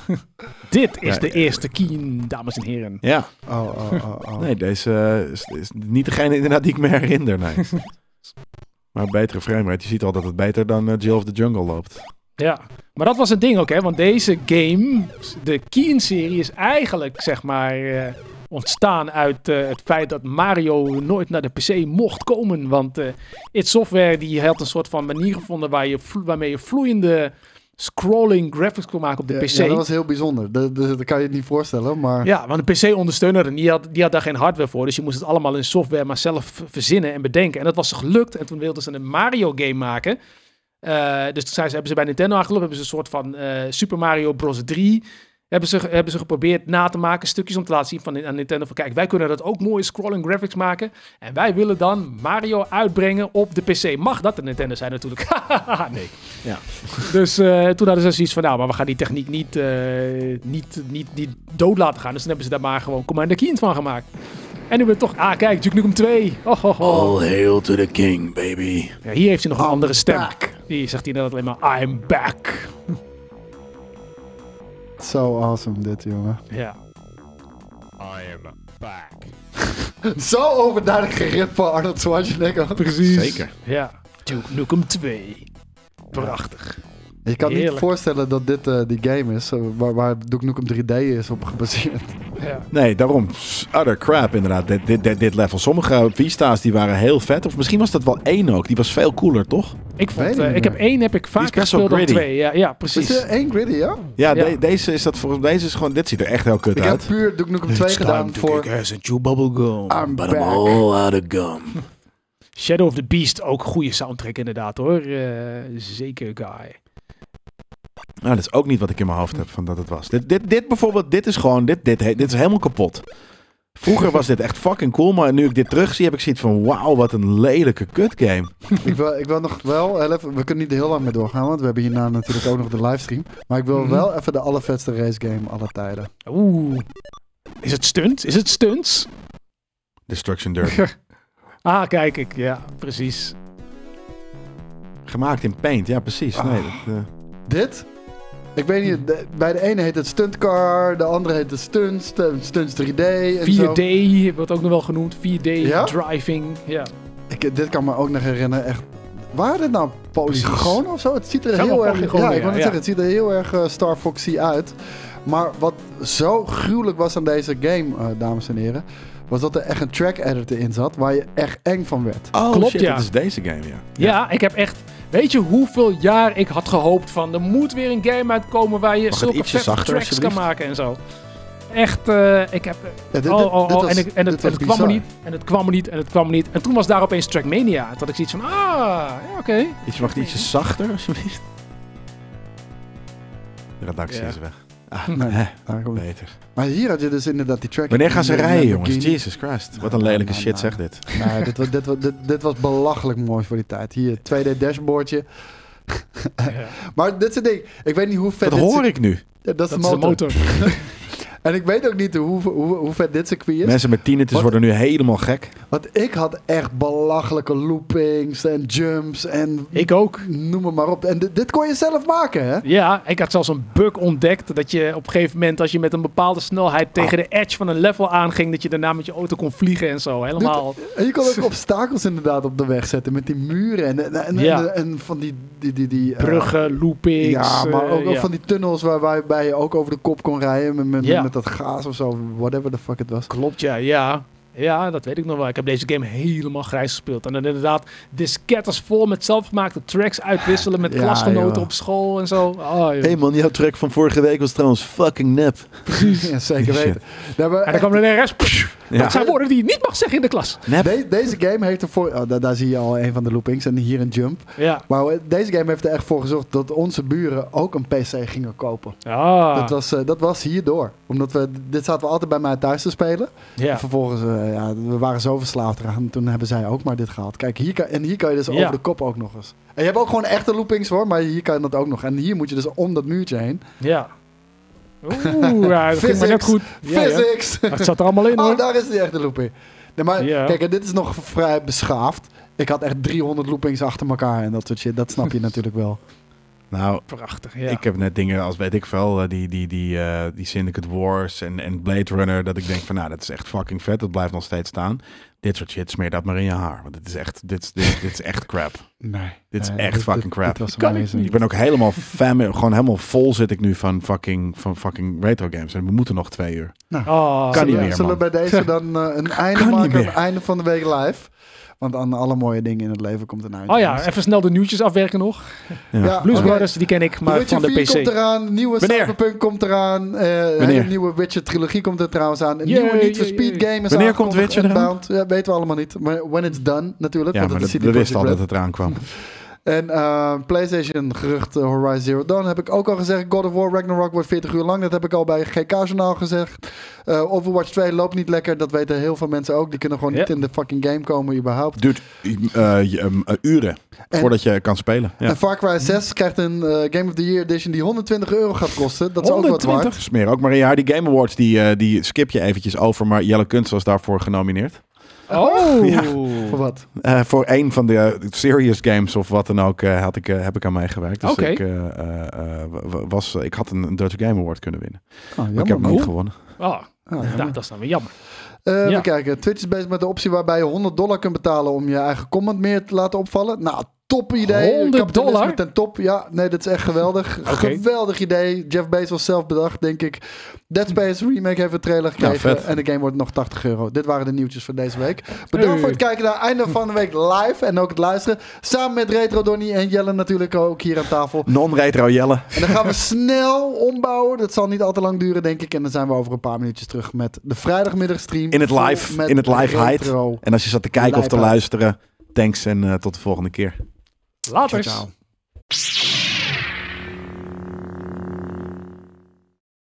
Dit is
Ja,
de
ja.
eerste Keen, dames en heren.
ja.
Oh, oh, oh, oh.
nee, deze eh, is, is niet degene inderdaad die ik me herinner. Nee. maar betere framerate. Je ziet al dat het beter dan eh, Jill of the Jungle loopt.
Ja, maar dat was het ding ook, hè? Want deze game, de Keen-serie, is eigenlijk zeg maar eh, ontstaan uit eh, het feit dat Mario nooit naar de PC mocht komen. Want eh It Software die had een soort van manier gevonden waar je vlo- waarmee je vloeiende scrolling graphics kon maken op de
Ja,
PC.
ja, dat was heel bijzonder. Dat, dus dat, dat kan je het niet voorstellen, maar...
Ja, want een PC-ondersteuner die had, die had daar geen hardware voor. Dus je moest het allemaal in software maar zelf v- verzinnen en bedenken. En dat was ze gelukt. En toen wilden ze een Mario-game maken. Eh, dus toen zijn ze, hebben ze bij Nintendo aangelopen. Hebben ze een soort van eh, Super Mario Bros. 3. Hebben ze, hebben ze geprobeerd na te maken, stukjes om te laten zien van, aan Nintendo. Van kijk, wij kunnen dat ook mooie scrolling graphics maken. En wij willen dan Mario uitbrengen op de PC. Mag dat? De Nintendo zei natuurlijk, nee. Dus eh, toen hadden ze zoiets van, nou, maar we gaan die techniek niet, eh, niet, niet, niet dood laten gaan. Dus toen hebben ze daar maar gewoon Commander Keen van gemaakt. En nu weer toch, ah kijk, Duke Nukem 2. Oh, ho, ho.
hail to the king, baby.
Ja, hier heeft hij nog een andere stem.
Back.
Die zegt inderdaad alleen maar, I'm back.
Zo awesome dit, jongen.
Ja.
Zo overduidelijk gerip van Arnold Schwarzenegger.
Precies.
Zeker.
Ja. Duke Nukem 2. Prachtig.
Je kan niet
Heerlijk.
voorstellen dat dit eh, die game is, eh, waar, waar Duke Nukem 3D is op gebaseerd.
Ja.
Nee, daarom. Other crap inderdaad. Dit, dit, dit, dit level. Sommige Vista's die waren heel vet. Of misschien was dat wel één ook. Die was veel cooler, toch?
Ik, vond,
Weet ik
eh,
niet
ik heb
meer.
één heb ik
is
vaak
best wel
gespeeld dan
gritty.
twee. Ja, ja precies.
Is er één gritty, ja?
Ja,
Ja.
de- deze is dat volgens deze is gewoon. Dit ziet er echt heel kut
Ik heb
uit.
puur Duke Nukem 2 gedaan voor... I'm
But I'm
back.
all out of gum.
Shadow of the Beast, ook goede soundtrack inderdaad hoor. Eh, zeker guy.
Nou, dat is ook niet wat ik in mijn hoofd heb van dat het was. Dit, dit, dit bijvoorbeeld, dit is gewoon. Dit, dit, dit is helemaal kapot. Vroeger was dit echt fucking cool, maar nu ik dit terugzie, heb ik zoiets van: wauw, wat een lelijke kutgame.
ik, wil, ik wil nog wel heel even... We kunnen niet heel lang mee doorgaan, want we hebben hierna natuurlijk ook nog de livestream. Maar ik wil
Mhm.
wel even de allervetste race game aller tijden.
Oeh. Is het stunt? Is het stunts?
Destruction Derby.
Ah, kijk ik. Ja, precies.
Gemaakt in paint, ja, precies. Nee, dat, eh,
Dit? Ik weet niet, de- bij de ene heet het stuntcar, de eh, andere heet het stunts, stu- stunts 3D en zo.
4D wordt ook nog wel genoemd. 4D
Ja?
driving. Ja.
Ik, dit kan me ook nog herinneren, echt. Waren dit nou polygonen of zo? Het ziet er
Het zijn
heel
wel
erg.
polygonen,
Ja, ik wil
ja,
net
ja.
zeggen, het ziet er heel erg eh, Star Foxy uit. Maar wat zo gruwelijk was aan deze game, eh, dames en heren, was dat er echt een track editor in zat waar je echt eng van werd.
Oh,
Klopt,
shit,
ja.
dat is deze game, ja.
Ja, ik heb echt. Weet je hoeveel jaar ik had gehoopt van. Er moet weer een game uitkomen waar je
het
zulke
ietsje
vette
zachter,
tracks kan
alsjeblieft?
maken en zo. Echt, eh, ik heb.
Ja, dit- dit-
oh, oh,
dit
oh.
was-
En, ik- en,
dit
het,
was
het kwam er
bizar.
niet, en het kwam er niet, en het kwam er niet. En toen was daar opeens Trackmania. Toen had ik zoiets van, ah, ja, oké.
Iets, mag het ietsje zachter, alsjeblieft? De redactie
Ja.
is weg.
Nee, daar komt-
Beter.
Maar hier had je dus inderdaad die track
Wanneer gaan ze
editor in
rijden,
een
jongens?
Lamborghini.
Jesus Christ. Wat een lelijke
nou,
shit
nou.
zegt dit.
Nee, dit, was, dit, was, dit, dit was belachelijk mooi voor die tijd. Hier, 2D dashboardje.
Ja.
Maar dit is het ding. Ik weet niet hoe vet
Dat
dit
hoor ik nu.
Ja, dat is
Dat
de motor.
is de motor.
En ik weet ook niet hoe, hoe, hoe vet dit circuit is.
Mensen met tienetjes
Wat?
worden nu helemaal gek.
Want ik had echt belachelijke loopings en jumps en
ik ook.
noem het maar op. En dit, dit kon je zelf maken, hè?
Ja, ik had zelfs een bug ontdekt dat je op een gegeven moment, als je met een bepaalde
Ah.
snelheid tegen de edge van een level aanging, dat je daarna met je auto kon vliegen en zo. Helemaal.
En je kon ook obstakels inderdaad op de weg zetten met die muren en, en, en,
Ja.
en, en van die... die, die, die eh,
Bruggen, loopings.
ja, maar ook,
eh,
ook
ja.
van die tunnels waar, waarbij je ook over de kop kon rijden met, met,
Ja.
met dat gaas of zo. Whatever the fuck het was.
Klopt, ja, ja. Ja, dat weet ik nog wel. Ik heb deze game helemaal grijs gespeeld. En dan inderdaad disketters vol met zelfgemaakte tracks uitwisselen met
Ja,
klasgenoten
joh.
op school en zo. Oh, joh.
Hé hey man, jouw track van vorige week was trouwens fucking nep.
Ja, zeker
Shit.
weten. Nee, maar
en dan kwam de RS.
Ja.
Dat zijn woorden die je niet mag zeggen in de klas.
de- deze game heeft ervoor... Oh, daar, daar zie je al een van de loopings en hier een jump.
Ja.
Maar eh, deze game heeft er echt voor gezorgd dat onze buren ook een PC gingen kopen.
Ah,
Dat, was, eh, dat was hierdoor. Omdat we, dit zaten we altijd bij mij thuis te spelen.
ja.
En vervolgens, eh, ja, we waren zo verslaafd eraan. Toen hebben zij ook maar dit gehaald. Kijk, hier kan, en hier kan je dus
Ja.
over de kop ook nog eens. En je hebt ook gewoon echte loopings hoor, maar hier kan je dat ook nog. En hier moet je dus om dat muurtje heen.
ja. Oeh, ja, dat ging maar net
Physics.
goed. Ja, ja.
Physics!
Het zat er allemaal in
Oh,
hoor.
daar is die echte looping. Nee, maar
Ja.
kijk, en dit is nog vrij beschaafd. Ik had echt 300 loopings achter elkaar en dat soort shit. Dat snap je natuurlijk wel.
Nou,
Prachtig, ja.
ik heb net dingen als, weet ik veel, eh, die, die, die, eh, die Syndicate Wars en, en Blade Runner. Dat ik denk van, nou, dat is echt fucking vet. Dat blijft nog steeds staan. Dit soort shit, smeer dat maar in je haar. Want dit is echt, dit, is- dit, dit is echt crap.
Nee.
Dit is
Nee,
echt
dit-
fucking
dit-
crap.
dit was
Kan ik
amazing.
Ik ben ook helemaal fan, gewoon helemaal vol zit ik nu van fucking, van fucking retro games. En we moeten nog twee uur.
Oh,
Kan niet
zullen,
meer, man.
Zullen we bij deze dan eh, een einde
Kan
maken
niet
aan het
meer.
einde van de week live? Want aan alle mooie dingen in het leven komt een einde.
Oh ja, even snel de nieuwtjes afwerken nog.
Ja,
Blues
Ah, oké.
Brothers, die ken ik,
The
maar
Witcher
van de
4 komt
PC.
eraan, nieuwe
Wanneer?
Cyberpunk komt eraan, eh
Wanneer?
een nieuwe Witcher trilogie komt er trouwens aan, een
Jee,
nieuwe Need for
jee,
Speed
jee.
game is
Wanneer komt
aangekondigd,
Witcher eraan?
Unbound. Ja, weten we allemaal niet, maar when it's done natuurlijk,
Ja,
want
maar
dat
dat,
is
we
CD
wisten al dat
Projekt
het eraan kwam.
Red. En eh, PlayStation gerucht eh, Horizon Zero Dawn heb ik ook al gezegd, God of War Ragnarok wordt 40 uur lang, dat heb ik al bij GK Journaal gezegd. Eh, Overwatch 2 loopt niet lekker, dat weten heel veel mensen ook, die kunnen gewoon
Ja.
niet in de fucking game komen überhaupt.
Duurt eh, je, ehm, eh, uren
En-
voordat je kan spelen. Ja.
En Far Cry 6 krijgt een eh, Game of the Year Edition die 120 euro gaat kosten. Dat is ook wat
120?
waard.
Smeer ook maar in je haar. Die Game Awards, die, eh, die skip je eventjes over. Maar Jelle Kunst was daarvoor genomineerd.
Oh.
Voor wat?
Eh, voor een van de eh, serious games of wat dan ook eh, had ik, eh, heb ik aan meegewerkt. Dus
Oké.
ik, eh, eh, eh, wa- wa- was, ik had een Dutch Game Award kunnen winnen.
Oh,
Maar ik heb hem
man.
niet gewonnen.
Oh,
Ah,
nou, dat is dan weer jammer.
Eh,
Ja.
Even kijken. Twitch is bezig met de optie waarbij je 100 dollar kunt betalen om je eigen comment meer te laten opvallen. Nou, top idee.
100
Kapitalisme
dollar?
ten top. Ja, nee, dat is echt geweldig. Geweldig idee. Jeff Bezos zelf bedacht, denk ik. Dead Space Remake heeft een trailer
Nou,
gekregen.
vet.
en de game wordt nog 80 euro. Dit waren de nieuwtjes van deze week. Bedankt
Hey.
voor het kijken naar einde van de week live. En ook het luisteren. Samen met Retro Donnie en Jelle natuurlijk ook hier aan tafel.
Non-retro Jelle.
En dan gaan we snel ombouwen. Dat zal niet al te lang duren, denk ik. En dan zijn we over een paar minuutjes terug met de vrijdagmiddagstream.
In het
Vol
live,
met
in het live height.
retro.
En als je zat te kijken of te
Lijpheid.
luisteren, thanks en eh, tot de volgende keer.
Later.
Ciao, ciao.